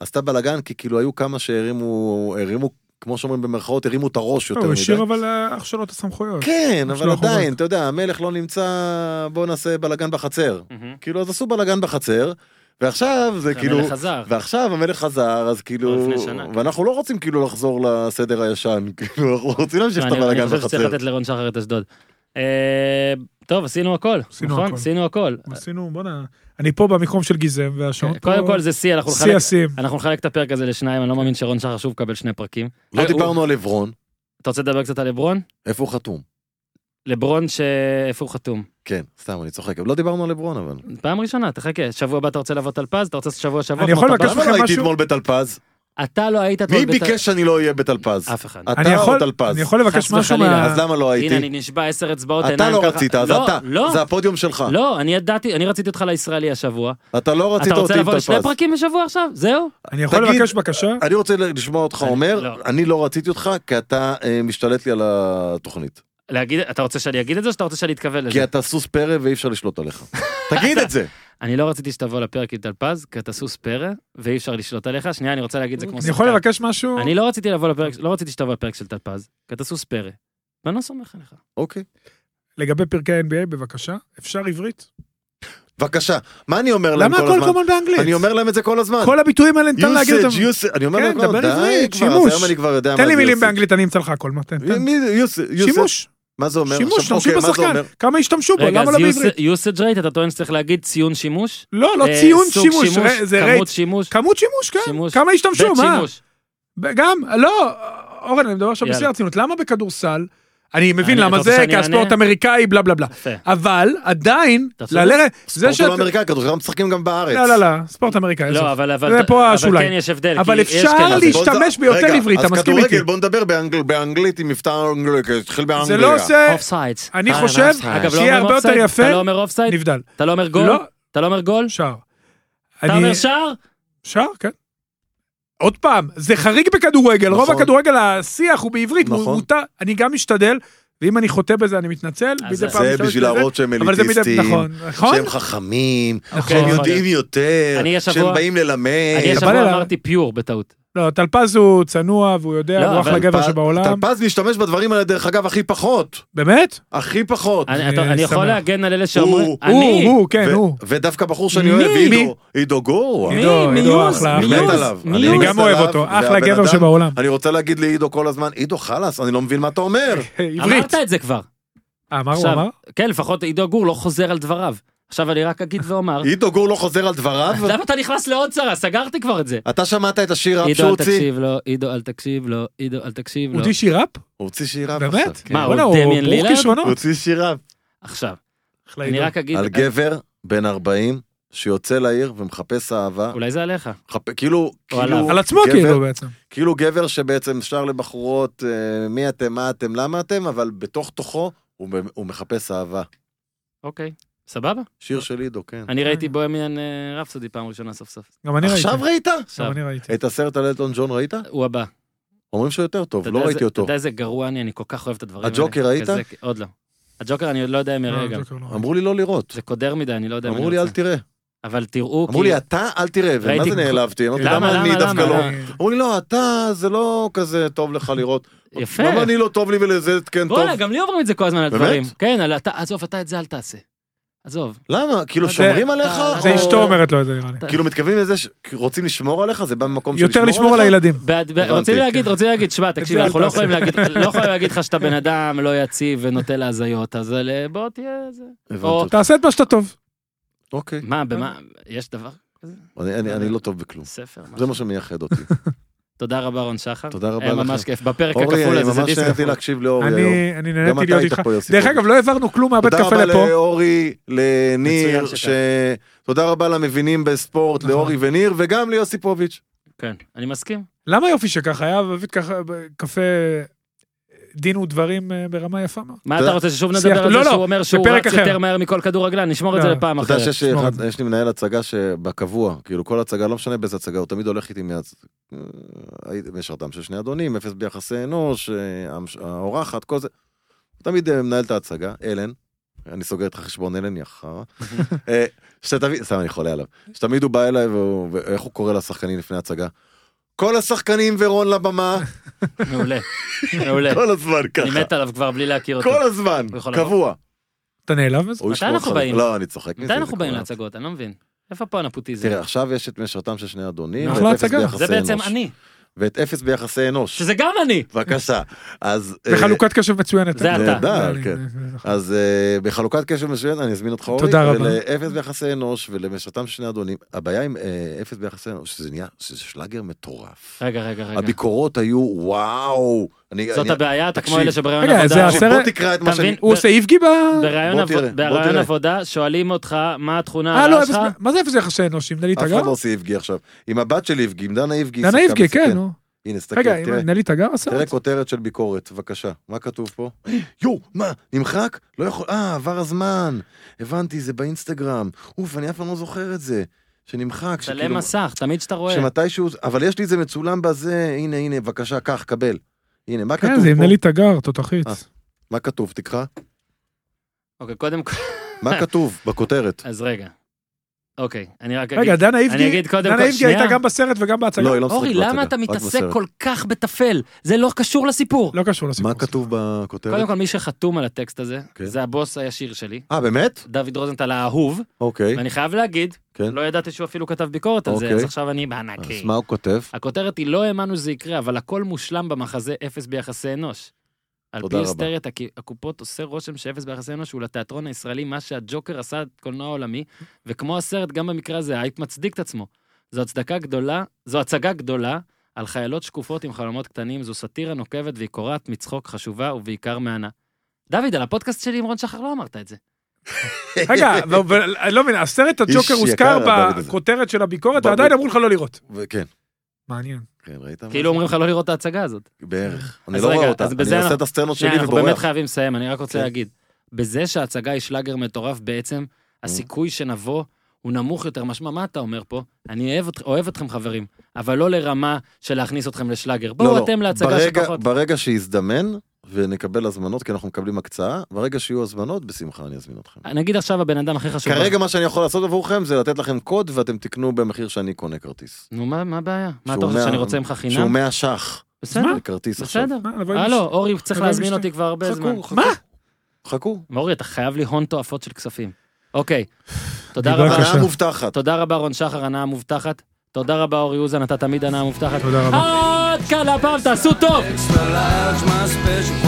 עשתה בלאגן, כי כאילו היו כמה שהרימו, הרימו, כמו שאומרים במרכאות, הרימו את הראש יותר הוא השאיר מדי. אבל אה, אח שלו את הסמכויות. כן, יש אבל לו אחוות. עדיין, אתה יודע, המלך לא נמצא, בוא נעשה בלאגן בחצר. מהמם. כאילו, אז עשו בלאגן בחצר, ועכשיו זה כאילו... המלך חזר. ועכשיו המלך חזר, אז כאילו, לפני שנה. כן. ואנחנו לא רוצים כאילו לחזור לסדר הישן, כאילו, אנחנו רוצים להמשיך את אני- אני הבלאגן חושב שצריך בחצר. לתת לרון שחר את אשדוד. אה, טוב, עשינו הכל, עשינו נכון? הכל. עשינו הכל. עשינו, בוא'נה, אני פה במקום של גיזם, והשעות פה... כן, קודם כל זה שיא, אנחנו שיא נחלק השיאים. אנחנו נחלק את הפרק הזה לשניים, אני לא מאמין שרון שחר שוב יקבל שני פרקים. לא אה, הוא- דיברנו על עברון, אתה רוצה לדבר קצת על לברון? איפה הוא חתום? לברון ש... איפה הוא חתום? כן, סתם, אני צוחק, אבל לא דיברנו על עברון אבל. פעם ראשונה, תחכה. שבוע הבא אתה רוצה לבוא טלפז, אתה רוצה לעשות שבוע שבוע. אני כמו יכול טלפז? לקחת- למה לכם לא הייתי משהו? אתמול בטלפז? אתה לא היית... מי אתמול בת- ביקש שאני לא אהיה בטלפז? אף אחד. אני אתה או יכול, אני טלפז? יכול לבקש חס משהו וחלילה. מה... אז למה לא הנה, אני הייתי? נשבע עשר אצבעות, אתה עיניים לא ככה. רצית, אז לא, אתה, לא, זה הפודיום שלך. לא, אני ידעתי, אני רציתי אותך לישראלי השבוע. אתה לא רצית אתה רוצה אותי עם לבוא לשני טלפז. פרקים בשבוע עכשיו? זהו? אני יכול תגיד- לבקש בקשה? אני רוצה לשמוע אותך אני- אומר, לא. אני לא רציתי אותך כי אתה אה, משתלט לי על התוכנית. להגיד, אתה רוצה שאני אגיד את זה או שאתה רוצה שאני אתכוון לזה? כי אתה סוס פרא ואי אפשר לשלוט עליך. תגיד את זה. אני לא רציתי שתבוא לפרק עם טלפז, כי אתה סוס פרא, ואי אפשר לשלוט עליך. שנייה, אני רוצה להגיד את זה כמו אני יכול לבקש משהו? אני לא רציתי לבוא לפרק, לא רציתי שתבוא לפרק של טלפז, כי אתה סוס פרא, ואני לא סומך עליך. אוקיי. לגבי פרקי NBA, בבקשה. אפשר עברית? בבקשה. מה אני אומר להם למה כל הכל הזמן? כל הזמן באנגלית? אני אומר להם את זה כל הזמן. נכון. כל הביטויים האלה ניתן להגיד usage, אותם. usage, אני אומר כן, להם כל דבר הזמן, די עברית, כבר, שימוש. אז היום אני כבר יודע מה תן לי זה מילים usage. באנגלית, אני אמצא לך הכל, מה תן? תן. מי- מי- usage, usage. שימוש, מה זה אומר? שימוש, עכשיו, השתמשו אוקיי, מה זה בשחקן, אומר? כמה השתמשו בו, רגע, למה אז לא בעברית? usage rate, אתה טוען שצריך להגיד ציון שימוש? לא, לא אה, ציון סוג שימוש, ר- זה רייט. כמות שימוש, כמות שימוש, כן, שימוש. כמה השתמשו, בית מה? שימוש. ב- גם, לא, אורן, אני מדבר עכשיו יאללה. בשיא הרצינות, למה בכדורסל? אני מבין אני- למה אתה זה, רוצה שאני כי הספורט אענה? אמריקאי, בלה בלה בלה. יפה. אבל עדיין, אתה צודק. ללכת, זה ספורט שאתה... לא אמריקאי, כדורגל משחקים גם בארץ. לא, לא, לא, ספורט אמריקאי. עזוב. לא, אבל אבל- זה פה אבל השוליים. כן יש הבדל. אבל כי יש אפשר כן, אז אבל- להשתמש בוא- ביותר רגע, עברית, אתה מסכים אז איתי? כדורגל, בוא נדבר באנגל- באנגלית עם מבטא אנגלית, התחיל באנגליה. זה לא עושה... Offsides. אני אה, חושב offside. אגב, לא שיהיה אומרים הרבה יותר offside? יפה. אתה לא אומר אופסייד? נבדל. אתה לא אומר גול? לא, אתה לא אומר גול? שער. אתה אני- אומר שער? שער, כן. עוד פעם, זה חריג בכדורגל, רוב נכון. הכדורגל השיח הוא בעברית, נכון. הוא- מותר, אני גם משתדל, ואם אני חוטא בזה אני מתנצל, אז מדי זה פעם זה אני משתמש בשביל בזה, להראות שהם אבל זה מדי- אליטיסטים, נכון, נכון, שהם חכמים, נכון. שהם יכול יודעים יותר, אני השבוע- שהם באים אני אה, ללמד. השבוע אליי. אמרתי פיור בטעות. לא, טלפז הוא צנוע והוא יודע, לא, הוא אחלה אבל גבר טלפז- שבעולם, טלפז משתמש בדברים האלה, דרך אגב, הכי פחות. באמת? הכי פחות. אני אתה- אני אני יכול שמח. להגן על אלה שאומרים... הוא- אני? הוא, הוא, כן, ו- הוא. ודווקא בחור שאני מי? אוהב, מי? עידו, עידו גור. עידו, עידו, מיוז, אחלה, אני מיוז, מת עליו. מיוז. אני אני מת גם אוהב עליו, אותו, והבן אחלה גבר אדם- שבעולם. אני רוצה להגיד לעידו כל הזמן, עידו חלאס, אני לא מבין מה אתה אומר. עברית. אמרת את זה כבר. אה, מה הוא עכשיו- אמר? כן, לפחות עידו גור לא חוזר על דבריו. עכשיו אני רק אגיד ואומר, עידו גור לא חוזר על דבריו? למה אתה נכנס לעוד צרה? סגרתי כבר את זה. אתה שמעת את השיר ראפ עידו שהוא אל הוציא? תקשיב לו, עידו אל תקשיב לו, עידו אל תקשיב הוא לו. דישי ראפ? הוא הוציא שיר ראפ עכשיו. באמת? לא. מה, הוא בוא'נה, דמיאן ברוך לילארד? כישרונות. הוא הוציא שיר ראפ. עכשיו, אחלה אני עידו. רק אגיד, על גבר בן 40 שיוצא לעיר ומחפש אהבה. אולי זה עליך. מחפ- כאילו, או עליו. כאילו, על עצמו גבר- כאילו בעצם. כאילו גבר שבעצם שר לבחורות אה, מי אתם, מה אתם, למה אתם, אבל בתוך תוכו הוא ב- הוא מחפש אהבה. אוקיי, סבבה? שיר של עידו, כן. אני ראיתי בוהמיאן אה, רפסודי פעם ראשונה סוף סוף. גם אני ראיתי. עכשיו ראית? עכשיו, גם אני ראיתי. את הסרט על אלטון ג'ון ראית? הוא הבא. אומרים שהוא יותר טוב, אתה לא יודע ראיתי איזה- אותו. אתה יודע איזה גרוע אני, אני כל כך אוהב את הדברים האלה. הג'וקר ראית? כזה- עוד לא. הג'וקר, אני עוד לא יודע אם יראה לא, גם. ג'וקר לא. אמרו לי לא לראות. זה קודר מדי, אני לא יודע אם אמרו אני לי אל רוצה. תראה. אבל תראו, אמרו כי- לי אתה אל תראה, ומה ראיתי- זה נעלבתי? אמרתי, למה, למה אני למה, דווקא למה? לא? אה. אמרו לי לא, אתה זה לא כזה טוב לך לראות. יפה. למה אני לא טוב לי ולזה כן טוב? בואנה, גם לי אומרים את זה כל הזמן על באמת? דברים. כן, על אתה, עזוב, אתה את זה אל תעשה. עזוב. למה? כאילו זה- שומרים עליך? זה או- אשתו אומרת לו את זה, נראה לי. כאילו מתכוונים לזה שרוצים לשמור עליך? זה בא ממקום של יותר לשמור על הילדים. בעד- ב- רוצים להגיד, רוצים להגיד, שמע, תקשיב, זה אנחנו אל לא תעשה. יכולים להגיד, לא יכולים להגיד לך שאתה בן אדם לא יציב ונוטה להזיות, אז אה, בוא תהיה... זה. הבנתי או- אותך. תעשה את מה שאתה טוב. אוקיי. מה, במה, יש דבר? אני- אני אני לא טוב בכלום. ספר, זה משהו. מה שמייחד אותי. תודה רבה, רון שחר. תודה רבה היה ממש לכם. כיף. בפרק אורי, הכפול אני הזה, זה ממש דיסק נהניתי כפול. להקשיב לאורי היום. אני אני גם נהניתי אתה להיות היית איתך. פה, יוסי. דרך אגב, לא העברנו כלום מהבית תודה קפה רבה לפה. לאורי, לניר, מצוין ש... תודה רבה למבינים בספורט, לאורי וניר, וגם ליוסיפוביץ'. כן, אני מסכים. למה יופי שככה היה? באמת ככה, ב- קפה דין ודברים אה, ברמה יפה מאוד. מה תודה. אתה רוצה ששוב שיח- נדבר על לא, זה לא, שהוא אומר זה שהוא פרק רץ אחר. יותר מהר מכל כדורגלן? נשמור את זה לא. לאחד אתה אחרת. יודע שיש שמור אחד- את זה. יש לי מנהל הצגה שבקבוע, כאילו כל הצגה, לא משנה באיזה הצגה, הוא תמיד הולך איתי מאז. אה, הייתי משרתם של שני אדונים, אפס ביחסי אנוש, אה, המש- האורחת, כל זה. הוא תמיד אה, מנהל את ההצגה, אלן. אני סוגר איתך חשבון אלן, יא חרא. אה, שתמיד, סתם אני חולה עליו. שתמיד הוא בא אליי, והוא- ואיך הוא קורא לשחקנים לפני הצגה? כל השחקנים ורון לבמה, מעולה, מעולה. כל הזמן כן. אני ככה. מת עליו כבר בלי להכיר אותו. כל הזמן, הוא יכול לבוא. קבוע. אתה נעלב מזה? הוא מתי ישמור אנחנו אותך. באים? לא, אני צוחק מזה. מתי זה אנחנו באים כבר- להצגות? אני לא מבין. איפה פה הנפוטיזם? תראה, עכשיו יש את משרתם של שני אדונים, אחלה ואת אפס לא הצגה. ביחסי זה בעצם אנוש. אני, ואת אפס ביחסי אנוש. שזה גם אני. בבקשה. אז... אה, בחלוקת קשב מצוינת. זה אתה. נהדר, אני- כן. אני- אז אה, בחלוקת קשב מצוין, אני אזמין אותך אורי. תודה רבה. ולאפס ביחסי אנוש ולמשרתם של שני אדונים. הבעיה עם אה, אפס ביחסי אנוש, שזה נהיה, שזה שלאגר מטורף. רגע, רגע, רגע. הביקורות היו וואו. אני- זאת אני- הבעיה, אתה כמו תקשיב. אלה שבראיון רגע, זה עבודה... הסרט? בוא תקרא את מה אתה שאני... מבין? הוא עושה איבגי ב... אה, בראיון בוא עבודה- תראה, בוא בראיון תראה. עבודה שואלים אותך מה התכונה אה, לא, הרעה אפס- שלך. מה זה אפס יחסי אנוש? עם דלית אף אחד הגר? לא עושה איבגי עכשיו. עם הבת של איבגי, עם דנה איבגי. דנה שיחקה איבגי, מסכן. כן, נו. הנה, תסתכל, רגע, כן, תראה. עם דלית הגר תראה הסרט? כותרת של ביקורת, בבקשה. מה כתוב פה? יואו, מה, נמחק? לא יכול... אה, עבר הזמן. הבנתי, זה באינסטגרם. אוף, אני אף פעם לא זוכר את זה. שנמחק, צלם כאילו- מסך, תמיד שאתה רואה. שמתישהו... אבל יש לי את זה מצולם בזה, הנה, הנה, בבקשה, קח, קבל. הנה, מה כן, זה כתוב עם פה? דלית הגר, תותחית. אה. מה כתוב? תקרא. אוקיי, קודם כל... מה כתוב בכותרת? אז רגע. אוקיי, אני רק אגיד... רגע, דנה אני איבגי, אגיד קודם דנה כל, איבגי שנייה. הייתה גם בסרט וגם בהצגה. לא, היא לא משחקת אורי, בהצגה, למה אתה רק מתעסק בסרט. כל כך בטפל? זה לא קשור לסיפור. לא קשור לסיפור. מה כתוב קודם בכותרת? כל, מי שחתום על הטקסט הזה, כן. זה הבוס הישיר שלי, אה, באמת? דוד רוזנטל האהוב, אוקיי. ואני חייב להגיד, כן. לא ידעתי שהוא אפילו כתב ביקורת על זה, אוקיי. אז עכשיו אני בענקי. אז מה הוא כותב? הכותרת היא לא האמנו שזה יקרה, אבל הכל מושלם במחזה אפס ביחסי אנוש. על תודה פי רבה. היסטריית הק- הקופות עושה רושם שאפס ביחסי אנוש הוא לתיאטרון הישראלי מה שהג'וקר עשה לקולנוע העולמי, וכמו הסרט, גם במקרה הזה האייפ מצדיק את עצמו. זו הצדקה גדולה, זו הצגה גדולה על חיילות שקופות עם חלומות קטנים, זו סאטירה נוקבת והיא קורעת מצחוק חשובה ובעיקר מהנה. דוד, על הפודקאסט שלי עם רון שחר לא אמרת את זה. רגע, ו- ו- אני לא מבין, הסרט הג'וקר יקר, הוזכר הדוד הזה. בכותרת של הביקורת, ברור. ועדיין אמרו לך לא לראות. כן, מעניין. כן, ראית? מה כאילו אומרים לך לא לראות את ההצגה הזאת. בערך. אני אז לא רגע, רואה אותה. אז אני בזה עושה אנחנו- את הסצנות שנייה, שלי אנחנו באמת ובורח. חייבים לסיים, אני רק רוצה כן. להגיד. בזה שההצגה היא שלאגר מטורף בעצם, Mm-hmm. הסיכוי שנבוא הוא נמוך יותר. משמע, מה אתה אומר פה? אני אוהב את- אוהב אתכם, חברים, אבל לא לרמה של להכניס אתכם לשלאגר. לא, בואו לא. אתם להצגה ברגע- שפחות. ברגע שיזדמן ונקבל הזמנות, כי אנחנו מקבלים הקצאה, ברגע שיהיו הזמנות, בשמחה אני אזמין אתכם. נגיד עכשיו הבן אדם הכי חשוב. כרגע מה שאני יכול לעשות עבורכם זה לתת לכם קוד ואתם תקנו במחיר שאני קונה כרטיס. נו, מה מה הבעיה? מה שהוא אתה חושב, מאה- שאני רוצה ממך שהוא חינם? 100 ש"ח. בסדר, זה כרטיס עכשיו. בסדר. מה, לבוא עם הלו, מישהו? אורי צריך לבוא עם להזמין אשתי. אותי כבר הרבה זמן. חכו, חכו. מה? חכו. אורי, אתה חייב לי הון תועפות של כספים. אוקיי, תודה דיבר רבה. בבקשה. הנאה מובטחת. תודה רבה רון שחר, הנאה מובטחת. תודה רבה אורי אוזן, אתה תמיד הנאה מובטחת. תודה רבה. עד כאן הפעם, תעשו טוב! extra large, my special